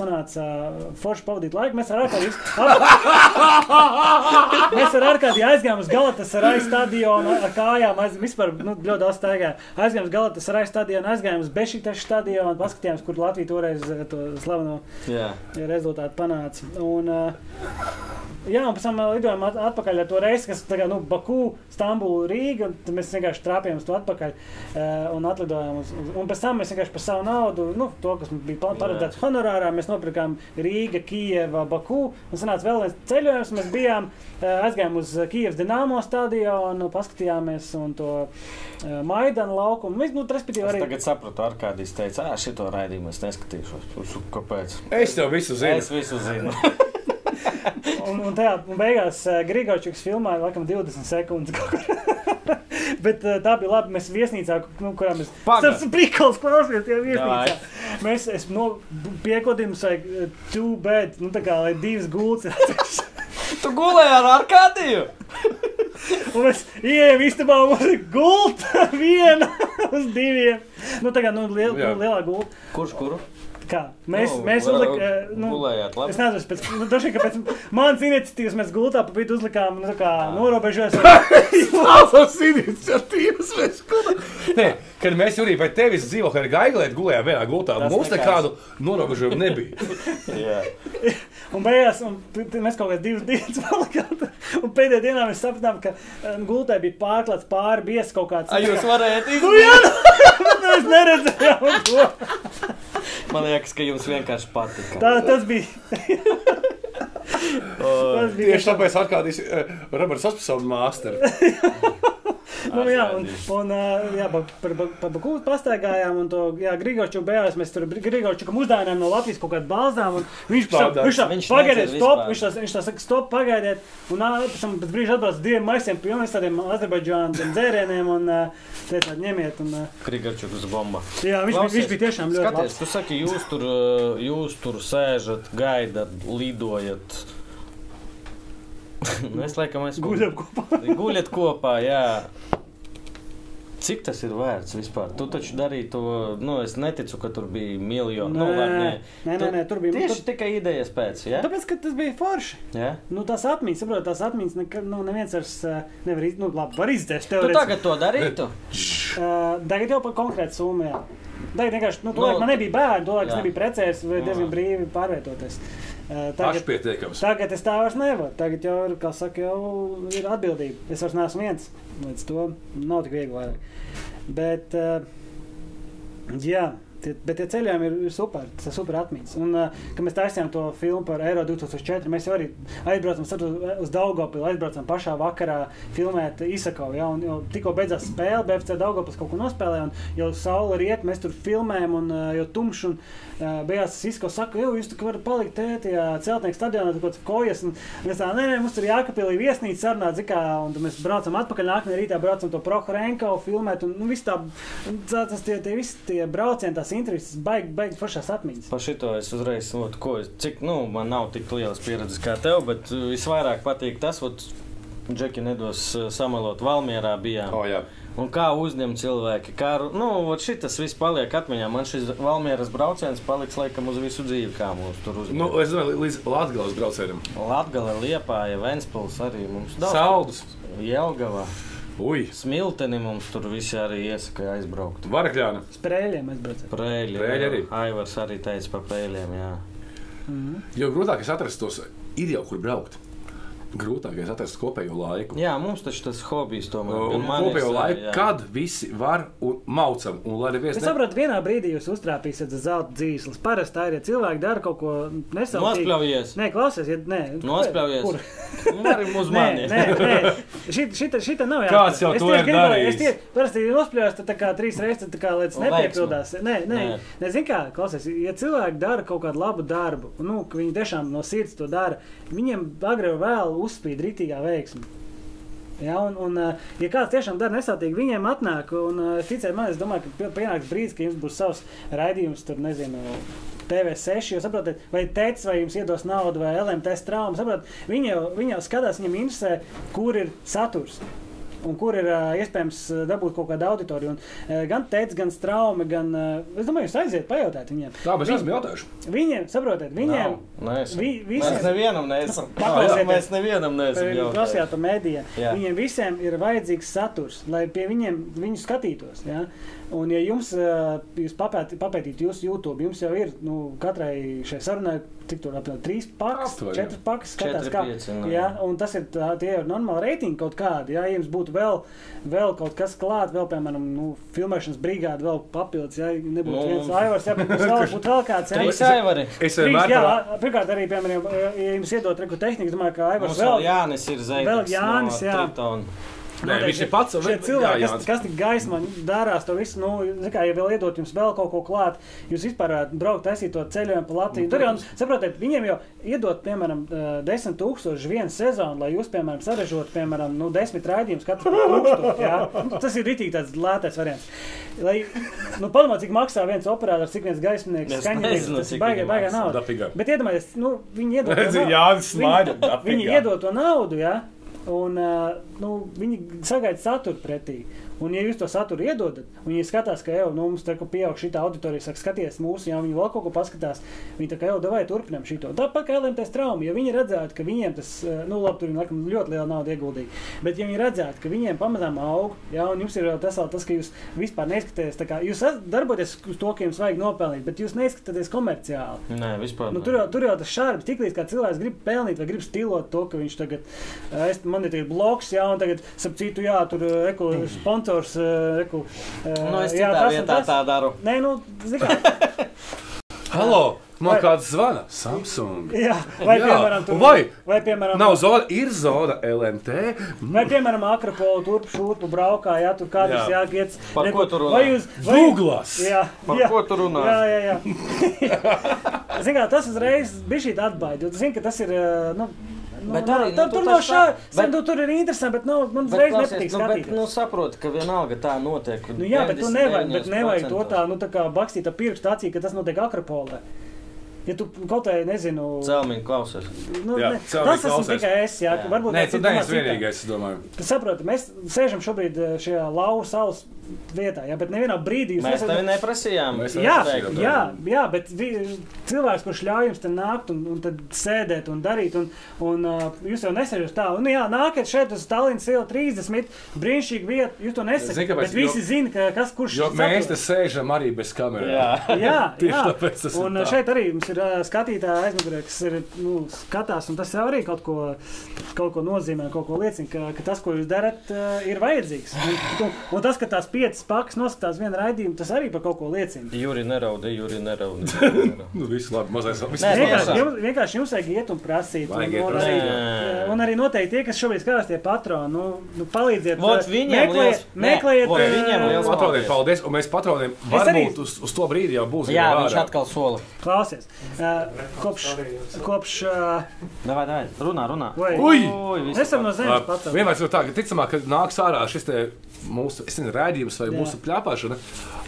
[SPEAKER 1] sanāca uh, forši pavadīt laiku. Mēs ar Arkādiju, ap... mēs ar Arkādiju aizgājām uz Galatasaray stadionu, ar kājām aizgājām, vispār, nu, ļoti daudz staigājām. Aizgājām uz Galatasaray stadionu, aizgājām uz Bešiktašu stadionu, paskatījāmies, kur Latvija toreiz eh, to slaveno
[SPEAKER 2] Jā,
[SPEAKER 1] rezultāti panāca. Un, uh, jā, un pēc tam uh, lidojām at- atpakaļ ar to reizi, kas tagad nu, Baku, Stambulu, Rīga. un Tad mēs vienkārši trāpījām uz to atpakaļ uh, un atlidojām. Uz, uz, un pēc tam mēs vienkārši par savu naudu, nu, to, kas mums bija pa- paredzēts honorārā, mēs nopirkām Rīga, Kijeva, Baku. Un sanāca vēl viens ceļojums. Mēs bijām, uh, aizgājām uz uh, Kijevas Dienāmo stadionu, paskatījāmies un to uh, Maidanu laukumu. Mēs, nu, respektīvi,
[SPEAKER 2] es
[SPEAKER 1] arī.
[SPEAKER 2] tagad sapratu, ar kādīs teica, ah, šito raidījumu es neskatīšos. Es saku, Kāpēc?
[SPEAKER 3] Es jau visu zinu.
[SPEAKER 2] Es visu zinu.
[SPEAKER 1] Un, un tajā un beigās uh, Grigorčuks filmēja laikam 20 sekundes. kaut kur. Bet uh, tā bija labi. Mēs viesnīcā, nu, kurā mēs
[SPEAKER 2] Pagaid.
[SPEAKER 1] Tas brīnums klausies, jau
[SPEAKER 2] Davai.
[SPEAKER 1] viesnīcā. Mēs es nu, no, piekodījums, vai two bed, eh, nu tā kā lai divas gultas. ir atsevišķi.
[SPEAKER 2] Tu gulēji ar Arkādiju!
[SPEAKER 1] un mēs ienākam īstenībā, mums ir gulta viena uz diviem. Nu tā kā nu, liel, nu,
[SPEAKER 3] Jā.
[SPEAKER 1] lielā gulta.
[SPEAKER 2] Kurš kuru?
[SPEAKER 1] Kā? Mēs,
[SPEAKER 2] Nu,
[SPEAKER 1] no, mēs
[SPEAKER 2] vēl
[SPEAKER 1] uzlikām. Nu,
[SPEAKER 2] Gulējāt
[SPEAKER 1] Es
[SPEAKER 2] labi.
[SPEAKER 1] nezinu, pēc, nu, dažkārt, ka pēc manas iniciatīvas mēs gultā pa vidu uzlikām, nu, tā kā norobežojamies.
[SPEAKER 3] Tās iniciatīvas mēs gulējām. Nē, kad mēs jau pie tevis dzīvojām, ar Gaiglētu gulējām vienā gultā,
[SPEAKER 2] Tas
[SPEAKER 3] mums
[SPEAKER 2] nekāds.
[SPEAKER 3] nekādu norobežojumu nebija.
[SPEAKER 2] Jā.
[SPEAKER 1] Un beigās un t- t- mēs kaut kādas divas dienas palikām. tur. Un pēdējā dienā mēs sapratām, ka em, gultā bija pārklāts pāri biezs kaut kāds. Nu,
[SPEAKER 2] Ai, jūs varējāt izdarīt.
[SPEAKER 1] Mēs neredzējām to.
[SPEAKER 2] Man liekas, ka jums vienkārši patika.
[SPEAKER 1] Tā, tas bija. tas bija
[SPEAKER 3] Tieši tāpēc atklājās Roberts Aspasovs mākslinieks.
[SPEAKER 1] Nu, jā, un, un ā, jā, pa, par Ba- pa Baku pastaigājām, un to Grigorču beigās mēs tur Grigorčukam uzdāvinājām no Latvijas kaut kādu balzām, un viņš pēc tam-
[SPEAKER 3] Pārdāvis.
[SPEAKER 1] viņš tā,
[SPEAKER 2] Viņš
[SPEAKER 1] pagaidiet,
[SPEAKER 2] nedzer
[SPEAKER 1] stop,
[SPEAKER 2] vispār.
[SPEAKER 1] viņš tā, viņš tā saka, stop, pagaidiet, un ā, pēc tam pēc brīža atbrauc ar diviem maisiem pilniem tādiem Azerbaidžānas dzērieniem, un ā, teica, ņemiet, un ā,
[SPEAKER 2] Krigačukas bomba.
[SPEAKER 1] jā, viņš, bija, viņš bija tiešām ļoti
[SPEAKER 2] Skaties,
[SPEAKER 1] labs.
[SPEAKER 2] tu saki, jūs tur, uh, jūs tur sēžat, gaidat, lidojat. Nu, es laikam esmu.
[SPEAKER 1] Guļam kopā.
[SPEAKER 2] Guļat kopā, jā. Cik tas ir vērts vispār? Tu taču darīji to, nu, es neticu, ka tur bija miljoni. Nu, var, nē.
[SPEAKER 1] nē, nē, nē, tur bija. nu,
[SPEAKER 2] Tieši
[SPEAKER 1] tur-
[SPEAKER 2] tikai idejas pēc, jā?
[SPEAKER 1] Tāpēc, ka tas bija forši.
[SPEAKER 2] jā?
[SPEAKER 1] Nu, tās atmiņas, saprotiet, tās atmiņas nekad, nu, neviens vairs ā, nevar izdarīt. Nu, labi, var izdarīt.
[SPEAKER 2] Tu tagad to darītu?
[SPEAKER 1] Uh, tagad jau par konkrētu summu. Jā. Tagad vienkārši, nu,
[SPEAKER 2] Nu,
[SPEAKER 1] tolaik man nebija bērni, tolaik es
[SPEAKER 2] jā.
[SPEAKER 1] nebiju precējies, vai diezgan
[SPEAKER 2] Jā.
[SPEAKER 1] brīvi pārvietoties. Uh, tagad,
[SPEAKER 3] Pašpietiekams.
[SPEAKER 1] tagad es tā vairs nevaru. Tagad jau ir, kā saka, jau ir atbildība. Es vairs neesmu viens. Līdz to nav tik viegli vairāk. Bet, uh, jā. Tie, bet tie ceļojumi ir, ir super, tas ir super atmiņas. Un, uh, kad mēs taisījām to filmu par Eiro 2004, mēs jau arī aizbraucām starp- uz Daugopilu, aizbraucām pašā vakarā filmēt Isakau. Ja, un jau tikko beidzās spēle, BFC Daugopils kaut ko nospēlēja, un jau saule riet, mēs tur filmējam, un uh, jau tumšs, un uh, beigās Isako saka, jo jūs tur varat palikt te, tajā celtnieku stadionā, tur kaut kāds kojas, un mēs tā, nē, nē, mums tur jākapilī viesnīca sarunā, dzikā, un tad mēs braucam atpakaļ, nākamajā rītā braucam to Prohorenko filmēt, un nu, viss tā, un tā- tas tie, tie visi tie braucieni, tās intereses, baigi, baigi foršās atmiņas.
[SPEAKER 2] Par šito es uzreiz, ot, ko es, cik, nu, man nav tik lielas pieredzes kā tev, bet uh, visvairāk patīk tas, ot, Džeki nedos uh, samalot, Valmierā bijām.
[SPEAKER 3] O, jā.
[SPEAKER 2] Un kā uzņem cilvēki, kā, ru- nu, ot šitas viss paliek atmiņā. Man šis Valmieras brauciens paliks laikam uz visu dzīvi, kā mūs tur uzņem.
[SPEAKER 3] Nu,
[SPEAKER 2] Nu,
[SPEAKER 3] es domāju, līdz Latvijas braucējiem.
[SPEAKER 2] Latgale, Liepāja, Ventspils arī mums daudz.
[SPEAKER 3] Saldus.
[SPEAKER 2] Jelgava,
[SPEAKER 3] Ui,
[SPEAKER 2] Smilteni mums tur visi arī iesaka aizbraukt.
[SPEAKER 3] varakļāni.
[SPEAKER 1] Sprēļiem mēs braucam.
[SPEAKER 2] Prēļi.
[SPEAKER 3] Prēļi arī.
[SPEAKER 2] Aivars arī teica par prēļiem, jā.
[SPEAKER 3] Jo grūtāk es atrast tos, ir jau kur braukt. grūtākais atrast kopējo laiku.
[SPEAKER 2] Jā, mums taču tas hobijs tomēr
[SPEAKER 3] Un
[SPEAKER 2] man ir,
[SPEAKER 3] kopējo laiku,
[SPEAKER 2] jā.
[SPEAKER 3] kad visi var un maucam, un lai neviens
[SPEAKER 1] Es saprotu, vienā brīdī jūs uztrāpīsiet uz zelta dzīslis. Parasti tā ir, ja cilvēki dara kaut ko nesaprotamu.
[SPEAKER 2] Nospļaujies.
[SPEAKER 1] Nē, klausies, ja nē,
[SPEAKER 2] Nospļaujies.
[SPEAKER 1] Kur?
[SPEAKER 2] Nu, Arī
[SPEAKER 1] Nē,
[SPEAKER 2] uzmanīgi.
[SPEAKER 1] nē, nē. Šit- Šita, šita nav jau
[SPEAKER 3] Kāds jau to ir darījis?
[SPEAKER 1] Es tie, parasti ir nospļauts, tad tā kā trīs reizes, tad tā kā lietas
[SPEAKER 2] Un
[SPEAKER 1] nepiepildās. Nē, nē,
[SPEAKER 2] Nē.
[SPEAKER 1] nē zin kā, klausies, ja cilvēki dara kaut kādu labu darbu, nu, ka viņi tiešām no sirds to dara, viņiem agri vai vēl uzspīd rītīgā veiksme. Ja, un, un, eh, ja kāds tiešām dara nesātīgi, viņiem atnāk, un eh, ticiet man, es domāju, ka pie- pienāks brīdis, ka jums būs savs raidījums, tur nezinu. TV6, jūs saprotat, vai teicis, vai jums iedos naudu, vai LMT traumas. saprotat? Viņi jau, viņi jau skatās, viņam interesē, kur ir saturs. Un kur ir ā, iespējams ā, dabūt kaut kādu auditoriju? Un, ā, gan teicis, gan straumi, gan. ā, Es domāju, jūs aiziet, pajautāt viņiem.
[SPEAKER 3] Tā, bet es esmu jautājis.
[SPEAKER 1] Viņiem, saprotiet, viņiem.
[SPEAKER 2] Nē,
[SPEAKER 1] vi-
[SPEAKER 2] vi,
[SPEAKER 1] visiem-
[SPEAKER 2] mēs nevienam neesam.
[SPEAKER 1] Paklausieties.
[SPEAKER 2] Mēs nevienam neesam.
[SPEAKER 1] Jūs
[SPEAKER 2] jautājuši.
[SPEAKER 1] prasījāt par mēdījiem.
[SPEAKER 2] Jā.
[SPEAKER 1] Viņiem visiem ir vajadzīgs saturs, lai pie viņiem viņu skatītos. Ja? Un, ja jums, ā, jūs papēt, papētītu jūsu YouTube, jums jau ir nu, katrai šai sarunai, cik tur apmēram trīs pakas,
[SPEAKER 3] Aptuveni.
[SPEAKER 1] četri pakas, skatās,
[SPEAKER 2] Četri,
[SPEAKER 1] kā
[SPEAKER 2] pieci, nu,
[SPEAKER 1] ja?
[SPEAKER 2] jā.
[SPEAKER 1] Un tas ir tā, tie ir normāli reitingi kaut kādi. Ja? ja jums būtu vēl, vēl kaut kas klāts, vēl, piemēram, nu, filmēšanas brigāde, vēl papildus, ja nebūtu
[SPEAKER 2] Nu,
[SPEAKER 1] nu, viens aivars, ja būtu vēl, būtu vēl kāds. jā?
[SPEAKER 2] Trīs aivari.
[SPEAKER 3] Es
[SPEAKER 1] Trīs,
[SPEAKER 3] vienmēr
[SPEAKER 1] jā,
[SPEAKER 3] par-
[SPEAKER 1] pirmkārt, arī, piemēram, ja jums iedod reku tehniku, domāju, ka Aivars
[SPEAKER 2] Mums vēl Jānis ir zvaigznes.
[SPEAKER 1] vēl Jānis, jā.
[SPEAKER 3] Nē,
[SPEAKER 1] Noteikti.
[SPEAKER 3] viņš ir pats
[SPEAKER 1] Šie
[SPEAKER 3] vēl-
[SPEAKER 1] cilvēki,
[SPEAKER 3] jā,
[SPEAKER 1] kas,
[SPEAKER 3] Jānis.
[SPEAKER 1] kas tik gaismā dārās, to visu, nu, zin kā, ja vēl iedot jums vēl kaut ko klāt, jūs vispār varētu braukt taisīt to ceļojumu pa Latviju.
[SPEAKER 3] Nu,
[SPEAKER 1] Tur jau, saprotiet, viņiem jau iedot, piemēram, eh, 10 tūkstoši vienu sezonu, lai jūs, piemēram, sarežot, piemēram, nu, 10 raidījumus katru tūkstošu, jā. Nu, Tas ir ritīgi tāds lētais variants. Lai, nu, padomā, cik maksā viens operators, cik viens gaisminieks,
[SPEAKER 2] Es
[SPEAKER 1] skaņinieks,
[SPEAKER 2] nezinu,
[SPEAKER 1] tas ir
[SPEAKER 2] cik
[SPEAKER 1] baigā,
[SPEAKER 2] viņi
[SPEAKER 1] baigā
[SPEAKER 2] maksā.
[SPEAKER 1] nauda.
[SPEAKER 3] Dapīgā.
[SPEAKER 1] Bet iedomājieties, nu, viņi iedod. to
[SPEAKER 3] Redzi,
[SPEAKER 1] naudu.
[SPEAKER 3] Jānis
[SPEAKER 1] Viņi-
[SPEAKER 3] smaida,
[SPEAKER 1] Viņi
[SPEAKER 3] dapīgā.
[SPEAKER 1] iedod to naudu, ja? un ā, nu, viņi sagaida saturu pretī. Un, ja jūs to saturu iedodat, un viņi skatās, ka jau nu, mums tā kā pieaug šī auditorija, saka, skaties mūsu, ja viņi vēl kaut ko paskatās, viņi tā kā jau davai turpinām šo. Tāpat kā LMTS trauma, ja viņi redzētu, ka viņiem tas, ā, nu, labi, tur viņi laikam ļoti liela nauda ieguldīja, bet ja viņi redzētu, ka viņiem pamazām aug, ja, un jums ir vēl tas, vēl tas, ka jūs vispār neizskatāties, tā kā jūs esat- darboties uz to, ka jums vajag nopelnīt, bet jūs neizskatāties komerciāli.
[SPEAKER 2] Nē, vispār.
[SPEAKER 1] Nu,
[SPEAKER 2] nē.
[SPEAKER 1] tur, jau, tur jau tas šādi tiklīdz kā cilvēks grib pelnīt vai grib stilot to, ka viņš tagad, eh, es, man ir tagad bloks, jā, un tagad, ap citu, jā, tur eh, eku, sponsors, eh, eku. eh,
[SPEAKER 2] Nu, es
[SPEAKER 1] jā,
[SPEAKER 2] citā
[SPEAKER 1] tas un
[SPEAKER 2] vietā
[SPEAKER 1] tas.
[SPEAKER 2] tā daru.
[SPEAKER 1] Nē, nu, zikā,
[SPEAKER 3] Halo! Man
[SPEAKER 1] Vai-
[SPEAKER 3] kāds zvana Samsung.
[SPEAKER 1] jā, vai,
[SPEAKER 3] Jā,
[SPEAKER 1] piemēram, tur,
[SPEAKER 3] vai?
[SPEAKER 1] vai, piemēram,
[SPEAKER 3] Nav zona, ir zona LMT.
[SPEAKER 1] Vai, piemēram, Akropolu turp šurpu braukā, ja tur kādreiz
[SPEAKER 3] Jā.
[SPEAKER 1] jāgiet.
[SPEAKER 2] Par ko tu runā?
[SPEAKER 1] Vai jūs... vai-
[SPEAKER 3] Douglas!
[SPEAKER 1] Jā,
[SPEAKER 2] Par
[SPEAKER 1] jā.
[SPEAKER 2] ko tu runā?
[SPEAKER 1] Jā, jā, jā. Zinām, tas uzreiz bija šī atbaide. jo Tu zini, ka tas ir. eh, Nu, nu,
[SPEAKER 2] Bet
[SPEAKER 1] nā,
[SPEAKER 2] arī, nu,
[SPEAKER 1] tā,
[SPEAKER 2] tu
[SPEAKER 1] tur
[SPEAKER 2] tas
[SPEAKER 1] nav
[SPEAKER 2] tā-
[SPEAKER 1] šāda.
[SPEAKER 2] bet-
[SPEAKER 1] Tur ir interesanti, bet nav, man
[SPEAKER 2] Bet,
[SPEAKER 1] uzreiz
[SPEAKER 2] klausies,
[SPEAKER 1] nepatīk
[SPEAKER 2] nu, bet,
[SPEAKER 1] skatīties.
[SPEAKER 2] nu, saprotu, ka vienalga tā notiek.
[SPEAKER 1] Nu, jā, bet tu nevajag, bet nevajag to tā, nu, tā kā bakstīt ar pirkstu acī, ka tas notiek Akropolē. Ja tu kaut kā, nezinu,
[SPEAKER 2] Cēlmiņa klausies.
[SPEAKER 1] nu,
[SPEAKER 3] Jā,
[SPEAKER 1] ne,
[SPEAKER 3] celmi
[SPEAKER 1] tas esmu
[SPEAKER 3] klausies.
[SPEAKER 1] tikai es, jā,
[SPEAKER 2] Jā.
[SPEAKER 1] varbūt
[SPEAKER 3] Nē,
[SPEAKER 1] kāds
[SPEAKER 3] tu
[SPEAKER 1] cits domā
[SPEAKER 3] neesi
[SPEAKER 1] citādi.
[SPEAKER 3] vienīgais, es domāju.
[SPEAKER 1] Saprotiet, mēs sēžam šobrīd eh, šajā lauva salas vietā, jā, bet nevienā brīdī jūs
[SPEAKER 2] Mēs
[SPEAKER 1] esat-
[SPEAKER 2] tevi neprasījām.
[SPEAKER 3] Mēs
[SPEAKER 1] Jā,
[SPEAKER 3] Teiktu.
[SPEAKER 1] jā, jā, bet vi- cilvēks, kurš ļauj jums te nākt un, un tad sēdēt un darīt, un, un uh, jūs jau nesēžat tā, un nu jā, nākat šeit uz Tallinas ielu 30, brīnišķīgi vieta, jūs to
[SPEAKER 3] Zini,
[SPEAKER 1] nesakāt,
[SPEAKER 3] kāpēc?
[SPEAKER 1] bet visi
[SPEAKER 3] Jo-
[SPEAKER 1] zina, ka, kas kurš
[SPEAKER 3] Jo
[SPEAKER 1] šeit
[SPEAKER 3] mēs
[SPEAKER 1] atrodas.
[SPEAKER 3] te sēžam arī bez kamerām.
[SPEAKER 2] Jā.
[SPEAKER 1] Jā,
[SPEAKER 3] Tieši
[SPEAKER 1] jā.
[SPEAKER 3] tāpēc tas ir
[SPEAKER 1] un uh,
[SPEAKER 3] tā.
[SPEAKER 1] šeit arī mums ir ā, skatītāji aizmugurē, kas ir, nu, skatās, un tas jau arī kaut ko, kaut ko nozīmē, kaut ko liecina, ka, ka tas, ko jūs darat, ā, ir vajadzīgs. Un, un, un tas, ka tās piecas pakas noskatās vienu raidījumu, tas arī par kaut ko liecina.
[SPEAKER 2] Jūri neraudi, Jūri neraudi. Juri neraudi.
[SPEAKER 3] Nu, viss labi, mazais labi.
[SPEAKER 2] Nē,
[SPEAKER 1] Vienkārši
[SPEAKER 2] tiešām.
[SPEAKER 1] jums, vienkārši jums vajag iet un prasīt. Un,
[SPEAKER 3] Vajag iet
[SPEAKER 1] un,
[SPEAKER 3] prasīt.
[SPEAKER 1] arī,
[SPEAKER 2] Nē.
[SPEAKER 1] un arī noteikti tie, kas šobrīd skatās, tie patroni, nu, nu, palīdziet.
[SPEAKER 2] Vot
[SPEAKER 1] ā,
[SPEAKER 2] viņiem liels-
[SPEAKER 1] meklējiet,
[SPEAKER 2] nē,
[SPEAKER 1] meklējiet eh,
[SPEAKER 2] vot
[SPEAKER 1] ā,
[SPEAKER 2] viņiem liels-
[SPEAKER 3] Patroniem paldies, un mēs patroniem
[SPEAKER 1] Es arī-
[SPEAKER 3] varbūt uz, uz to brīdi jau būsim.
[SPEAKER 2] Jā,
[SPEAKER 3] jau
[SPEAKER 2] viņš
[SPEAKER 3] ārā.
[SPEAKER 2] atkal sola.
[SPEAKER 1] Klausies, ā, kopš, kopš ā,
[SPEAKER 2] Davai, davai. Runā, runā.
[SPEAKER 1] Vai.
[SPEAKER 3] Ui!
[SPEAKER 2] visi
[SPEAKER 1] esam no zemes
[SPEAKER 3] Labi.
[SPEAKER 1] patroni.
[SPEAKER 3] Vienmēr ir tā, ka ticamāk, kad nāks ārā šis te mūsu es nezinu, rādījums vai
[SPEAKER 1] Jā.
[SPEAKER 3] mūsu plēpāšana,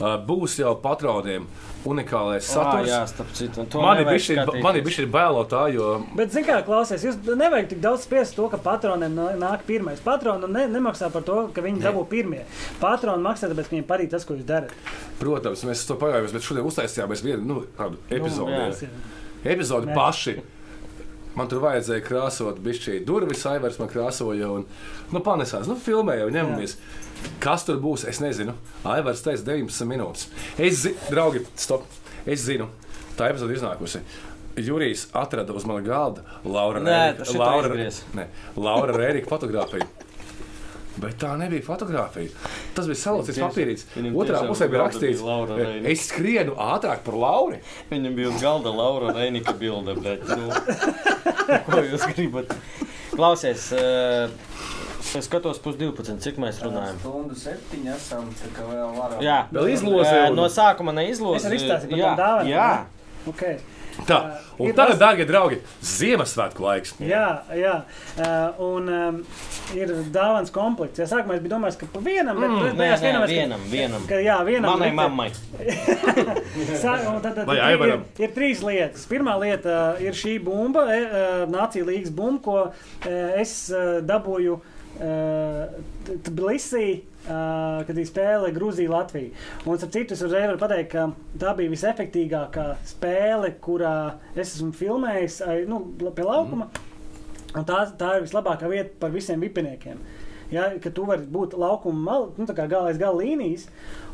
[SPEAKER 3] ā, būs jau patroniem unikālais
[SPEAKER 2] Ā, Jā,
[SPEAKER 3] saturs.
[SPEAKER 2] starp citu.
[SPEAKER 3] Man ir bišķi- Man ir bijis bailotā, jo
[SPEAKER 1] Bet, zin kā, klausies, jūs nevajag tik daudz spiest to, ka patroniem nā- nāk pirmais. Patroni ne, nemaksā par to, ka viņi dabū pirmie. Patroni maksā, tāpēc, ka viņiem patīk tas, ko jūs darat.
[SPEAKER 3] Protams, mēs to pagājām, bet šodien uztaisījām mēs vienu nu, tādu epizodi.
[SPEAKER 2] jā.
[SPEAKER 1] Tas ir-
[SPEAKER 3] epizodi
[SPEAKER 1] Mērķis.
[SPEAKER 3] paši. Man tur vajadzēja krāsot, bišķi durvis, aivars man krāsoja un nu, panesās, nu, filmēja un ņemamies. Kas tur būs, es nezinu. Aivars teica 19 minūtes. Es zinu, draugi, stop, es zinu, tā epizode iznākusi. Jurijs atrada uz mana galda Laura
[SPEAKER 2] Nē,
[SPEAKER 3] Rērika-
[SPEAKER 2] šito
[SPEAKER 3] Laura-
[SPEAKER 2] izgriez.
[SPEAKER 3] Nē, Laura Rērika fotografiju. Bet tā nebija fotografija. Tas bija salocīts
[SPEAKER 2] Viņam tiešām-
[SPEAKER 3] papīrītis.
[SPEAKER 2] viņam
[SPEAKER 3] Otrā
[SPEAKER 2] tiešām
[SPEAKER 3] pusē bija
[SPEAKER 2] galda bija
[SPEAKER 3] rakstīts,
[SPEAKER 2] Laura Rērika.
[SPEAKER 3] es skrienu ātrāk par Lauru.
[SPEAKER 2] Viņam bija uz galda Laura Reinika bilde, bet nu, nu, ko jūs gribat? Klausies, eh, es skatos pusdivpadsmit, cik mēs runājam.
[SPEAKER 4] Stundu septiņi esam, tā kā vēl varam.
[SPEAKER 2] Jā,
[SPEAKER 3] Vēl izloze
[SPEAKER 2] Eh,
[SPEAKER 3] un-
[SPEAKER 2] No sākuma neizlozēju.
[SPEAKER 1] Es arī stāstīju par
[SPEAKER 2] jā,
[SPEAKER 1] tām dāvanām,
[SPEAKER 2] jā.
[SPEAKER 1] Okay.
[SPEAKER 3] Tā, un
[SPEAKER 1] Ir
[SPEAKER 3] tagad, dārgie draugi, Ziemassvētku laiks.
[SPEAKER 1] Jā, jā. Uh, un um, ir dāvāns komplekts. Jā, sākumā es biju domājis, ka pa vienam, bet mm,
[SPEAKER 2] Nē,
[SPEAKER 1] beigās
[SPEAKER 2] nē,
[SPEAKER 1] vienam,
[SPEAKER 2] vienam, vienam.
[SPEAKER 1] Ka, jā, vienam
[SPEAKER 2] Manai
[SPEAKER 1] likte-
[SPEAKER 2] mammai.
[SPEAKER 1] Sā- un Tad, tad,
[SPEAKER 3] Vai
[SPEAKER 1] tad ir,
[SPEAKER 3] Aivaram?
[SPEAKER 1] ir trīs lietas. Pirmā lieta uh, ir šī bumba, e, uh, nācija līgas bumba, ko uh, es uh, dabūju uh, T- Tbilisī. Uh, kad bija spēle Grūzija, Latvija. Un, starp citu, es uzreiz varu pateikt, ka tā bija visefektīvākā spēle, kurā es esmu filmējis ai, nu, la- pie laukuma. Un tā, tā ir vislabākā vieta par visiem vipiniekiem. Ja, ka tu vari būt laukuma malā, nu, tā kā galais gala līnijas,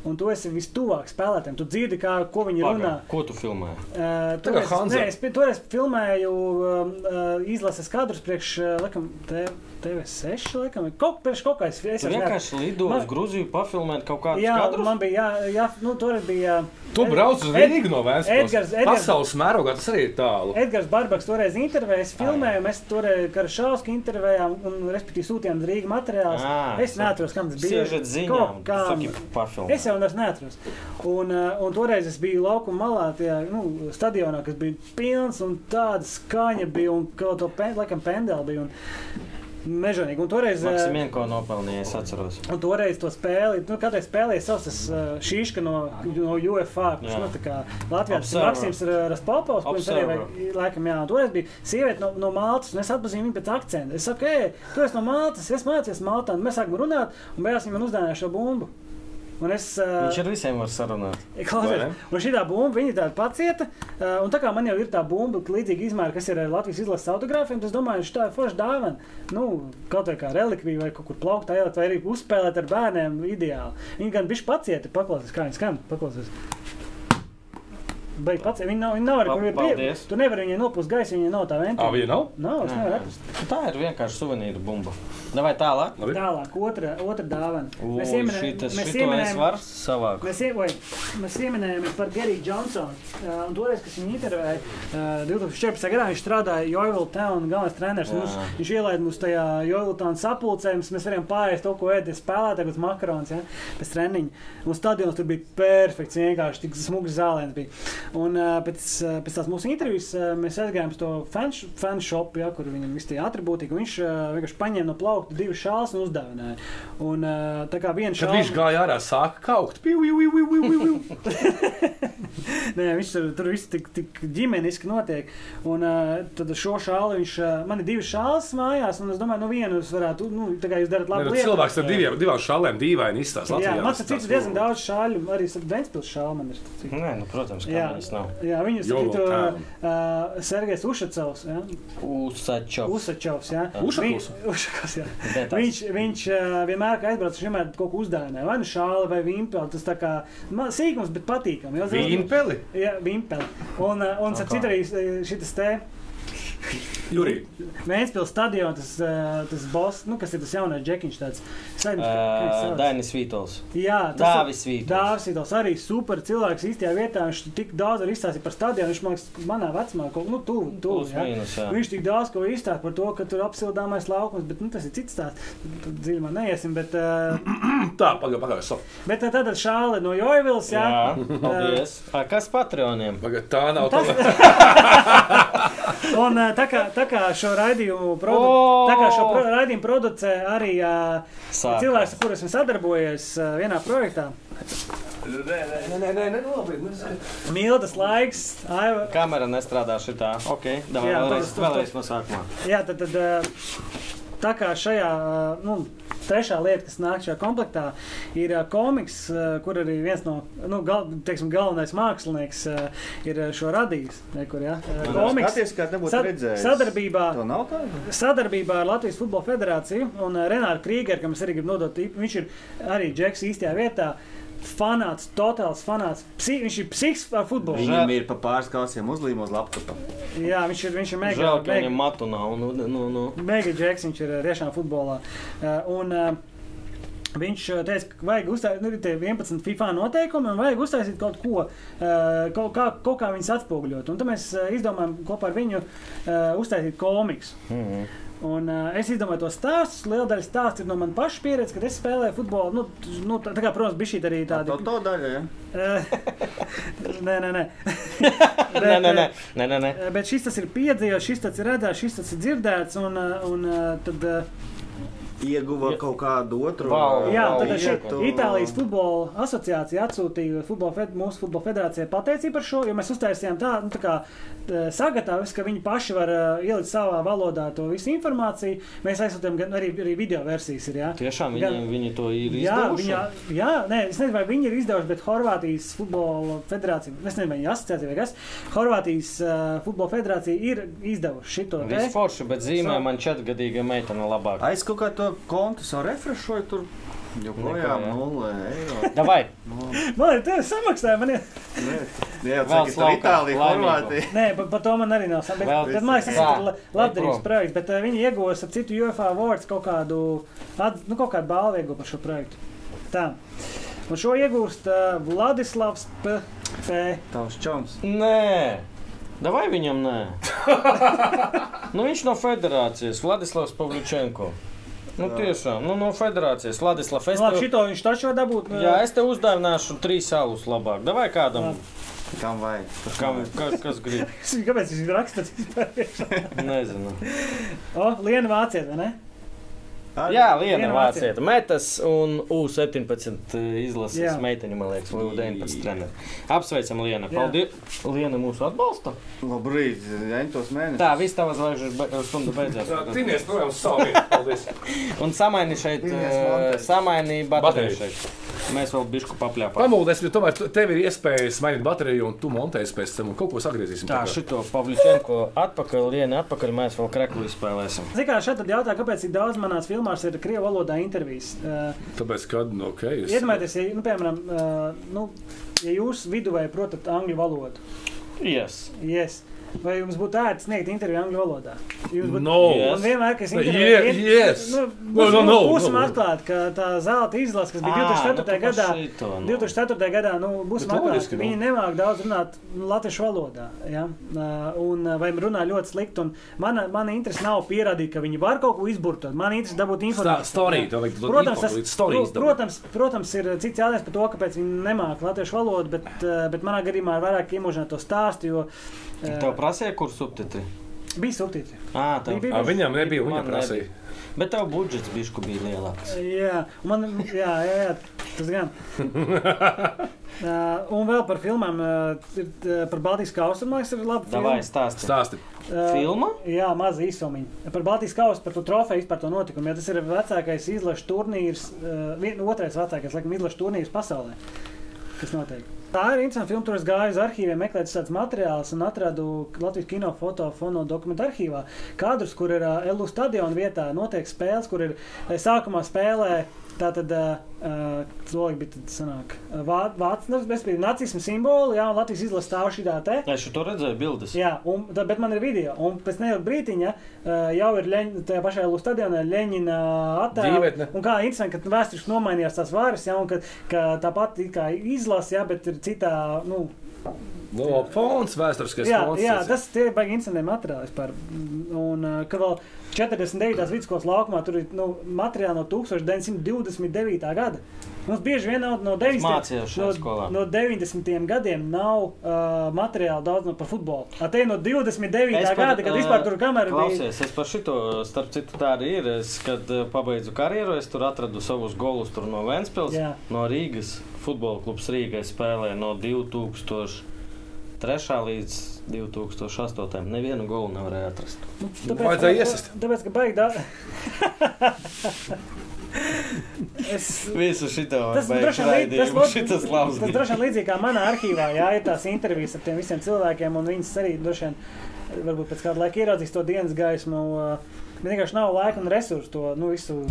[SPEAKER 1] un tu esi vistuvāk spēlētājiem. Tu dzirdi, kā, ko viņi Paga. runā.
[SPEAKER 2] Pagaid, Ko tu filmēji?
[SPEAKER 1] Uh,
[SPEAKER 3] Tā kā
[SPEAKER 1] toreiz,
[SPEAKER 3] Hanza.
[SPEAKER 1] nē, es pi- toreiz filmēju um, uh, izlases kadrus priekš uh, laikam, te- TV6. Laikam, kaut, priekš kaut kā es es
[SPEAKER 2] Tu
[SPEAKER 1] vairs neatceros.
[SPEAKER 2] vienkārši lido uz
[SPEAKER 1] Man-
[SPEAKER 2] Grūziju, papilmēt kaut kādu
[SPEAKER 1] Jā,
[SPEAKER 2] skatu.
[SPEAKER 1] man bija, jā, jā nu, toreiz bija.
[SPEAKER 3] Tu
[SPEAKER 1] Ed-
[SPEAKER 3] brauc uz
[SPEAKER 1] Ed-
[SPEAKER 3] Rīgu no
[SPEAKER 1] Edgars-
[SPEAKER 3] Vēstures.
[SPEAKER 1] Edgars-
[SPEAKER 3] Pasaules mērogā tas arī ir tālu.
[SPEAKER 1] Edgars Barbaks toreiz intervēja, es filmēju, mēs toreiz Karašausku intervējām, un respektīvi sūtījām Rīgas materiālus.
[SPEAKER 2] Ā,
[SPEAKER 1] Es neatceros, kam tas bija.
[SPEAKER 2] Siežat
[SPEAKER 1] Kaut
[SPEAKER 2] ziņām, kā
[SPEAKER 1] kam.
[SPEAKER 2] papilmēt.
[SPEAKER 1] Es jau nesu neatceros. Un, uh, un toreiz es biju laukuma malā, tajā nu, stadionā, kas bija pilns un tāda skaņa bija, un kaut to pen, laikam pendeli bija. Un mežonīgi. Un toreiz, eh,
[SPEAKER 2] Maksimienko nopelnīju, es atceros.
[SPEAKER 1] un toreiz to spēli, nu, katrai spēlēja savs tas eh, šīška no, no UFA, kurš,
[SPEAKER 2] Jā.
[SPEAKER 1] nu, tā kā Latvijā tas ir
[SPEAKER 2] Observer.
[SPEAKER 1] Maksims eh, Raspopovs, kurš arī,
[SPEAKER 2] Observer.
[SPEAKER 1] vajag- laikam, jā. Un toreiz bija sieviete no, no Maltas, un es atpazīju viņu pēc akcentu. Es saku, ej, tu esi no Maltas, es mācījos Maltā, un mēs sākam runāt, un beigās viņa man uzdāvināja šo bumbu. Un es, eh,
[SPEAKER 2] Viņš ar visiem var sarunāt.
[SPEAKER 3] Vai
[SPEAKER 1] Klausies,
[SPEAKER 3] ne?
[SPEAKER 1] un šī tā bumba, viņa tāda pacieta. ā, Un tā kā man jau ir tā bumba, ka līdzīga izmēra, kas ir ā, Latvijas izlases autogrāfiem, tad es domāju, šī ir forša dāvana. Nu, kaut vai kā relikvija, vai kaut kur plaukt, ielikt, vai arī uzspēlēt ar bērniem ideāli. Viņi gan bišķi pacieti, paklausās, kā viņi skan. Paklausās. Beig pacieti, viņi nav, viņi nav arī kur viņi ir.
[SPEAKER 2] Paldies.
[SPEAKER 1] pie- Tu nevari viņai nopūst gaisu, viņai nav tā
[SPEAKER 3] Ā,
[SPEAKER 1] ventilācija.
[SPEAKER 3] viņa nav?
[SPEAKER 1] Nav, es
[SPEAKER 2] Nē,
[SPEAKER 1] nevaru
[SPEAKER 2] nē.
[SPEAKER 1] atrast.
[SPEAKER 2] Tā ir vienkārši suvenīra bumba. Vai tālāk?
[SPEAKER 3] Labi.
[SPEAKER 1] Tālāk, otra, otra dāvana.
[SPEAKER 2] Oi,
[SPEAKER 1] Mēs ieminējam-
[SPEAKER 2] šitas-
[SPEAKER 1] mēs
[SPEAKER 2] šito es
[SPEAKER 1] ieminējam-
[SPEAKER 2] varu savākt.
[SPEAKER 1] Mēs, ie- vai, mēs pieminējām par Geriju Johnsonu. Uh, un toreiz, kad viņu intervēja uh, 2014. gadā, viņš strādāja Joyville Town galvenais treneris. Mums, viņš ielaida mums tajā Joyville Town sapulcē, mums- mēs varējām pārēst to, ko ēdīs spēlētāji, bet makarons ja, pēc treniņa. Un stadions tur bija perfekts, vienkārši tik smūgs zālēns bija. Un uh, pēc, uh, pēc tās mūsu intervijas uh, mēs aizgājām uz to fanš- fan shop, ja, kur viņam viss tie atribūti, ka viņš uh, vienkārši paņēma no plaukta divas šāles un uzdāvināja. Un uh, tā kā viena
[SPEAKER 3] Kad viņš gāja ārā, sāka kaut kā.
[SPEAKER 1] Nē, viņš tur, tur viss tik, tik ģimeniski notiek. Un uh, tad šo šālu viņš, uh, man ir divi šāls mājās, un es domāju, nu vienu jūs varētu, nu, tā kā jūs darat labu lietu.
[SPEAKER 3] Cilvēks ar diviem, divām šālēm dīvaini izstāsta.
[SPEAKER 1] Jā,
[SPEAKER 3] Latvijā
[SPEAKER 1] man
[SPEAKER 3] tas
[SPEAKER 1] tas cits
[SPEAKER 3] tāds, Mm,
[SPEAKER 1] diezgan daudz šāļu, arī Ventspils šālu man ir. cik-
[SPEAKER 2] Nē, nu, protams, kā
[SPEAKER 1] Jā.
[SPEAKER 2] viņas nav.
[SPEAKER 1] Jā, viņu
[SPEAKER 3] Jolo
[SPEAKER 1] citu
[SPEAKER 3] Town.
[SPEAKER 1] uh, Sergejs Ušacovs, ja?
[SPEAKER 2] Usačovs.
[SPEAKER 1] Usačovs, jā.
[SPEAKER 3] Ušakovs?
[SPEAKER 1] Vi- Ušakovs, jā.
[SPEAKER 2] Detāls.
[SPEAKER 1] Viņš, viņš uh, vienmēr, kad aizbrauc, viņš vienmēr kaut ko uzdāvināja. Vai nu šāli, vai vimpeli, tas tā kā man, sīkums, bet patīkami. jo-
[SPEAKER 3] Vīnpeli?
[SPEAKER 1] Jā, vimpeli. Un, uh, un starp citu arī uh, šitas te.
[SPEAKER 3] Jurī,
[SPEAKER 1] Mēnesnes stadionā tas, uh, tas boss, nu, kas ir tas jaunais džekiņš, tāds -
[SPEAKER 2] Eh,
[SPEAKER 1] Dainis.
[SPEAKER 2] Dainis Vītols.
[SPEAKER 1] Jā,
[SPEAKER 2] Dāvis Vītols.
[SPEAKER 1] Dāvis Vītols arī super cilvēks īstajā vietā. Viņš tik daudz arī izstāstīja par stadionu. Viņš man liekas, manā vecumā kaut nu, tuvu, tuvu,
[SPEAKER 2] Plus
[SPEAKER 1] jā.
[SPEAKER 2] mīnus, jā.
[SPEAKER 1] Viņš tik daudz ko izstāsta par to, ka tur apsildāmais laukums, bet nu, tas ir cits stāsts. Tur dziļumā neiesim, bet, uh,
[SPEAKER 3] tā, pagaidi, pagaidi.
[SPEAKER 1] bet tā tad šāle no Joivils, jā.
[SPEAKER 2] Jā, paldies. A, Kas Patreoniem?
[SPEAKER 3] Pagaid, tā nav tā līnija.
[SPEAKER 1] Un eh, tā kā, tā kā šo raidījumu, produ
[SPEAKER 2] O!
[SPEAKER 1] tā kā šo pro raidījumu producē arī eh,
[SPEAKER 2] Sākas.
[SPEAKER 1] cilvēks, ar kuriem esmu sadarbojies eh, vienā projektā.
[SPEAKER 3] Nē, nē, nē, nē, labi. nu,
[SPEAKER 1] Mīlētas laiks, Aiva.
[SPEAKER 2] Kamera nestrādā šitā. Ok, davai
[SPEAKER 1] Jā,
[SPEAKER 2] vēlreiz,
[SPEAKER 1] tas- tas-
[SPEAKER 2] vēlreiz no sākumā.
[SPEAKER 1] Jā, tad, tad eh, tā kā šajā. eh, Nu, Trešā lieta, kas nāk šajā komplektā, ir eh, komiks, eh, kur arī viens no nu, gal, teiksim, galvenais mākslinieks eh, ir eh, šo radījis. Ne, kur, ja? Eh,
[SPEAKER 3] Nu,
[SPEAKER 1] Komiks
[SPEAKER 4] Skaties, kā te būtu
[SPEAKER 1] Sad-
[SPEAKER 4] redzējis.
[SPEAKER 1] sadarbībā-
[SPEAKER 4] To nav tā?
[SPEAKER 1] sadarbībā ar Latvijas Futbola eh, Federāciju un Renāru Krīgeru, kam es arī gribu nodot, īpa- viņš ir arī džeks īstajā vietā. fanāts, totāls fanāts. Psi, viņš ir psiks par futbolu.
[SPEAKER 2] Žēl.
[SPEAKER 4] Viņam ir pa pāris kausiem uzlīmos laptopā.
[SPEAKER 1] Jā, viņš ir, viņš ir mega.
[SPEAKER 2] Žēl, ka
[SPEAKER 1] mega-
[SPEAKER 2] viņam matu nav. Nu, nu, nu.
[SPEAKER 1] Mega džeks, viņš ir eh, tiešām futbolā. Eh, Un, eh, Viņš eh, teica, ka vajag uztaisīt, nu, ir tie 11 FIFA noteikumi, un vajag uztaisīt kaut ko, eh, kaut kā, kaut kā viņas atspoguļot. Un tad mēs eh, izdomājām kopā ar viņu eh, uztaisīt komiksu.
[SPEAKER 2] Mhm.
[SPEAKER 1] Un, uh, es izdomāju to stāstu. Liela daļa stāsta ir no manas pašas pieredzes, kad es spēlēju futbolu. Nu, t- nu, tā, tā kā, protams, bija šī arī tāda.
[SPEAKER 4] To, to daļa, ja?
[SPEAKER 1] Eh, nē, nē, nē. Bet,
[SPEAKER 2] Nē, nē, nē.
[SPEAKER 1] eh,
[SPEAKER 2] nē, nē, nē.
[SPEAKER 1] Bet šis tas ir piedzīvots, šis tas ir redzēts, šis tas ir dzirdēts. Un, eh, un eh, tad, eh,
[SPEAKER 4] Ieguva kaut kādu otru. eh,
[SPEAKER 2] Vau.
[SPEAKER 1] jā,
[SPEAKER 2] Vau,
[SPEAKER 1] tad
[SPEAKER 2] jā,
[SPEAKER 1] šeit
[SPEAKER 2] tu-
[SPEAKER 1] Itālijas futbola asociācija atsūtīja futbola fed, mūsu futbola federācijai pateicību par šo, jo mēs uztaisījām tādu nu, tā kā, eh, sagatavus, ka viņi paši var eh, ielikt savā valodā to visu informāciju. Mēs aizsūtām gan arī, arī video versijas. Ir, jā.
[SPEAKER 2] Tiešām
[SPEAKER 1] Gan-
[SPEAKER 2] viņi, viņi to ir
[SPEAKER 1] Jā,
[SPEAKER 2] izdarījuši.
[SPEAKER 1] viņa, jā nē, es nezinu, vai viņi ir izdevuši, bet Horvātijas futbola federācija, es nezinu, vai viņi asociācija vai kas, Horvātijas uh, futbola federācija ir izdevuši šito te.
[SPEAKER 2] Viss forši, bet zīmē
[SPEAKER 1] Sa-
[SPEAKER 2] man četrgadīga meitene labāk.
[SPEAKER 4] Aiz kaut kā to kontu savu refrešoju tur. Joprojām
[SPEAKER 2] Nekā, jā.
[SPEAKER 4] 0 eiro.
[SPEAKER 2] Davai,
[SPEAKER 1] Man ir tevis samaksāja, man ir.
[SPEAKER 4] Nē, Jā,
[SPEAKER 2] Vēl
[SPEAKER 4] tas ir
[SPEAKER 2] slaukā,
[SPEAKER 4] Itālija,
[SPEAKER 2] laimīgo.
[SPEAKER 4] Horvātija.
[SPEAKER 1] Nē, par pa to man arī nav
[SPEAKER 2] Vēl-
[SPEAKER 1] samaksāja. Tad man liekas, tas
[SPEAKER 2] Jā,
[SPEAKER 1] ir la-
[SPEAKER 2] lai
[SPEAKER 1] labdarības
[SPEAKER 2] prom.
[SPEAKER 1] projekts, bet uh, viņi iegūs ar citu UFO awards kaut kādu, at, nu, kaut kādu balvu iegūst par šo projektu. Tā. Un šo iegūst uh, Vladislavs P. P.
[SPEAKER 4] Tavs čoms.
[SPEAKER 2] nē, davai viņam nē. nu, viņš no federācijas, Vladislavs Pavličenko. Nu, tiešām, nu, no federācijas, Vladislavs. Es
[SPEAKER 1] Nu, Labi,
[SPEAKER 2] tev,
[SPEAKER 1] šito viņš taču var dabūt. nu,
[SPEAKER 2] jā, es tev uzdāvināšu trīs savus labāk. Davai kādam,
[SPEAKER 4] Kam vajag?
[SPEAKER 2] kam, ka, kas grib.
[SPEAKER 1] Kāpēc viņš raksta?
[SPEAKER 2] Nezinu.
[SPEAKER 1] O, Lienu vāciet, vai ne?
[SPEAKER 2] Jā, Liena
[SPEAKER 1] Liena
[SPEAKER 2] Vācieta metas un U17 izlases
[SPEAKER 1] Jā.
[SPEAKER 2] meiteņa, man liekas, vai U19 treneris. Apsveicam Lienu. Paldies! Liena mūsu atbalsta.
[SPEAKER 4] Labrīt, Entos mēnesis.
[SPEAKER 2] Tā, viss tavas zvaigžņu stundu beidzās.
[SPEAKER 3] Tinies, protams, savu vietu. Paldies.
[SPEAKER 2] Un samaini šeit, eh, samaini bateriju šeit. Mēs vēl bišku papļāpām.
[SPEAKER 3] Pamūlies, jo tomēr tu- tev ir iespēja smainīt bateriju, un tu montēsi pēc tam un kaut ko sagriezīsim.
[SPEAKER 2] Tā, šito Pavličenko atpakaļ, Liena atpakaļ, mēs vēl kreklu izspēlēsim.
[SPEAKER 1] Ziniet, kā šeit tad jautā, kāpēc tik daudz manās filmās ir krievu valodā intervijas? Uh,
[SPEAKER 3] Tāpēc, kad, nu, ok, es...
[SPEAKER 1] Iedomājieties, ja, nu, piemēram, uh, nu, ja jūs viduvēji protat angļu valodu,
[SPEAKER 2] Yes.
[SPEAKER 1] yes, vai jums būtu ērti sniegt interviju angļu valodā? Jums būtu
[SPEAKER 3] No.
[SPEAKER 2] Jā.
[SPEAKER 1] Un vienmēr, kas
[SPEAKER 3] Yes.
[SPEAKER 1] intervijā-
[SPEAKER 3] Yeah, yes.
[SPEAKER 1] Nu,
[SPEAKER 3] No,
[SPEAKER 1] būs-
[SPEAKER 3] no, no,
[SPEAKER 1] būs- Būsim
[SPEAKER 3] no. Ah, nu,
[SPEAKER 1] atklāti, ka tā zelta izlase, kas bija 2004.
[SPEAKER 2] Ah, nu,
[SPEAKER 1] gadā, 2004. gadā, nu, būsim
[SPEAKER 3] Bet
[SPEAKER 1] atklāti,
[SPEAKER 3] loģiski,
[SPEAKER 1] ka
[SPEAKER 3] nu.
[SPEAKER 1] viņi nemāk daudz runāt nu, latviešu valodā. Ja? Ā, Un, ā, vai runā ļoti slikti. un Mana, mana interese nav pierādīt, ka viņi var kaut ko izburtot. Man interese dabūt
[SPEAKER 3] Stā,
[SPEAKER 1] informāciju.
[SPEAKER 3] storija, tev vajag
[SPEAKER 1] Protams, tas,
[SPEAKER 3] storijas.
[SPEAKER 1] pro- protams, protams, ir cits jautājums par to, kāpēc viņi nemāca latviešu valodu, bet, ā, bet manā gadījumā ir vairāk iemūžināto stāstu, jo ā,
[SPEAKER 2] Tev prasīja, kur subtitri?
[SPEAKER 1] bija subtitri.
[SPEAKER 2] Ā, tev.
[SPEAKER 1] Bija- bija-
[SPEAKER 3] Ar viņam nebija,
[SPEAKER 2] Man
[SPEAKER 3] viņam prasīja.
[SPEAKER 2] nebija. Bet tev budžets bišku bija lielāks.
[SPEAKER 1] Jā, un man, jā, jā, jā, tas gan. Uh, un vēl par filmām. Uh, ir, uh, par Baltijas kausu man liekas, ir Eh, labi.
[SPEAKER 2] Davai, stāsti.
[SPEAKER 3] Stāsti.
[SPEAKER 2] Filma?
[SPEAKER 1] Jā, maza īsumiņa. Par Baltijas kausu, par to trofeju, par to notikumu. Jā, tas ir vecākais izlašu turnīrs, uh, vien, otrais vecākais laikam, izlašu turnīrs pasaulē. Kas notiek? Tā ir interesanta filma. Tur es gāju uz arhīviem, meklēju tādu materiālu un atradu Latvijas kino fotofono dokumentu arhīvā kadrus, kur ir uh, Elu stadiona vietā notiek spēles, kur ir eh, sākumā spēlē. Tā tad logs bija eh, tāds - vārds, kas bija nacisma simbols, jā, un Latvijas izlase stāv šī tā.
[SPEAKER 2] Es šo to redzēju, bildes.
[SPEAKER 1] Jā, un, tā, bet man ir video, un pēc neilga brīdiņa uh, jau ir Leņ, tajā pašā Lūska stadionā Leņķina attēlā.
[SPEAKER 3] Dzīvetne.
[SPEAKER 1] Un kā interesanti, ka vēsturiski nomainījās tās vāras, ja, un ka, ka tāpat it kā izlasa, ja, bet ir citā. Nu,
[SPEAKER 3] No, fons, vēsturiskais
[SPEAKER 1] jā,
[SPEAKER 3] fons.
[SPEAKER 1] jā,
[SPEAKER 3] tas-
[SPEAKER 1] tas tie ir baigi interesanti materiāli vispār. Un uh, ka vēl 49. vidusskolas laukumā tur ir nu, materiāli no 1929. gada. Mums bieži vien nav no 90.
[SPEAKER 2] mācījos šajā
[SPEAKER 1] No,
[SPEAKER 2] skolā.
[SPEAKER 1] no 90. gadiem nav uh, materiāla daudz no par futbolu. A, Te ir no 29.
[SPEAKER 2] Es par,
[SPEAKER 1] gada, kad
[SPEAKER 2] eh,
[SPEAKER 1] vispār tur kamera bija.
[SPEAKER 2] Klausies, es par šito, starp citu, tā arī ir. Es, kad eh, pabeidzu karjeru, es tur atradu savus golus tur no Vēnspils,
[SPEAKER 1] Jā.
[SPEAKER 2] no Rīgas. Futbola klubs Rīgai spēlē no 2003. līdz 2008. Nevienu golu nevarēja atrast.
[SPEAKER 3] Vajadzēja
[SPEAKER 1] ka-
[SPEAKER 3] iesist.
[SPEAKER 1] Tāpēc, ka baigi daudz. es,
[SPEAKER 2] Visu šito
[SPEAKER 1] Tas droši vien līdz- tas
[SPEAKER 2] raidījumu
[SPEAKER 1] būtu-
[SPEAKER 2] šitas labs.
[SPEAKER 1] tas droši vien līdzīgi kā manā arhīvā, jā, ir tās intervijas ar tiem visiem cilvēkiem, un viņas arī droši vien varbūt pēc kāda laika ieraudzīs to dienas gaismu. uh, Bet vienkārši nav laika un resursu to nu, visu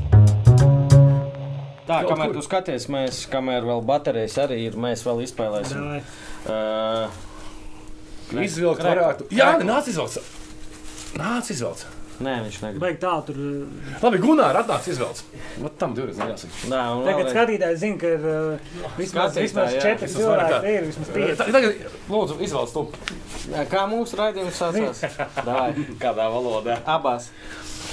[SPEAKER 2] Tā,
[SPEAKER 3] Kaut
[SPEAKER 2] kamēr tu
[SPEAKER 3] kur.
[SPEAKER 2] skaties, mēs, kamēr vēl baterijas arī ir, mēs vēl izspēlēsim.
[SPEAKER 1] Davai.
[SPEAKER 2] Uh, Krek-
[SPEAKER 3] Izvilkt
[SPEAKER 2] krek-
[SPEAKER 3] varētu. Jā,
[SPEAKER 2] krek-
[SPEAKER 3] nāc izvelc. Nāc izvelc.
[SPEAKER 2] nē, viņš negrib.
[SPEAKER 1] Baigi tā, tur. uh,
[SPEAKER 3] Labi, Gunār, atnāc izvelc. Vat tam divreiz jāsaka.
[SPEAKER 2] Nē, un
[SPEAKER 1] Tagad
[SPEAKER 2] vēlreiz-
[SPEAKER 1] skatītājs zina, ka ir uh, vismaz,
[SPEAKER 2] Skatītāji,
[SPEAKER 1] vismaz
[SPEAKER 2] jā.
[SPEAKER 1] četri
[SPEAKER 3] Vismaz vairāk
[SPEAKER 1] cilvēki,
[SPEAKER 3] tā.
[SPEAKER 1] ir vismaz
[SPEAKER 3] Eh,
[SPEAKER 1] pieci.
[SPEAKER 3] Tagad, tagad, lūdzu, izvelc to.
[SPEAKER 2] Kā mūsu raidījums sākās?
[SPEAKER 6] Kādā valodā?
[SPEAKER 2] Abās.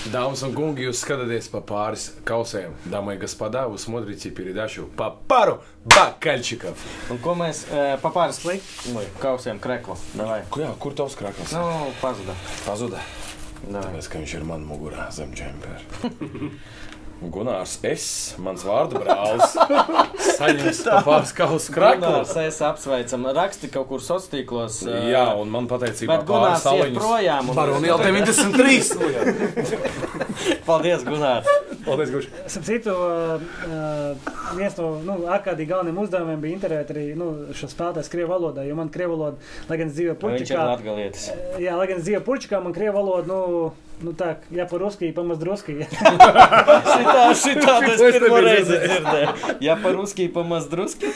[SPEAKER 7] Dāmas un kungi, jūs skatāties pa pāris kausēm. Dāmas un господа, вы смотрите передачу по пару бокальчиков.
[SPEAKER 2] Un ko mēs eh, pa pāris slikti kausiem kreklu? Davai.
[SPEAKER 7] К- Jā, kur tavs krāklis?
[SPEAKER 2] Nu, pazuda.
[SPEAKER 7] Pazuda.
[SPEAKER 2] Davai.
[SPEAKER 7] Tāpēc, ka viņš ir man mugurā zem džempera. Gunārs, es, mans vārdu brālis, saņems pa pāris kausu
[SPEAKER 2] Gunārs,
[SPEAKER 7] krāklus.
[SPEAKER 2] es apsveicam. Raksti kaut kur sociālos tīklos. eh,
[SPEAKER 7] Jā, un man pateicība
[SPEAKER 2] Bet Gunārs ir projām. un-
[SPEAKER 7] Baroni jau 93!
[SPEAKER 2] Paldies, Gunārs.
[SPEAKER 3] Paldies, Guš.
[SPEAKER 1] Starp citu, uh, uh, viens no nu, ārkārtīgi galvenajiem uzdevumiem bija intervēt arī nu, šo spēlētāju krievu valodā, jo man krievu valoda, lai gan es dzīvoju
[SPEAKER 2] Viņš ir
[SPEAKER 1] Puķikā,
[SPEAKER 2] latgalietis.
[SPEAKER 1] jā, lai gan es dzīvoju Puķikā, man krievu valoda, nu, nu tā, ja par ruskiju, pamaz druskiju.
[SPEAKER 2] Šitā, šitā es
[SPEAKER 3] es
[SPEAKER 2] pirmo
[SPEAKER 3] nebiju
[SPEAKER 2] reizi dzirdēju. Ja par ruskiju pamaz druski.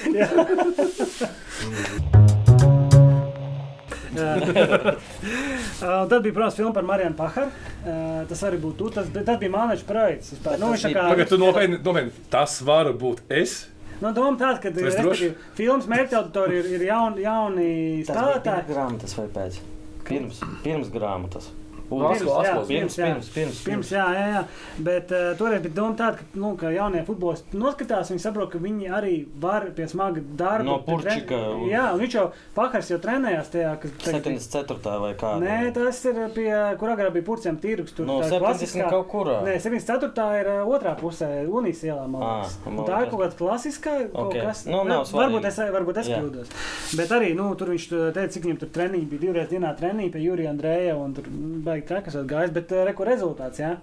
[SPEAKER 1] Uh, tad bija, protams, filma par Marianu Pakaru. Uh, tas arī būtu tu. Tas, bet tas bija māneša projekts. vispār.
[SPEAKER 2] Bet
[SPEAKER 1] Nu,
[SPEAKER 2] tas
[SPEAKER 1] viņš tā
[SPEAKER 2] bija-
[SPEAKER 1] kā-
[SPEAKER 3] Tagad tu nopietni, nopietni. Tas var būt es.
[SPEAKER 1] nu, doma tāda, ka
[SPEAKER 3] esi
[SPEAKER 1] respektīvi, filmas mērķauditorija ir, ir jaun, jauni
[SPEAKER 2] Tas bija
[SPEAKER 1] stāvētāji.
[SPEAKER 2] grāmatas vai pēc? Pirms, pirms grāmatas.
[SPEAKER 1] Pirms, jā,
[SPEAKER 2] pirms, pirms, pirms,
[SPEAKER 1] Pirms, jā, jā, jā. bet uh, toreiz bija doma tāda, ka, nu, ka jaunie futbolisti noskatās, viņi saprot, ka viņi arī var pie smaga darba.
[SPEAKER 2] No
[SPEAKER 1] pie tren-
[SPEAKER 2] Purčika un-
[SPEAKER 1] Jā, un viņš jau pakars jau trenējās tajā, kas tagad-
[SPEAKER 2] 74. vai kā?
[SPEAKER 1] Nē, tas ir pie, kur agrāk bija purcēm tirgus. Tur
[SPEAKER 2] No
[SPEAKER 1] tā
[SPEAKER 2] 70
[SPEAKER 1] klasiskā-
[SPEAKER 2] kaut kurā.
[SPEAKER 1] Nē, 74. ir ā, otrā pusē, Unijas ielā. man
[SPEAKER 2] Ā,
[SPEAKER 1] liekas.
[SPEAKER 2] Ah, man
[SPEAKER 1] Un tā ir
[SPEAKER 2] liekas.
[SPEAKER 1] kaut kāda klasiskā. kaut
[SPEAKER 2] Ok.
[SPEAKER 1] kas-
[SPEAKER 2] Nu, nav svarīgi.
[SPEAKER 1] varbūt es, varbūt es
[SPEAKER 2] Jā.
[SPEAKER 1] kļūdos. Bet arī nu, tur viņš ā, teica, cik viņam tur treniņi bija. Divreiz dienā treniņi pie Jurija Andreja un tur mm, baigi trakas vēl gājis. Bet ā, re, ko rezultāts? Jā?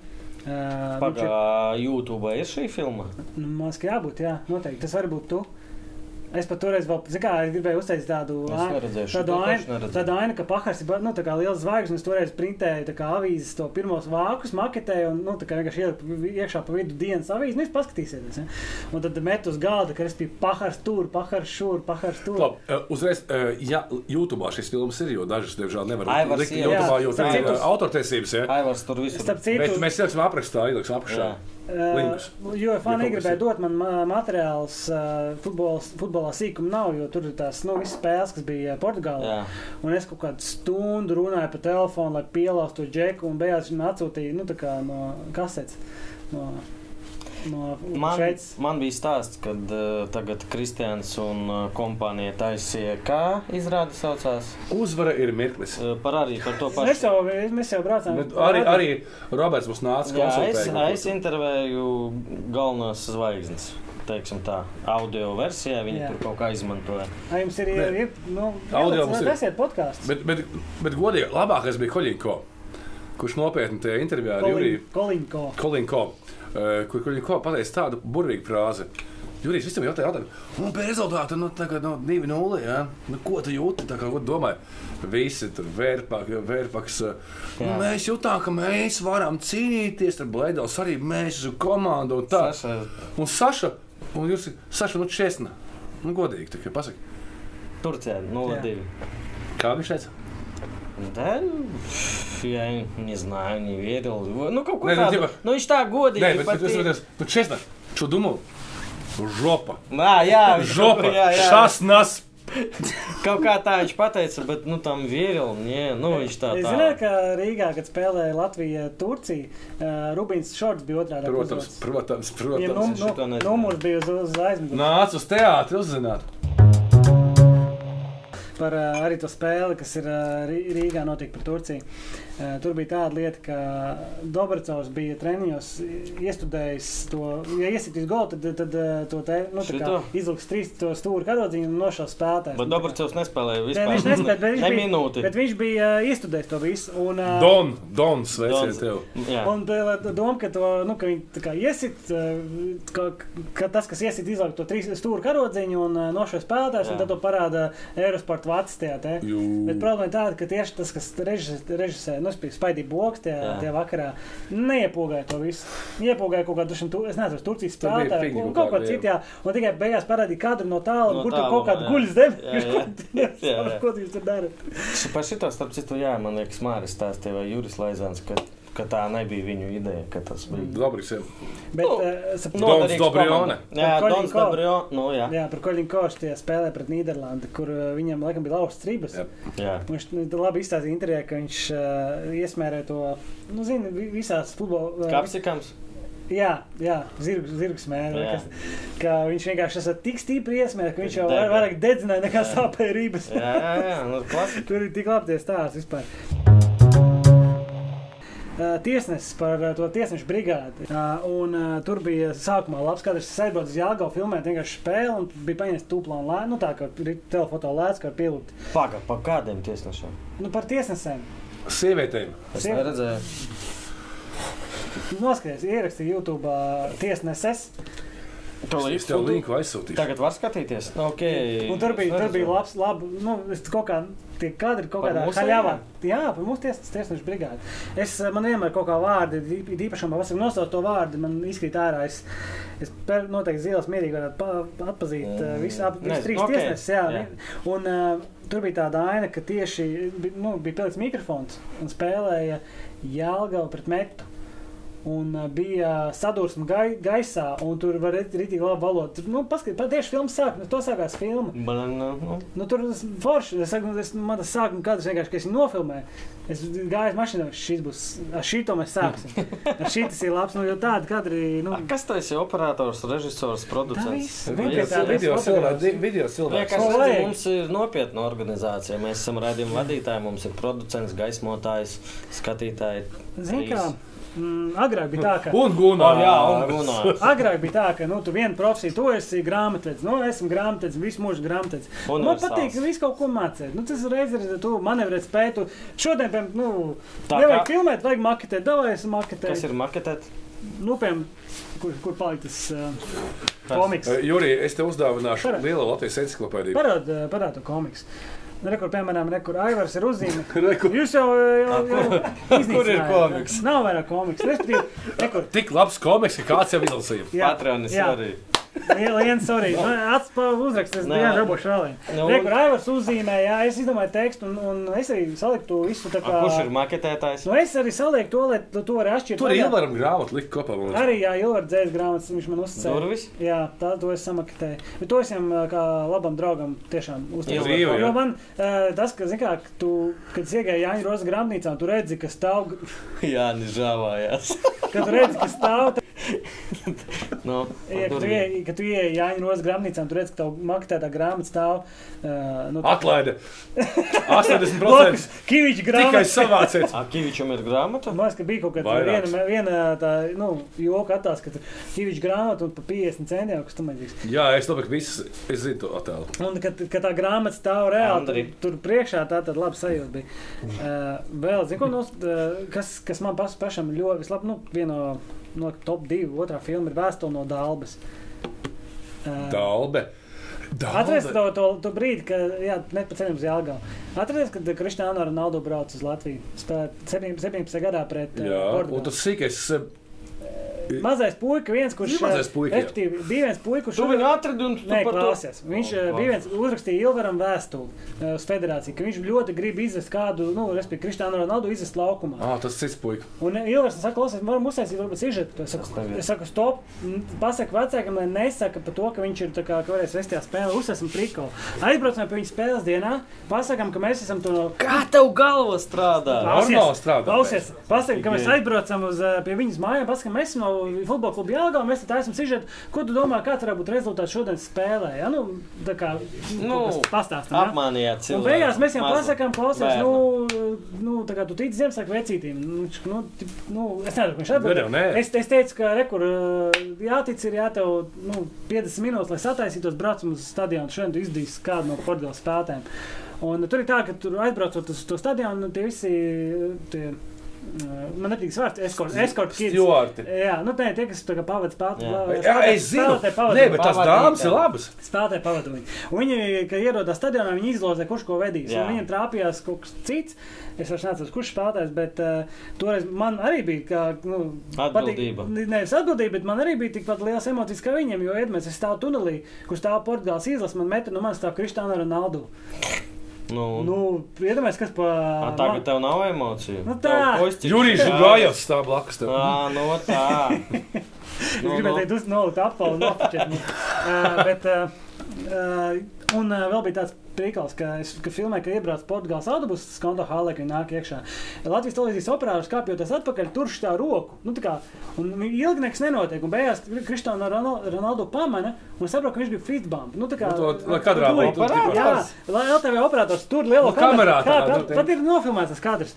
[SPEAKER 1] Uh,
[SPEAKER 2] Pagaidā, YouTube ir šī filma.
[SPEAKER 1] Nu, man liekas, ka jābūt, jā, noteikti. Tas var būt tu. Es pat toreiz vēl, zinu, kā es gribēju uzteikt tādu
[SPEAKER 2] Es
[SPEAKER 1] ainu-
[SPEAKER 2] neredzēju šo,
[SPEAKER 1] tādu
[SPEAKER 2] to pašu
[SPEAKER 1] ainu,
[SPEAKER 2] neredzēju.
[SPEAKER 1] tādu ainu, ka Pakars ir ba- nu, tā kā liels zvaigznes. Es toreiz printēju tā kā avīzes to pirmos vākus, maketēju un nu, tā kā vienkārši ieliku vi- iekšā pa vidu dienas avīzi. Nu, jūs paskatīsieties, ja? Un tad metu uz galda, ka es biju Pakars tur, Pakars šur, Pakars tur.
[SPEAKER 3] Labi, eh, uzreiz, eh, ja YouTube šis filmas ir, jo dažas, diemžēl, nevar
[SPEAKER 2] Aivars
[SPEAKER 3] likt
[SPEAKER 2] ir.
[SPEAKER 3] YouTube,
[SPEAKER 1] Jā,
[SPEAKER 3] jo tur
[SPEAKER 1] starp
[SPEAKER 3] ir
[SPEAKER 1] citu-
[SPEAKER 3] eh, autortiesības. Ja?
[SPEAKER 2] Aivars tur visur.
[SPEAKER 1] Starp
[SPEAKER 3] Bet
[SPEAKER 1] citu, eh,
[SPEAKER 3] mēs ieliksim aprakstā, ieliksim apakšā.
[SPEAKER 2] Jā.
[SPEAKER 3] Links.
[SPEAKER 1] Jo fani
[SPEAKER 3] Ja kaut kas ir.
[SPEAKER 1] gribēja dot man ā, materiālus, ā, futbols, futbolā sīkuma nav, jo tur ir tās nu, visas spēles, kas bija Portugālē.
[SPEAKER 2] Jā.
[SPEAKER 1] Un es kaut kādu stundu runāju pa telefonu, lai pielāstu to džeku, un beigās viņa atsūtīja nu, tā kā no kasetes. No, no
[SPEAKER 2] Man,
[SPEAKER 1] šeit.
[SPEAKER 2] man bija stāsts, kad uh, tagad Kristians un uh, kompānija taisīja, kā izrādi saucās.
[SPEAKER 3] Uzvara ir mirklis.
[SPEAKER 2] Uh, par arī par to
[SPEAKER 1] Mēs
[SPEAKER 2] pašu.
[SPEAKER 1] jau, mēs jau braucām.
[SPEAKER 3] Bet Nu, arī, arī Roberts mums nāca
[SPEAKER 2] Nu, Jā, es, es
[SPEAKER 3] konsultēt.
[SPEAKER 2] intervēju galvenās zvaigznes. Teiksim tā, audio versijā viņi
[SPEAKER 1] Jā.
[SPEAKER 2] tur kaut kā izmantoja.
[SPEAKER 1] Ai, jums ir, ir,
[SPEAKER 3] Nē.
[SPEAKER 1] ir nu,
[SPEAKER 3] Audio
[SPEAKER 1] ieliec,
[SPEAKER 3] mums ir.
[SPEAKER 1] vai Esiet podkāsts.
[SPEAKER 3] Bet, bet, bet godīgi, labākais bija Koļinko, kurš nopietni tajā intervijā ar Juriju
[SPEAKER 1] Kolinko.
[SPEAKER 3] Kolinko, eh, kur Koļinko pateica tādu burvīgu frāzi. Jurijs visam jautāja, jautāja, un pēc rezultāta, nu, tā kā no 2-0, ja? nu, ko tu jūti, tā kā, ko tu domāji? Visi tur vērpāk, vērpaks. eh, Nu,
[SPEAKER 2] Jā.
[SPEAKER 3] mēs jūtām, ka mēs varam cīnīties ar Blaidels, arī mēs esam komanda un tā.
[SPEAKER 2] Saša,
[SPEAKER 3] Un Saša, un jūs, Saša, nu, česna, nu, godīgi, tā kā pasaka.
[SPEAKER 2] Турция 0-2.
[SPEAKER 3] Kā viņš teica?
[SPEAKER 2] Да, пф, я не знаю, не верил. Ну, какой
[SPEAKER 3] Не, ну,
[SPEAKER 2] надо.
[SPEAKER 3] типа-
[SPEAKER 2] Ну, и что, годы.
[SPEAKER 3] Nē,
[SPEAKER 2] и
[SPEAKER 3] bet, bet
[SPEAKER 2] потери.
[SPEAKER 3] es skatos, nu, česna, čo domāju? Žopa,
[SPEAKER 2] Ā, jā, viņš
[SPEAKER 3] žopa,
[SPEAKER 2] kaut kā- jā, jā.
[SPEAKER 3] šasnas.
[SPEAKER 2] Kaut kā tā viņš pateica, bet, nu, tam veril, nē, nu, viņš tā,
[SPEAKER 1] Es
[SPEAKER 2] tā.
[SPEAKER 1] zinu, ka Rīgā, kad spēlēja Latvija, Turcija, ā, Rubins Šorts bija otrā
[SPEAKER 3] Protams, protams,
[SPEAKER 1] Viņam
[SPEAKER 3] protams.
[SPEAKER 1] num,
[SPEAKER 2] šito
[SPEAKER 1] nu,
[SPEAKER 2] nezinu.
[SPEAKER 1] numurs bija uz, uz aizmugures.
[SPEAKER 3] Nāc uz teātri uzzināt.
[SPEAKER 1] Par ā, arī to spēli, kas ir ā, Rī- Rīgā notika par Turciju. Ā, Tur bija tāda lieta, ka Dobracovs bija treniņos iestudējis to, ja iesitīs golu, tad, eh, tad ā, to te, nu, tā kā
[SPEAKER 2] Šito?
[SPEAKER 1] izliks trīs to stūri karodziņu un nošaus spēlētājs.
[SPEAKER 2] Bet Dobrcevs nespēlēja
[SPEAKER 1] Nē,
[SPEAKER 2] vispār.
[SPEAKER 1] viņš nespēja, bet viņš
[SPEAKER 2] ne
[SPEAKER 1] bija-
[SPEAKER 2] minūti.
[SPEAKER 1] Bet viņš bija ā, iestudējis to visu. Un, ā,
[SPEAKER 3] Don, Don,
[SPEAKER 2] Dons.
[SPEAKER 3] sveiciet tev.
[SPEAKER 2] Jā.
[SPEAKER 1] Un tā tā doma, ka, to, nu, ka viņi tā kā iesit, eh, ka, ka tas, kas iesit, izlaiž to trīs stūra karodziņu un nošais eh, spēlētājs, un
[SPEAKER 2] Jā.
[SPEAKER 1] tad to parāda Eurosport ļoti vecs tajā. Te. Bet
[SPEAKER 3] Jū.
[SPEAKER 1] problēma tāda, ka tieši tas, kas režis- režisē, nu, spēļīja boks tajā,
[SPEAKER 2] Jā.
[SPEAKER 1] tajā vakarā, neiepūgāja to visu. Iepūgāja kaut kādu, tu, es nezinu, Turcijas
[SPEAKER 3] Tur bija
[SPEAKER 1] spēlētāju,
[SPEAKER 3] fiņi
[SPEAKER 1] kaut,
[SPEAKER 3] kaut
[SPEAKER 1] kaut ko
[SPEAKER 3] kādi, jā.
[SPEAKER 1] citu, jā. un tikai beigās parādīja kadru no tālu,
[SPEAKER 2] No
[SPEAKER 1] no kur tur
[SPEAKER 2] tāluma,
[SPEAKER 1] kaut kāda
[SPEAKER 2] jā.
[SPEAKER 1] guļas deva.
[SPEAKER 2] Jā,
[SPEAKER 1] Viņš
[SPEAKER 2] jā.
[SPEAKER 1] kaut kāds-
[SPEAKER 2] Jā, jā.
[SPEAKER 1] Ko viņš tur dara?
[SPEAKER 2] Ši- Par šito starp citu, jā, man liekas, Māris stāstīja, vai Juris Laizāns, ka, ka tā nebija viņu ideja, ka tas bija.
[SPEAKER 3] Dobris, jā.
[SPEAKER 1] Bet,
[SPEAKER 2] Nu,
[SPEAKER 1] eh, sap-
[SPEAKER 3] nu. Dons
[SPEAKER 2] Noderīgs
[SPEAKER 3] Dobrione.
[SPEAKER 2] komanda. Jā,
[SPEAKER 1] Par Colin
[SPEAKER 2] Dons
[SPEAKER 1] Cole.
[SPEAKER 2] Dobrione. Nu, jā,
[SPEAKER 1] Jā, par Koļinu Košu tie spēlē pret Nīderlandi, kur eh, viņam laikam bija lauzts strības.
[SPEAKER 3] Jā.
[SPEAKER 2] jā.
[SPEAKER 1] Viņš nu, labi izstāstīja intervijā, ka viņš uh, iesmērē to, nu, zina, vi- visās futbola. eh,
[SPEAKER 2] Kapsikams.
[SPEAKER 1] Jā, jā zirgs, zirgs
[SPEAKER 2] Jā.
[SPEAKER 1] mērķis. Viņš vienkārši ir tik stipri iesmērķis, ka viņš jau
[SPEAKER 2] Dega.
[SPEAKER 1] var- vairāk dedzināja nekā
[SPEAKER 2] Jā.
[SPEAKER 1] sāpēja rības.
[SPEAKER 2] Jā, jā, jā. Nu, klasi.
[SPEAKER 1] Tur ir tik labi tie stāsti vispār. Uh, tiesnesis par uh, to tiesnešu brigādi. Uh, un, uh, tur bija sākumā labs skatījums, kas aizbrauca uz Jāgaunu, filmēja vienkārši spēli un bija paņēmis tuplā un lēnu. Nu, tā kā ir telefonā lēts, kā pielūgt.
[SPEAKER 2] Paga, pa kādiem tiesnešiem?
[SPEAKER 1] Nu, par tiesnesēm.
[SPEAKER 3] Sievietēm.
[SPEAKER 2] Es
[SPEAKER 1] Sievi-
[SPEAKER 2] neredzēju.
[SPEAKER 1] Noskaties, ierakstīju YouTube uh, tiesneses.
[SPEAKER 2] To
[SPEAKER 3] Es tev
[SPEAKER 2] līdzi.
[SPEAKER 3] linku aizsūtīšu.
[SPEAKER 2] Tagad var skatīties. Nu, Ok.
[SPEAKER 1] Un tur bija,
[SPEAKER 2] Es
[SPEAKER 1] tur bija
[SPEAKER 2] neredzēju.
[SPEAKER 1] labs, labi. Nu, es kaut kā tie kadri kaut
[SPEAKER 2] Par
[SPEAKER 1] kādā
[SPEAKER 2] mūsu
[SPEAKER 1] haļāvā. Jā, par mūsu tiesas, tiesnešu brigādi. Es, eh, man vienmēr kaut kā vārdi, ir īp- īpašām pavasarī nosaukt to vārdu, man izkrīt ārā. Es, es per, noteikti zilās mierīgi varētu pa, atpazīt
[SPEAKER 2] Jā,
[SPEAKER 1] eh, visu,
[SPEAKER 2] jā.
[SPEAKER 1] ap,
[SPEAKER 2] Nē,
[SPEAKER 1] visu trīs
[SPEAKER 2] Mm, ok,
[SPEAKER 1] okay. tiesneses. Jā.
[SPEAKER 2] jā.
[SPEAKER 1] jā. Un, eh, tur bija tāda aina, ka tieši bi- nu, bija pielikts mikrofons un spēlēja Jālgava pret metu. Un uh, bija sadursme gai, gaisā, un tur var redzēt, arī tādu labu valodu. Tur, Nu, Paskatieties, kā tieši filmas sākumā, to sākās filma.
[SPEAKER 2] Blen, nu, nu.
[SPEAKER 1] Nu, tur tas forši. Es saku, es, man tas sākuma kadrs vienkārši, ka es viņu nofilmēju. Es gāju uz mašīnām, šis būs, ar šito mēs sāksim. Ar šī tas ir labs, nu, jo tādi kadri, nu,
[SPEAKER 2] A, Kas tas ir? Operators, režisors, producents.
[SPEAKER 1] viss.
[SPEAKER 3] Video
[SPEAKER 1] Vienkārši tā
[SPEAKER 2] Viss.
[SPEAKER 1] visi
[SPEAKER 3] video cilvēks.
[SPEAKER 1] fotogrāfi.
[SPEAKER 3] di- Video cilvēks.
[SPEAKER 2] Vienkārši
[SPEAKER 1] Kolēģi.
[SPEAKER 2] redzi, Mums ir nopietna organizācija. Mēs esam raidījuma vadītāji, mums ir producents, gaismotājs, skatītāji.
[SPEAKER 1] zini, kā
[SPEAKER 2] trīs.
[SPEAKER 1] mm, agrāk bija tā, ka.
[SPEAKER 3] Un Gunārs.
[SPEAKER 2] Oh, jā, un Gunārs.
[SPEAKER 1] Agrāk bija tā, ka nu, tu vienu profesiju, tu esi grāmatvedis, nu, esmu grāmatvedis, visu mūžu grāmatvedis. Man
[SPEAKER 2] Universāls.
[SPEAKER 1] patīk, ka visu kaut ko mācīt. Nu, tas reizes ir, tu manevrēt spētu. Šodien, piemēram, nu,
[SPEAKER 2] Tā
[SPEAKER 1] nevajag
[SPEAKER 2] kā-
[SPEAKER 1] filmēt, vajag maketēt, davai es maketēju.
[SPEAKER 2] Kas ir maketēt?
[SPEAKER 1] Nu, piemēram, kur, kur palika tas uh, komiks?
[SPEAKER 3] Eh, Jurij, es tev uzdāvināšu
[SPEAKER 1] Parādi.
[SPEAKER 3] lielu Latvijas encyklopēdiju.
[SPEAKER 1] Parāda eh, parāda to komiksu. Nu, re, Kur, piemēram, re, kur Aivars ir uzzīmējis.
[SPEAKER 3] Reku.
[SPEAKER 1] Jūs jau tādā
[SPEAKER 2] kur ir komiks?
[SPEAKER 1] Nav vairāk komiks. Respektīvi, re, kur,
[SPEAKER 3] Tik labs komiks, ka kāds jau izlasīja.
[SPEAKER 1] jā,
[SPEAKER 2] Patronis
[SPEAKER 1] jā.
[SPEAKER 2] arī.
[SPEAKER 1] Lielais, sorry. Uzrakstīs,
[SPEAKER 2] Nē.
[SPEAKER 1] jā, rabošu vēl.
[SPEAKER 2] Nu,
[SPEAKER 1] Re,
[SPEAKER 2] un-
[SPEAKER 1] kur Aivars uzzīmē, jā, es izdomāju tekstu un, un es arī saliktu visu tā
[SPEAKER 2] A,
[SPEAKER 1] kā.
[SPEAKER 2] Kurš ir maketētājs?
[SPEAKER 1] Nu, es arī salieku to, lai tu to arī atšķirtu.
[SPEAKER 3] Tur Ilvaram grāmatu likt kopā. man liekas.
[SPEAKER 1] Arī, jā, Ilvars dzēs grāmatas, viņš man uzsāca.
[SPEAKER 2] Durvis?
[SPEAKER 1] Jā, tā to es samakatēju. Bet to es viņam ā, kā labam draugam tiešām uzticos.
[SPEAKER 2] Brīvi,
[SPEAKER 3] jā.
[SPEAKER 1] Jo man ā, tas, ka, zini, kā, ka tu, kad es iegāju Jāņa Roza grāmatnīcā, un tu redzi, ka stāv,
[SPEAKER 2] Jā, nu, nežāvājās.
[SPEAKER 1] ka tu redzi, ka stāv, tā,
[SPEAKER 2] Nu,
[SPEAKER 1] ja, ka tu
[SPEAKER 2] durvīm.
[SPEAKER 1] ieej, ka tu ieej Jāņa Roza grāmatnīcā, un tu redzi, ka tev makatētā grāmata stāv. ā, Nu,
[SPEAKER 3] Atlaide. 80%
[SPEAKER 1] blokus Kiviča
[SPEAKER 3] tikai
[SPEAKER 1] grāmata.
[SPEAKER 3] savācēts.
[SPEAKER 2] Akivičam ir grāmata.
[SPEAKER 1] Man liekas, ka bija kaut kāda
[SPEAKER 3] Vairākas.
[SPEAKER 1] viena, viena tā, nu, joka attēls, ka tur Kiviča grāmata un pa 50 centiem, kas tam vajadzīgs.
[SPEAKER 3] Jā, es domāju, ka visas es zinu to attēlu.
[SPEAKER 1] Un, kad, kad tā grāmata stāv reāli,
[SPEAKER 2] Andri.
[SPEAKER 1] tur, tur priekšā tā tad laba sajūta bija. Uh, vēl, zinu, ko nos, uh, kas, kas man pas, pašam ļoti vislabāk, nu, viena no, no top divu, otrā filma ir vēstule no Dālbas. Uh,
[SPEAKER 3] Dalbe.
[SPEAKER 1] Atrast to, to, to brīdi, kad jā, net pa ceļam uz Jālgavu. Atrast, kad Kristiāna Ronaldo brauc uz Latviju. Spēlēt 17, 17 gadā pret eh,
[SPEAKER 3] Jā,
[SPEAKER 1] Portugāli.
[SPEAKER 3] un tas sīkais.
[SPEAKER 1] Mazais puika, viens kurš.
[SPEAKER 3] Ir mazais puika, jā.
[SPEAKER 1] Respektīvi, bija viens puika, kurš.
[SPEAKER 2] Tu viņu atradi un tu
[SPEAKER 1] Nē,
[SPEAKER 2] par to.
[SPEAKER 1] klausies. Viņš oh, bija viens uzrakstīja Ilvaram vēstuli eh, uz federāciju, ka viņš ļoti grib izvest kādu, nu, respektīvi, Kristānu Ronaldu izvest laukumā.
[SPEAKER 3] Ah, tas cits puika.
[SPEAKER 1] Un eh, Ilvars man saka, klausies, varam uzsākt, varbūt izžet. Es
[SPEAKER 2] Tas
[SPEAKER 1] saku,
[SPEAKER 2] tev ir.
[SPEAKER 1] es saku, stop. N- Pasaka vecākam, lai nesaka par to, ka viņš ir tā kā, ka varēs vest tajā spēlē, uzsāksim prikolu. Aizbraucam pie viņa spēles dienā, pasakam, ka mēs esam to no.
[SPEAKER 2] Kā tev galva strādā?
[SPEAKER 1] Klausies,
[SPEAKER 3] Normāli strādā.
[SPEAKER 1] Klausies, pasakiet, ka mēs
[SPEAKER 2] Tikai-
[SPEAKER 1] aizbraucam uz, eh, pie viņas mājām, pasakiet, mēs esam no futbola kluba Jālgā, mēs te taisam sižetu. Ko tu domā, kāds varētu būt rezultāts šodienas spēlē? Ja? Nu, tā kā,
[SPEAKER 2] Nu,
[SPEAKER 1] nu, pastāstām. Ja?
[SPEAKER 2] Apmānījāt
[SPEAKER 1] Un
[SPEAKER 2] cilvēku.
[SPEAKER 1] beigās mēs viņam
[SPEAKER 2] mazu
[SPEAKER 1] pasakām, klausies,
[SPEAKER 2] bērnu.
[SPEAKER 1] nu, nu, tā kā tu tici Ziemassvētku vecītīm. Nu, viņš- nu, tip- nu, es nezinu, kurš
[SPEAKER 3] Nu, jau
[SPEAKER 1] atbildēja.
[SPEAKER 3] nē.
[SPEAKER 1] Es, es teicu, ka, re, kur eh, jātic, ir jātev nu, 50 minūtes, lai sataisītos, braucam uz stadionu, šodien tu izdīs kādu no Portugāles spēlētājiem. Un tur ir tā, ka tur aizbraucot uz to stadionu, nu, tie visi tie Man nepatīk tas vārds, eskorts. Eskorts kids.
[SPEAKER 3] Stjorti.
[SPEAKER 1] Jā, nu tā ir tie, kas tā kā pavadīja pāri.
[SPEAKER 2] Jā.
[SPEAKER 3] Jā, es zinu, nē, bet tās dāmas ir labas.
[SPEAKER 1] Spēlētāji pavadīja. Viņi, kad ierodas stadionā, viņi izlozē, kurš ko vedīs.
[SPEAKER 2] Jā.
[SPEAKER 1] Un Viņiem trāpījās kaut kas cits. Es vairs neatceros, kurš spēlētājs, bet uh, toreiz man arī bija kā, nu,
[SPEAKER 2] Atbildība.
[SPEAKER 1] Patīk, nevis atbildība, bet man arī bija tikpat liels emocijas kā viņiem. Jo Edmunds, es stāvu tunelī, kur stāv Portugāles izlase, man metru no manis stāv Kristāna Ronaldu.
[SPEAKER 2] Nu, nu,
[SPEAKER 1] Nu, iedomājieties, kas pa.
[SPEAKER 2] a, tagad tev nav emociju.
[SPEAKER 1] Nu tā.
[SPEAKER 3] Jurijs Gājovs stāv blakus tev.
[SPEAKER 2] Jā, no nu tā.
[SPEAKER 1] Es gribēju teikt, uzmanīgi, apelsīnu, no apelsīnu. Un uh, vēl bija tāds priekals, ka, es, ka filmē, ka iebrauc Portugāles autobusu, skonto hālē, ka viņi nāk iekšā. Latvijas televīzijas operārs kāpjoties atpakaļ, turš tā roku. Nu, tā kā, un ilgi nekas nenotiek. Un beigās Kristāna Ronaldu pamana un saprot, ka viņš bija fitbump. Nu, tā kā,
[SPEAKER 3] Nu, to- lai kadrā
[SPEAKER 1] Tuvoju.
[SPEAKER 3] būtu, tu
[SPEAKER 1] Jā,
[SPEAKER 3] tipā.
[SPEAKER 1] lai LTV operators tur lielo
[SPEAKER 3] Nu, kamerā
[SPEAKER 1] kā,
[SPEAKER 3] tādā,
[SPEAKER 1] pat,
[SPEAKER 3] nu, tie-
[SPEAKER 1] pat ir nofilmēts tas kadrs.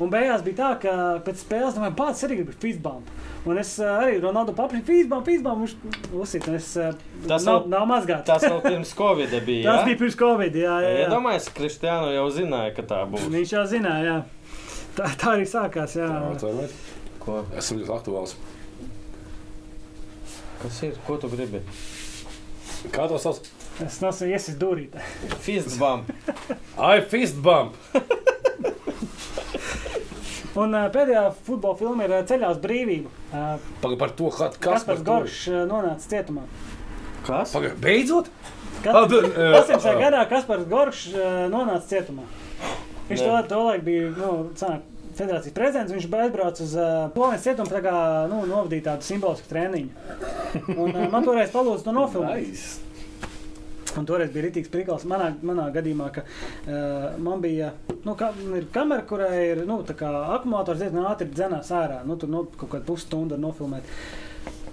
[SPEAKER 1] Un beigās bija tā, ka pēc spēles domāju, pats arī bija fizbump. Un es ā, arī Ronaldu paprasīju, fizbump, fizbump, viņš uzsīt. Un es
[SPEAKER 2] Tas
[SPEAKER 1] tas nav,
[SPEAKER 2] vēl-
[SPEAKER 1] nav mazgāts.
[SPEAKER 2] Tas vēl pirms Covid bija.
[SPEAKER 1] tas
[SPEAKER 2] jā?
[SPEAKER 1] bija pirms Covid, jā, jā. jā.
[SPEAKER 2] Iedomājieties, ja Kristiāna jau zināja, ka tā būs.
[SPEAKER 1] Viņš jau zināja, jā. Tā, tā arī sākās, jā.
[SPEAKER 3] Atvainojiet,
[SPEAKER 2] Ko?
[SPEAKER 3] esmu ļoti aktuāls.
[SPEAKER 2] Kas ir? Ko tu gribi?
[SPEAKER 3] Kā to sauc?
[SPEAKER 1] Es nesu iesis durīt.
[SPEAKER 2] Fistbam.
[SPEAKER 3] I fist bump!
[SPEAKER 1] Un ā, pēdējā futbola filma ir ā, Ceļā uz brīvību. Ā,
[SPEAKER 3] Paga par to, kā- kas par
[SPEAKER 1] Kaspars
[SPEAKER 3] to
[SPEAKER 1] Goršs ā, nonāca cietumā.
[SPEAKER 2] Kas?
[SPEAKER 3] Paga, beidzot! Ah,
[SPEAKER 1] Kas-
[SPEAKER 3] tu- eh,
[SPEAKER 1] 18.
[SPEAKER 3] ah.
[SPEAKER 1] gadā Kaspars Goršs eh, nonāca cietumā. Viņš
[SPEAKER 2] Jā.
[SPEAKER 1] to, to laiku bija nu, sanāk, federācijas prezidents. Viņš aizbrauca uz eh, Polonijas cietumu, tā kā nu, novadīja tādu simbolisku treniņu. Un, eh, man toreiz palūdza to nofilmēt.
[SPEAKER 3] Nice.
[SPEAKER 1] Un toreiz bija rītīgs prikals manā, manā gadījumā, ka uh, man bija nu, ka, ir kamera, kurai ir nu, tā kā akumulators diezgan ātri dzenās ārā. Nu, tur nu, kaut kāda pusstunda var nofilmēt.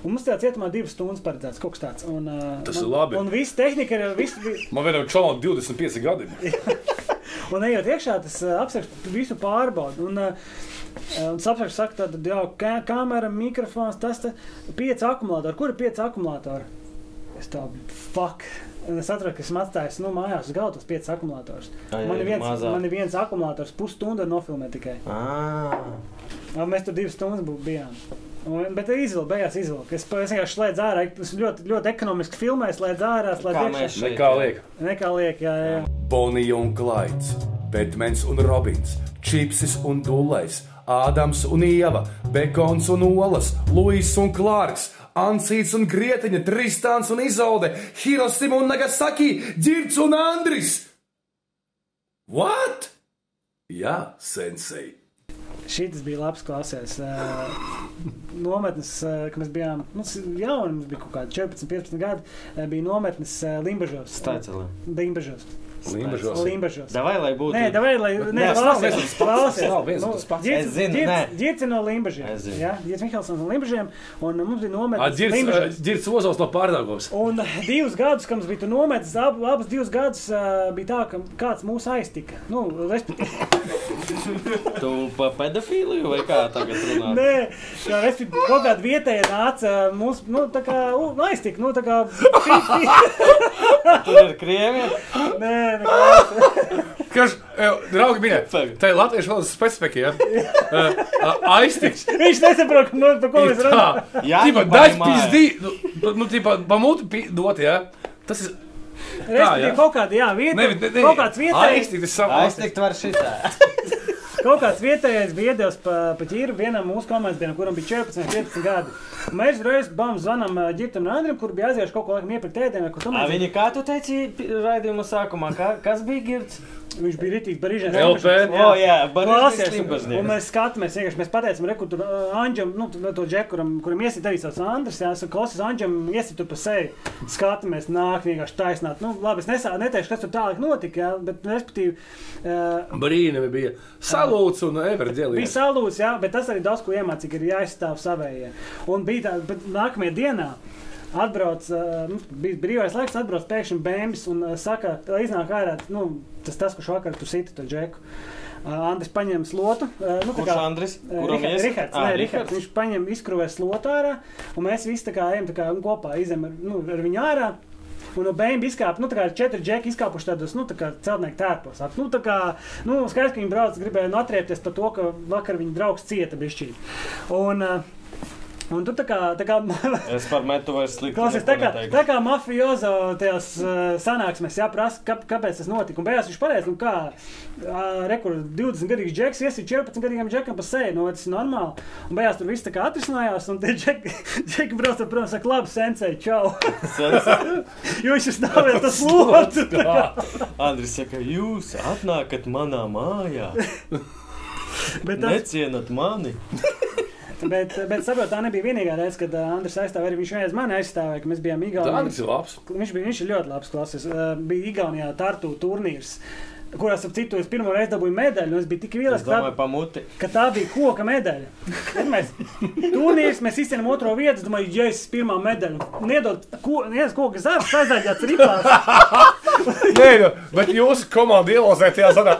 [SPEAKER 1] Un mums tajā cietumā divas stundas paredzēts kaut kas tāds. Un, uh,
[SPEAKER 3] Tas ir labi.
[SPEAKER 1] Un viss tehnika ir. Viss, vi-
[SPEAKER 3] Man vienam čalam 25 gadi.
[SPEAKER 1] Un ejot iekšā, tas uh, apsakts visu pārbaudi. Un, uh, un apsakts saka, tad, jā, kā, kamera, mikrofons, tas ir pieci akumulatori. Kur ir pieci akumulatori? Es tā, fuck. Un es saprotu, ka esmu atstājis nu, mājās uz galda tos piecus akumulatorus.
[SPEAKER 2] Ai,
[SPEAKER 1] Man
[SPEAKER 2] ai,
[SPEAKER 1] ir viens,
[SPEAKER 2] mazāk.
[SPEAKER 1] man ir viens akumulators, pusstundu nofilmē tikai.
[SPEAKER 2] Ah,
[SPEAKER 1] Un mēs tur divas stundas bū- bijām. Un, bet izvilku, beigās izvilku. Es, pa- es vienkārši slēdzu ārā. Es ļoti, ļoti ekonomiski filmēju, slēdzu ārā,
[SPEAKER 2] kā
[SPEAKER 1] slēdzu
[SPEAKER 2] mēs
[SPEAKER 1] iekšā.
[SPEAKER 2] šeit.
[SPEAKER 3] Nekā liek.
[SPEAKER 1] Nekā liek, jā, jā. jā.
[SPEAKER 6] Bonija un Klaids, Batmans un Robins, Čipsis un Dullais, Ādams un Ieva, Bekons un Olas, Luis un Klārks. Ansīts un Grieķiņa, Tristāns un Izaude, Hirosim un Nagasaki, Dzirds un Andris! What? Jā, sensei!
[SPEAKER 1] Šis bija labs klausies. eh, Nometnes, eh, kad mēs bijām mums jauni, mums bija kaut kādi 14, 15 gadi, eh, bija nometnes eh, Limbažos.
[SPEAKER 2] Stācelē.
[SPEAKER 1] Limbažos.
[SPEAKER 3] Limbažos.
[SPEAKER 1] Limbažos.
[SPEAKER 2] Davai, lai būtu.
[SPEAKER 1] Nē, davai, lai
[SPEAKER 3] nē,
[SPEAKER 1] nē,
[SPEAKER 3] tas nav viens un
[SPEAKER 1] klausies, Nu,
[SPEAKER 3] tas pats. Tas nav viens un tas pats.
[SPEAKER 2] Es zinu, nē.
[SPEAKER 1] klausies. Dzirds no Limbažiem.
[SPEAKER 2] Es zinu.
[SPEAKER 1] Jā, Dzirds Mihelsons no Limbažiem, un mums bija
[SPEAKER 3] Ah,
[SPEAKER 1] nometnes
[SPEAKER 3] dzirds,
[SPEAKER 1] Limbažos.
[SPEAKER 3] eh, dzirds ozols no pārdagos.
[SPEAKER 1] Un divus gadus, kad mums bija tur nometnes, ab, abas divas gadus uh, bija tā, ka kāds mūs aiztika. Nu, respektīvi,
[SPEAKER 2] Tu pa pedofīliju vai kā tagad runā?
[SPEAKER 1] nē, kā respektīvi, kaut kāda vietēja nāca mums, nu, tā kā u, aiztika. Nu, tā kā,
[SPEAKER 2] Tur ir krievi.
[SPEAKER 1] nē, nekā.
[SPEAKER 3] Kas, eh, draugi, minē, tā ir latviešu valodas specifika, ja? Eh, a- Aiztiks.
[SPEAKER 1] Viņš nesaprot, no, par ko mēs runājam.
[SPEAKER 2] Jā,
[SPEAKER 3] Jā, tā
[SPEAKER 2] ņem
[SPEAKER 3] ir daļa
[SPEAKER 2] mājā.
[SPEAKER 3] pizdi, nu, nu, tipā, pamūtu pi- dot, ja? Tas ir, jā.
[SPEAKER 1] Respektīvi, kaut kāda jā, vieta,
[SPEAKER 3] ne, ne, ne.
[SPEAKER 1] kaut kāds vietējais,
[SPEAKER 3] Aiztiks, tas savs.
[SPEAKER 2] Aiztikt var šitā.
[SPEAKER 1] kaut kāds vietējais biedējs pa, pa ķīru vienam mūsu komandas, kuram bija 14, 15 gadi. Un Mēs reiz bam zvanām ā, Ģitam un Andrim, kur bija aizieši kaut ko laikam iepirkt ēdienu, vai ko
[SPEAKER 2] A,
[SPEAKER 1] tomēr.
[SPEAKER 2] viņi, kā tu teici pi- raidījuma sākumā, kā, kas bija girds?
[SPEAKER 1] Viņš bija rītīgs barīžēns.
[SPEAKER 3] LP.
[SPEAKER 2] O, jā, Barīžas
[SPEAKER 1] Klausies, un
[SPEAKER 2] Limbažnieks.
[SPEAKER 1] mēs skatāmies, vienkārši mēs pateicām, rekur, tur ā, Andžam, nu, tu- to džeku, kuram, kuram iesit arī savs Andris, jā, saka, klausies, Andžam, iesit tur pa seju, skatāmies, nāk, vienkārši taisnāt. Nu, labi, es nesā, neteikšu, kas tur tālāk notika, jā, bet, respektīvi, uh,
[SPEAKER 3] Brīnumi bija. Salūts un
[SPEAKER 1] Bija
[SPEAKER 3] everdielīgi.
[SPEAKER 1] salūts, jā, bet tas arī daudz ko iemācīja, ka ir jāizstāv savējie. Un bija tā, bet nākamajā dienā. Atbrauc, uh, nu, bija brīvais laiks, atbrauc pēkšņi bēnbis un uh, saka, lai iznāk ārā, nu, tas tas, kurš vakar tu siti to džeku. Uh, Andris paņem slotu. Uh, nu, tā
[SPEAKER 2] Kurš Andris?
[SPEAKER 1] Eh,
[SPEAKER 2] Kuram
[SPEAKER 1] Riha-
[SPEAKER 2] ies?
[SPEAKER 1] Rihards,
[SPEAKER 2] Ā,
[SPEAKER 1] nē,
[SPEAKER 2] Rihards.
[SPEAKER 1] Rihards, viņš paņem izkrāpēs lotā ārā, un mēs visi tā kā ejam tā kā, nu, kopā, izem ar, nu, ar viņu ārā. Un no bēnbiem izkāpa, nu, tā kā četri džeki izkāpuši tādos, nu, tā kā celtnieku tērpos. At- Nu, tā kā, nu, skaidrs, ka viņi brauc, gribēja nu, atriepties par to, ka vakar viņa draugs cieta bišķīgi. Un, eh, un tu tā kā, tā kā
[SPEAKER 2] Es par metu vairs sliktu.
[SPEAKER 1] Klausies, tā kā, tā kā mafiozo tajās uh, sanāksmēs jāprasa, kā, kāpēc tas notika. Un beigās viņš pareizi, nu kā, uh, rekur, 20 gadīgs džeks, iesim 14 gadīgam džekam pa seju, nu vai tas ir normāli. Un beigās tur viss tā kā atrisinājās, un tie džeki, džeki brauc, ar, protams, saka, labi, sensei, čau. jo viņš ir stāvējis tas lots.
[SPEAKER 3] Ah,
[SPEAKER 2] Andris saka, jūs atnākat manā mājā,
[SPEAKER 1] Bet tas,
[SPEAKER 2] necienat mani.
[SPEAKER 1] bet, bet saprot, tā nebija vienīgā reize, kad uh, Andris aizstāvēja, arī viņš vienreiz mani aizstāvēja, ka mēs bijām Igaunijā.
[SPEAKER 3] Dānis ir labs.
[SPEAKER 1] Viņš bija viņš ir ļoti labs klases. Uh, Bija Igaunijā Tartu turnīrs. Kurās ap citu es pirmo reizi dabūju medaļu, un es biju tik
[SPEAKER 2] Es
[SPEAKER 1] vīlies, ka,
[SPEAKER 2] domāju,
[SPEAKER 1] tā-
[SPEAKER 2] pamuti.
[SPEAKER 1] ka tā bija koka medaļa. Tad mēs turnīrs, mēs izcēlām otro vietu, es domāju, ja es pirmā medaļu nedod, ko, neviens koka zārts aizdaļāts ripās.
[SPEAKER 7] Nē, nu, bet jūsu komanda ielozē tajā zadā.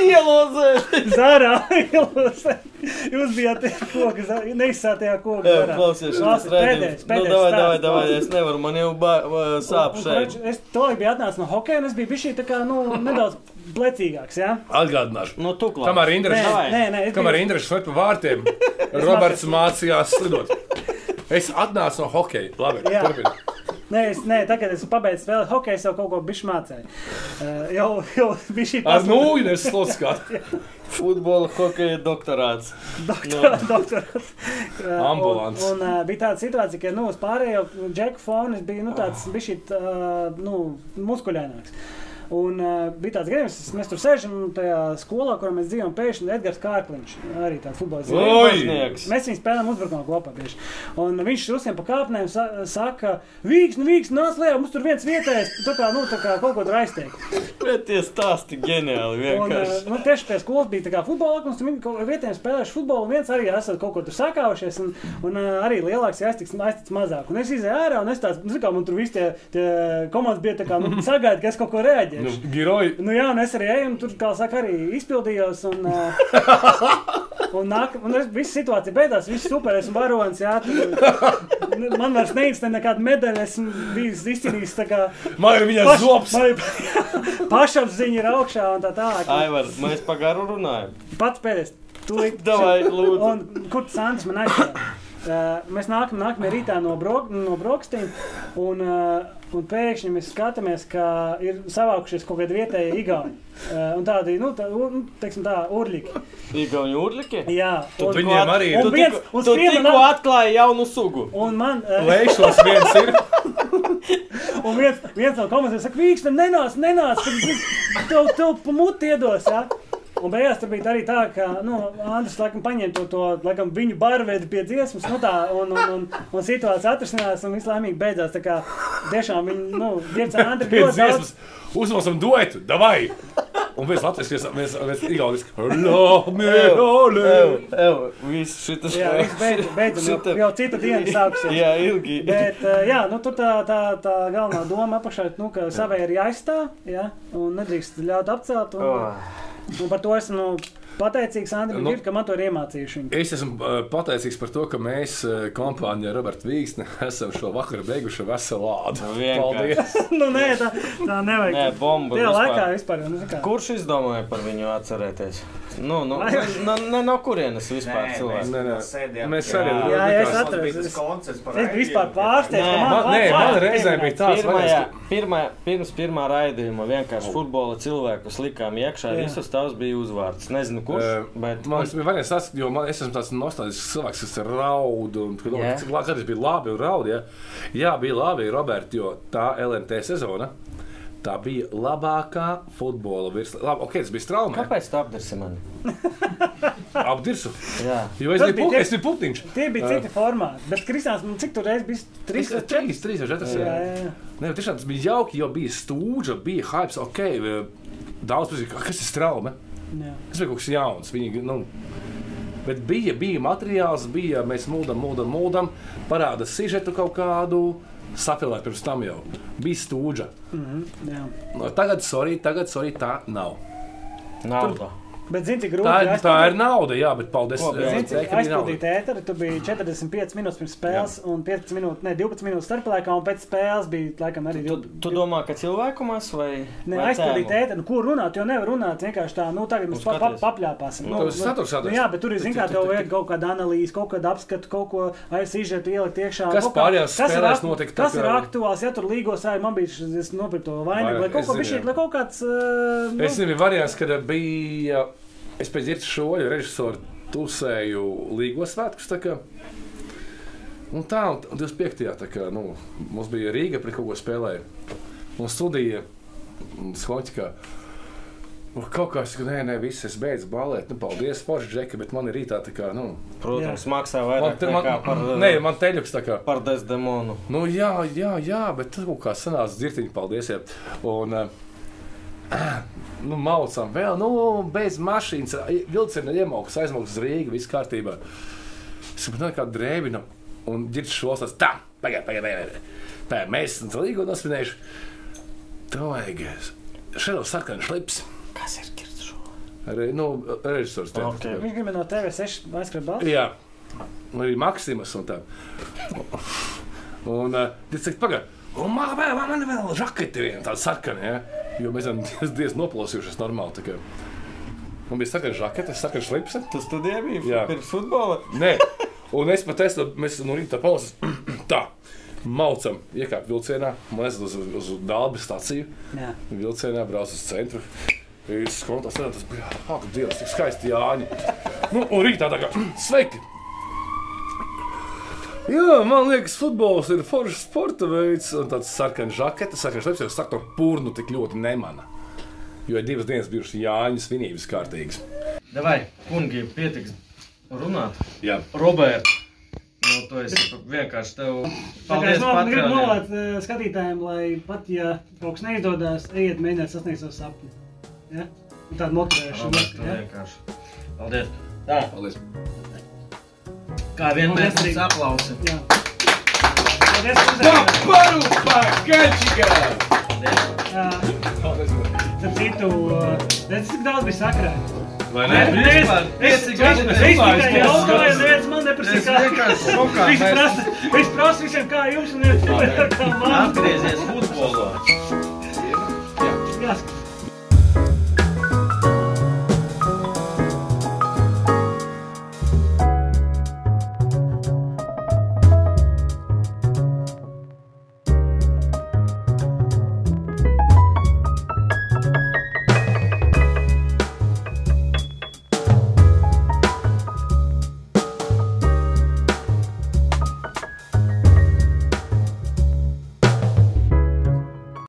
[SPEAKER 2] Ielozē!
[SPEAKER 1] Zārā, jūs, jūs bijāt koka zārā, neizsātajā koka zārā.
[SPEAKER 2] Klausies, šis
[SPEAKER 1] Klausies,
[SPEAKER 2] redzējums.
[SPEAKER 1] pēdējais, pēdējais.
[SPEAKER 2] Nu, davai,
[SPEAKER 1] stāsts.
[SPEAKER 2] davai, davai, es nevaru, man jau ba- va- sāp
[SPEAKER 1] Un,
[SPEAKER 2] šeit.
[SPEAKER 1] korrekt, Es to biju atnācis no hokeja, un es biju bijis šī tā kā nu, nedaudz plecīgāks. Ja?
[SPEAKER 3] Atgādināšu.
[SPEAKER 2] Nu, tu klāt.
[SPEAKER 3] Kamēr Indra
[SPEAKER 1] Nē,
[SPEAKER 2] Davai.
[SPEAKER 1] nē, nē, es biju-
[SPEAKER 3] Kamēr Indrišs slēp pa vārtiem, Roberts mācījās slidot. Es atnācu no hokeja. Labi,
[SPEAKER 1] Jā.
[SPEAKER 3] turpini.
[SPEAKER 1] Nē, es, nē, tagad es pabeidzu spēlēt hokeju, jau kaut ko bišķi mācīju. Uh, jau jau bija šī
[SPEAKER 3] Ar nūju es slūdzu skatu.
[SPEAKER 2] Futbola hokeja doktorāts.
[SPEAKER 1] doktora. doktora uh,
[SPEAKER 3] Ambulants.
[SPEAKER 1] Un, un uh, bija tāda situācija, ka nu, uz pārējo džeku fonu es biju nu, tāds bišķi uh, nu, muskuļaināks. Un uh, bija tāds gadījums, ka mēs tur sēžam tajā skolā, kurā mēs dzīvojam, pēkšņi Edgars Kārkliņš, arī tāds futbolists.
[SPEAKER 3] Oi!
[SPEAKER 2] Oznieks.
[SPEAKER 1] Mēs viņu spēlējām uzbrukumā kopā. Bieži. Un viņš uz visiem pa kāpnēm sa- saka, vīksni, vīksni, nāc lejā, mums tur viens vietējais, tā kā, nu, tā kā kaut ko tur aizteikt.
[SPEAKER 2] Bet tie stāsti ģeniāli
[SPEAKER 1] Un, eh,
[SPEAKER 2] vienkārši.
[SPEAKER 1] nu, tieši pie skolas bija tā kā futbola klubs, un viņi kaut kādā vietā spēlējuši futbolu. un Viens arī esat kaut ko tur sakāvušies, un, un eh, arī lielāks aiztiks, aiztiks mazāk. Un es izēju ārā, un es tāds, nu, zin kā man tur viss tie, tie komandas bija tā kā, nu, sagaida, ka es kaut ko reaģēšu.
[SPEAKER 3] Nu, Giroji.
[SPEAKER 1] Nu, jā, un es arī eju, un tur, kā saka, arī izpildījos. Un, uh, un, nāk, un es, viss situācija beigās, viss super, esmu varonis. Jā, tur, nu, man vairs neinteresē nekāda medaļa, esmu bijis izcīnījis. tā kā
[SPEAKER 3] Man ir viņa
[SPEAKER 1] paš-
[SPEAKER 3] zops.
[SPEAKER 1] man ir Pašapziņa ir augšā un tā tālāk.
[SPEAKER 2] Aivar, mēs pagaru runājam.
[SPEAKER 1] Pats pēdējais. Tūlīt.
[SPEAKER 2] Davai, lūdzu.
[SPEAKER 1] Un kur tas Andris man aizjāja? Uh, mēs nākam nākamajā rītā no, bro, no Brokstīna, un, uh, un pēkšņi mēs skatāmies, ka ir savākušies kaut kāda vietējā igauni. Uh, un tādi, nu, tā, u- nu, teiksim tā, urliki.
[SPEAKER 2] Igauni urliki?
[SPEAKER 1] Jā, un,
[SPEAKER 3] Viņiem
[SPEAKER 2] ko-
[SPEAKER 3] arī
[SPEAKER 1] un
[SPEAKER 3] ir.
[SPEAKER 2] Tu
[SPEAKER 1] viens
[SPEAKER 2] tikko-
[SPEAKER 1] uz
[SPEAKER 2] tu
[SPEAKER 1] vienu
[SPEAKER 2] tikko
[SPEAKER 1] nav-
[SPEAKER 2] atklāji jaunu sugu.
[SPEAKER 1] un man, uh,
[SPEAKER 3] Lēkšos viens ir.
[SPEAKER 1] un viens, viens no komandas saka, vīkšķi, nenāc, nenāc, tad es tev, tev pamuti iedos, jā. Un beigās tur bija arī tā, ka, nu, Andris, laikam, paņēma to, to laikam, viņu barvedi pie dziesmas, nu tā, un, un, un, un situācija atrisinājās, un viss laimīgi beidzās. Tā kā tiešām viņi, nu, dievcā Andris
[SPEAKER 3] Pēc
[SPEAKER 1] ļoti daudz.
[SPEAKER 3] dziesmas uzmāsim duetu. Davai! Un viens latviešu, viens, viens igauniski. Lomē, lomē.
[SPEAKER 2] Ev, ev, viss šitas.
[SPEAKER 1] Jā, viss beidzas, beidzas, jau,
[SPEAKER 2] Šita-
[SPEAKER 1] jau cita diena sāksies.
[SPEAKER 2] Jā, ilgi.
[SPEAKER 1] Bet, eh, jā, nu, tur tā, tā, tā galvenā doma apakšā ir, nu, ka savai ir jāizstāv, jā, un nedrīkst ļaut apcelt. Un,
[SPEAKER 2] Oh.
[SPEAKER 1] un par to esmu nu, pateicīgs Andrim,
[SPEAKER 3] Nu.
[SPEAKER 1] nu, ka man to ir iemācījuši. Viņi.
[SPEAKER 3] Es esmu uh, pateicīgs par to, ka mēs uh, kompānijā Roberta Vīgsne esam šo vakaru beiguši veselu lādu.
[SPEAKER 2] Vienkārši.
[SPEAKER 3] Paldies!
[SPEAKER 1] nu, nē, tā, tā nevajag.
[SPEAKER 2] Nē, bomba.
[SPEAKER 1] Tajā
[SPEAKER 2] vispār.
[SPEAKER 1] laikā vispār. Nu, zin kā.
[SPEAKER 2] Kurš izdomāja par viņu atcerēties? Nu, nu, nu, ne, no kurienes vispār cilvēks?
[SPEAKER 3] Nē, nē.
[SPEAKER 4] sēdējām.
[SPEAKER 3] Mēs arī
[SPEAKER 1] Jā, jā, es
[SPEAKER 3] likās-
[SPEAKER 1] atceros.
[SPEAKER 4] Tas
[SPEAKER 1] Es-
[SPEAKER 4] koncerts par
[SPEAKER 1] Es biju vispār
[SPEAKER 4] raidījumu.
[SPEAKER 1] pārsteigts.
[SPEAKER 2] Nē,
[SPEAKER 1] ka
[SPEAKER 3] Man, nē,
[SPEAKER 1] vārds-
[SPEAKER 3] man
[SPEAKER 1] vārds
[SPEAKER 3] reizē
[SPEAKER 1] pieminēts.
[SPEAKER 3] bija tāds,
[SPEAKER 2] Pirmajā,
[SPEAKER 3] ka
[SPEAKER 2] pirmā, pirms pirmā raidījuma vienkārši futbola cilvēkus likām iekšā.
[SPEAKER 1] Jā.
[SPEAKER 2] Visus tavs bija uzvārds. Nezinu, kurš.
[SPEAKER 3] Eh,
[SPEAKER 2] Bet,
[SPEAKER 3] man liekas, man liekas, tas, jo man, es esmu tāds nostalģisks cilvēks, kas raud. Un, kad,
[SPEAKER 2] Jā.
[SPEAKER 3] yeah. Cik labi tas bija labi un raud. Ja? Jā, bija labi, Roberts, jo tā LNT sezona. Tā bija labākā futbola virsle. Labi, ok, tas bija strauji.
[SPEAKER 2] kāpēc tu apdirsi mani?
[SPEAKER 3] Apdirsu.
[SPEAKER 2] Jā.
[SPEAKER 3] Jo es
[SPEAKER 1] Tas
[SPEAKER 3] biju,
[SPEAKER 1] bija
[SPEAKER 3] pu,
[SPEAKER 1] tie-
[SPEAKER 3] es biju putniņš.
[SPEAKER 1] Tie bija citi formāti. Bet Kristāns, nu, cik tur reizes bija? Trīs.
[SPEAKER 3] Trīs, trīs, trīs, četras.
[SPEAKER 1] Jā, jā, jā.
[SPEAKER 3] Nē, tiešām tas bija jauki, jo bija stūra, bija hype, ok. e, Daudz bija, kas ir trauma.
[SPEAKER 1] jā.
[SPEAKER 3] Tas bija kaut kas jauns. Viņi, nu, bet bija, bija materiāls, bija mēs mūžam, mūžam, mūžam, parāda sižetu kaut kādu. Sapēlēt pirms tam jau bija Nu, stūra.
[SPEAKER 1] jā.
[SPEAKER 3] Tagad, sorry, tagad sorry, tā nav.
[SPEAKER 2] Nauda.
[SPEAKER 1] Bet, zini, cik grūti
[SPEAKER 3] Tā, ir- tā ir
[SPEAKER 1] aizpildīt-
[SPEAKER 3] nauda, jā, bet paldies.
[SPEAKER 7] Ko,
[SPEAKER 3] eh,
[SPEAKER 1] Zini, cik
[SPEAKER 3] Zeki,
[SPEAKER 1] aizpildīt
[SPEAKER 3] nauda.
[SPEAKER 1] ēteru, tu biji 45 minūtes pirms spēles, Jā. un 15 minūtes, ne 12 minūtes starplaikā, un pēc spēles bija laikam arī
[SPEAKER 2] Tu,
[SPEAKER 1] 12.
[SPEAKER 2] tu domā, ka cilvēkumās vai
[SPEAKER 1] Ne
[SPEAKER 2] vai
[SPEAKER 1] aizpildīt
[SPEAKER 2] cēlu?
[SPEAKER 1] ēteru, ko runāt, jo nevar runāt vienkārši tā, nu tagad mēs
[SPEAKER 2] Un
[SPEAKER 1] pa, pa,
[SPEAKER 2] skaties.
[SPEAKER 1] papļāpāsim.
[SPEAKER 3] Nu, tas saturs atrast.
[SPEAKER 1] jā, bet tur ir, zini, kā tev vajag kaut kādu analīzi, kaut kādu apskatu, kaut ko aizsīžēt, ielikt iekšā.
[SPEAKER 3] Kas
[SPEAKER 1] kaut kā-
[SPEAKER 3] pārējās
[SPEAKER 1] kas ir
[SPEAKER 3] spēlēs
[SPEAKER 1] ak-
[SPEAKER 3] notika tā
[SPEAKER 1] Kas ir
[SPEAKER 3] kā-
[SPEAKER 1] aktuāls, ja tur līgos arī man bija, šis- es nopirku to vainu,
[SPEAKER 3] Vainagu,
[SPEAKER 1] lai kaut
[SPEAKER 3] es
[SPEAKER 1] ko
[SPEAKER 3] zinu,
[SPEAKER 1] bišķīt,
[SPEAKER 3] jā.
[SPEAKER 1] lai kaut kāds. ā, nu,
[SPEAKER 3] Es nezinu, variants, kad bija. Es pēc dzirdu šo režisoru tusēju Līgas svētkus. tā kā. Un tā, un 25. tā kā, nu, mums bija Rīga, pret ko spēlēja. Un studija Skoķikā. Un nu, kaut kā es teicu, nē, nē, viss, es beidzu balēt. Nu, paldies, Falks, Džeki, bet man ir rītā tā kā, nu,
[SPEAKER 2] Protams, maksā
[SPEAKER 3] man,
[SPEAKER 2] vairāk
[SPEAKER 3] te, man,
[SPEAKER 2] nekā par, eh,
[SPEAKER 3] nē, man teļuks tā kā.
[SPEAKER 2] par desdemonu.
[SPEAKER 3] Nu, jā, jā, jā, bet tas kaut kā sanāca dzirtiņa, paldies. Jā. Un, eh, Nu, maucam, vēl, nu, bez mašīnas. Vilciena iemaukas, aizmaukas uz Rīgā, viss kārtībā. Es saprotu, nu, kā drēbina un dzirdu šos tās. Tā, pagaidi, pagaidi, pagaidi. Tā, mēs esam līgo nosvinējuši. Tev vajag šādu sarkanu šlips.
[SPEAKER 2] Kas ir kirts šo?
[SPEAKER 3] Re, nu, režisors. te-
[SPEAKER 2] Ok.
[SPEAKER 1] Viņš gribēja no tevis sešu aizskrēt balstu.
[SPEAKER 3] Jā, un arī Maksimas un tā. Un eh, viņš teica, pagaidi, un man vēl, man vēl žaketi viena tāda sarkana, ja? jo mēs esam diez, diez noplosījušies normāli. tā kā. Man bija sarkana žakete, sarkana šlipse.
[SPEAKER 2] Tu studēji
[SPEAKER 3] Jā.
[SPEAKER 2] bija pirms futbola?
[SPEAKER 3] Nē, un es pat esmu, mēs no rīta pauzes tā. Maucam, iekāpjam vilcienā, man aizjūt uz, uz dārba stāciju.
[SPEAKER 1] Jā.
[SPEAKER 3] Vilcienā brauc uz centru. Ir skontas, tas bija ak, Dievs, cik skaisti Jāņi. Nu, un rītā tā kā sveiki! Jā, man liekas, futbols ir foršs sporta veids, un tāds sarkans žakete, sarkans šleps, jau saka, to purnu tik ļoti nemana. Jo ir divas dienas bijušas Jāņa svinības kārtīgas.
[SPEAKER 2] Davai, kungi, pietiks runāt.
[SPEAKER 3] Jā.
[SPEAKER 2] Robert, nu tu esi vienkārši tev. Paldies,
[SPEAKER 1] es gribu
[SPEAKER 2] Patreoniem.
[SPEAKER 1] nolēt eh, skatītājiem, lai pat ja kaut kas neizdodas, ejiet mēģināt sasniegt savu sapni. Ja? Un Tāda motivēšana.
[SPEAKER 2] Robert, tev
[SPEAKER 1] Ja?
[SPEAKER 2] vienkārši. Paldies. Tā,
[SPEAKER 3] Paldies!
[SPEAKER 2] kā vienmēr
[SPEAKER 1] Paldies arī.
[SPEAKER 2] mums aplausi.
[SPEAKER 1] Jā. Paldies, ka uzaicinājāt.
[SPEAKER 3] Paru pakaļķikā!
[SPEAKER 1] Starp citu, ā, es cik daudz bija sakrājis.
[SPEAKER 3] Vai
[SPEAKER 1] Es
[SPEAKER 3] ne?
[SPEAKER 1] es- es-
[SPEAKER 2] Pieci
[SPEAKER 1] es-
[SPEAKER 2] gadi
[SPEAKER 1] es tikai
[SPEAKER 2] pirmais, tas
[SPEAKER 1] jautāju,
[SPEAKER 2] skats.
[SPEAKER 1] neviens man neprasīja,
[SPEAKER 4] Es
[SPEAKER 1] kā.
[SPEAKER 4] vienkārši šokā.
[SPEAKER 1] Viņš
[SPEAKER 4] Mēs
[SPEAKER 1] prasa, viņš prasa visiem, kā jums, un neviens neprasīja, kā man.
[SPEAKER 2] Atgriezies futbolā.
[SPEAKER 1] Jāsaka.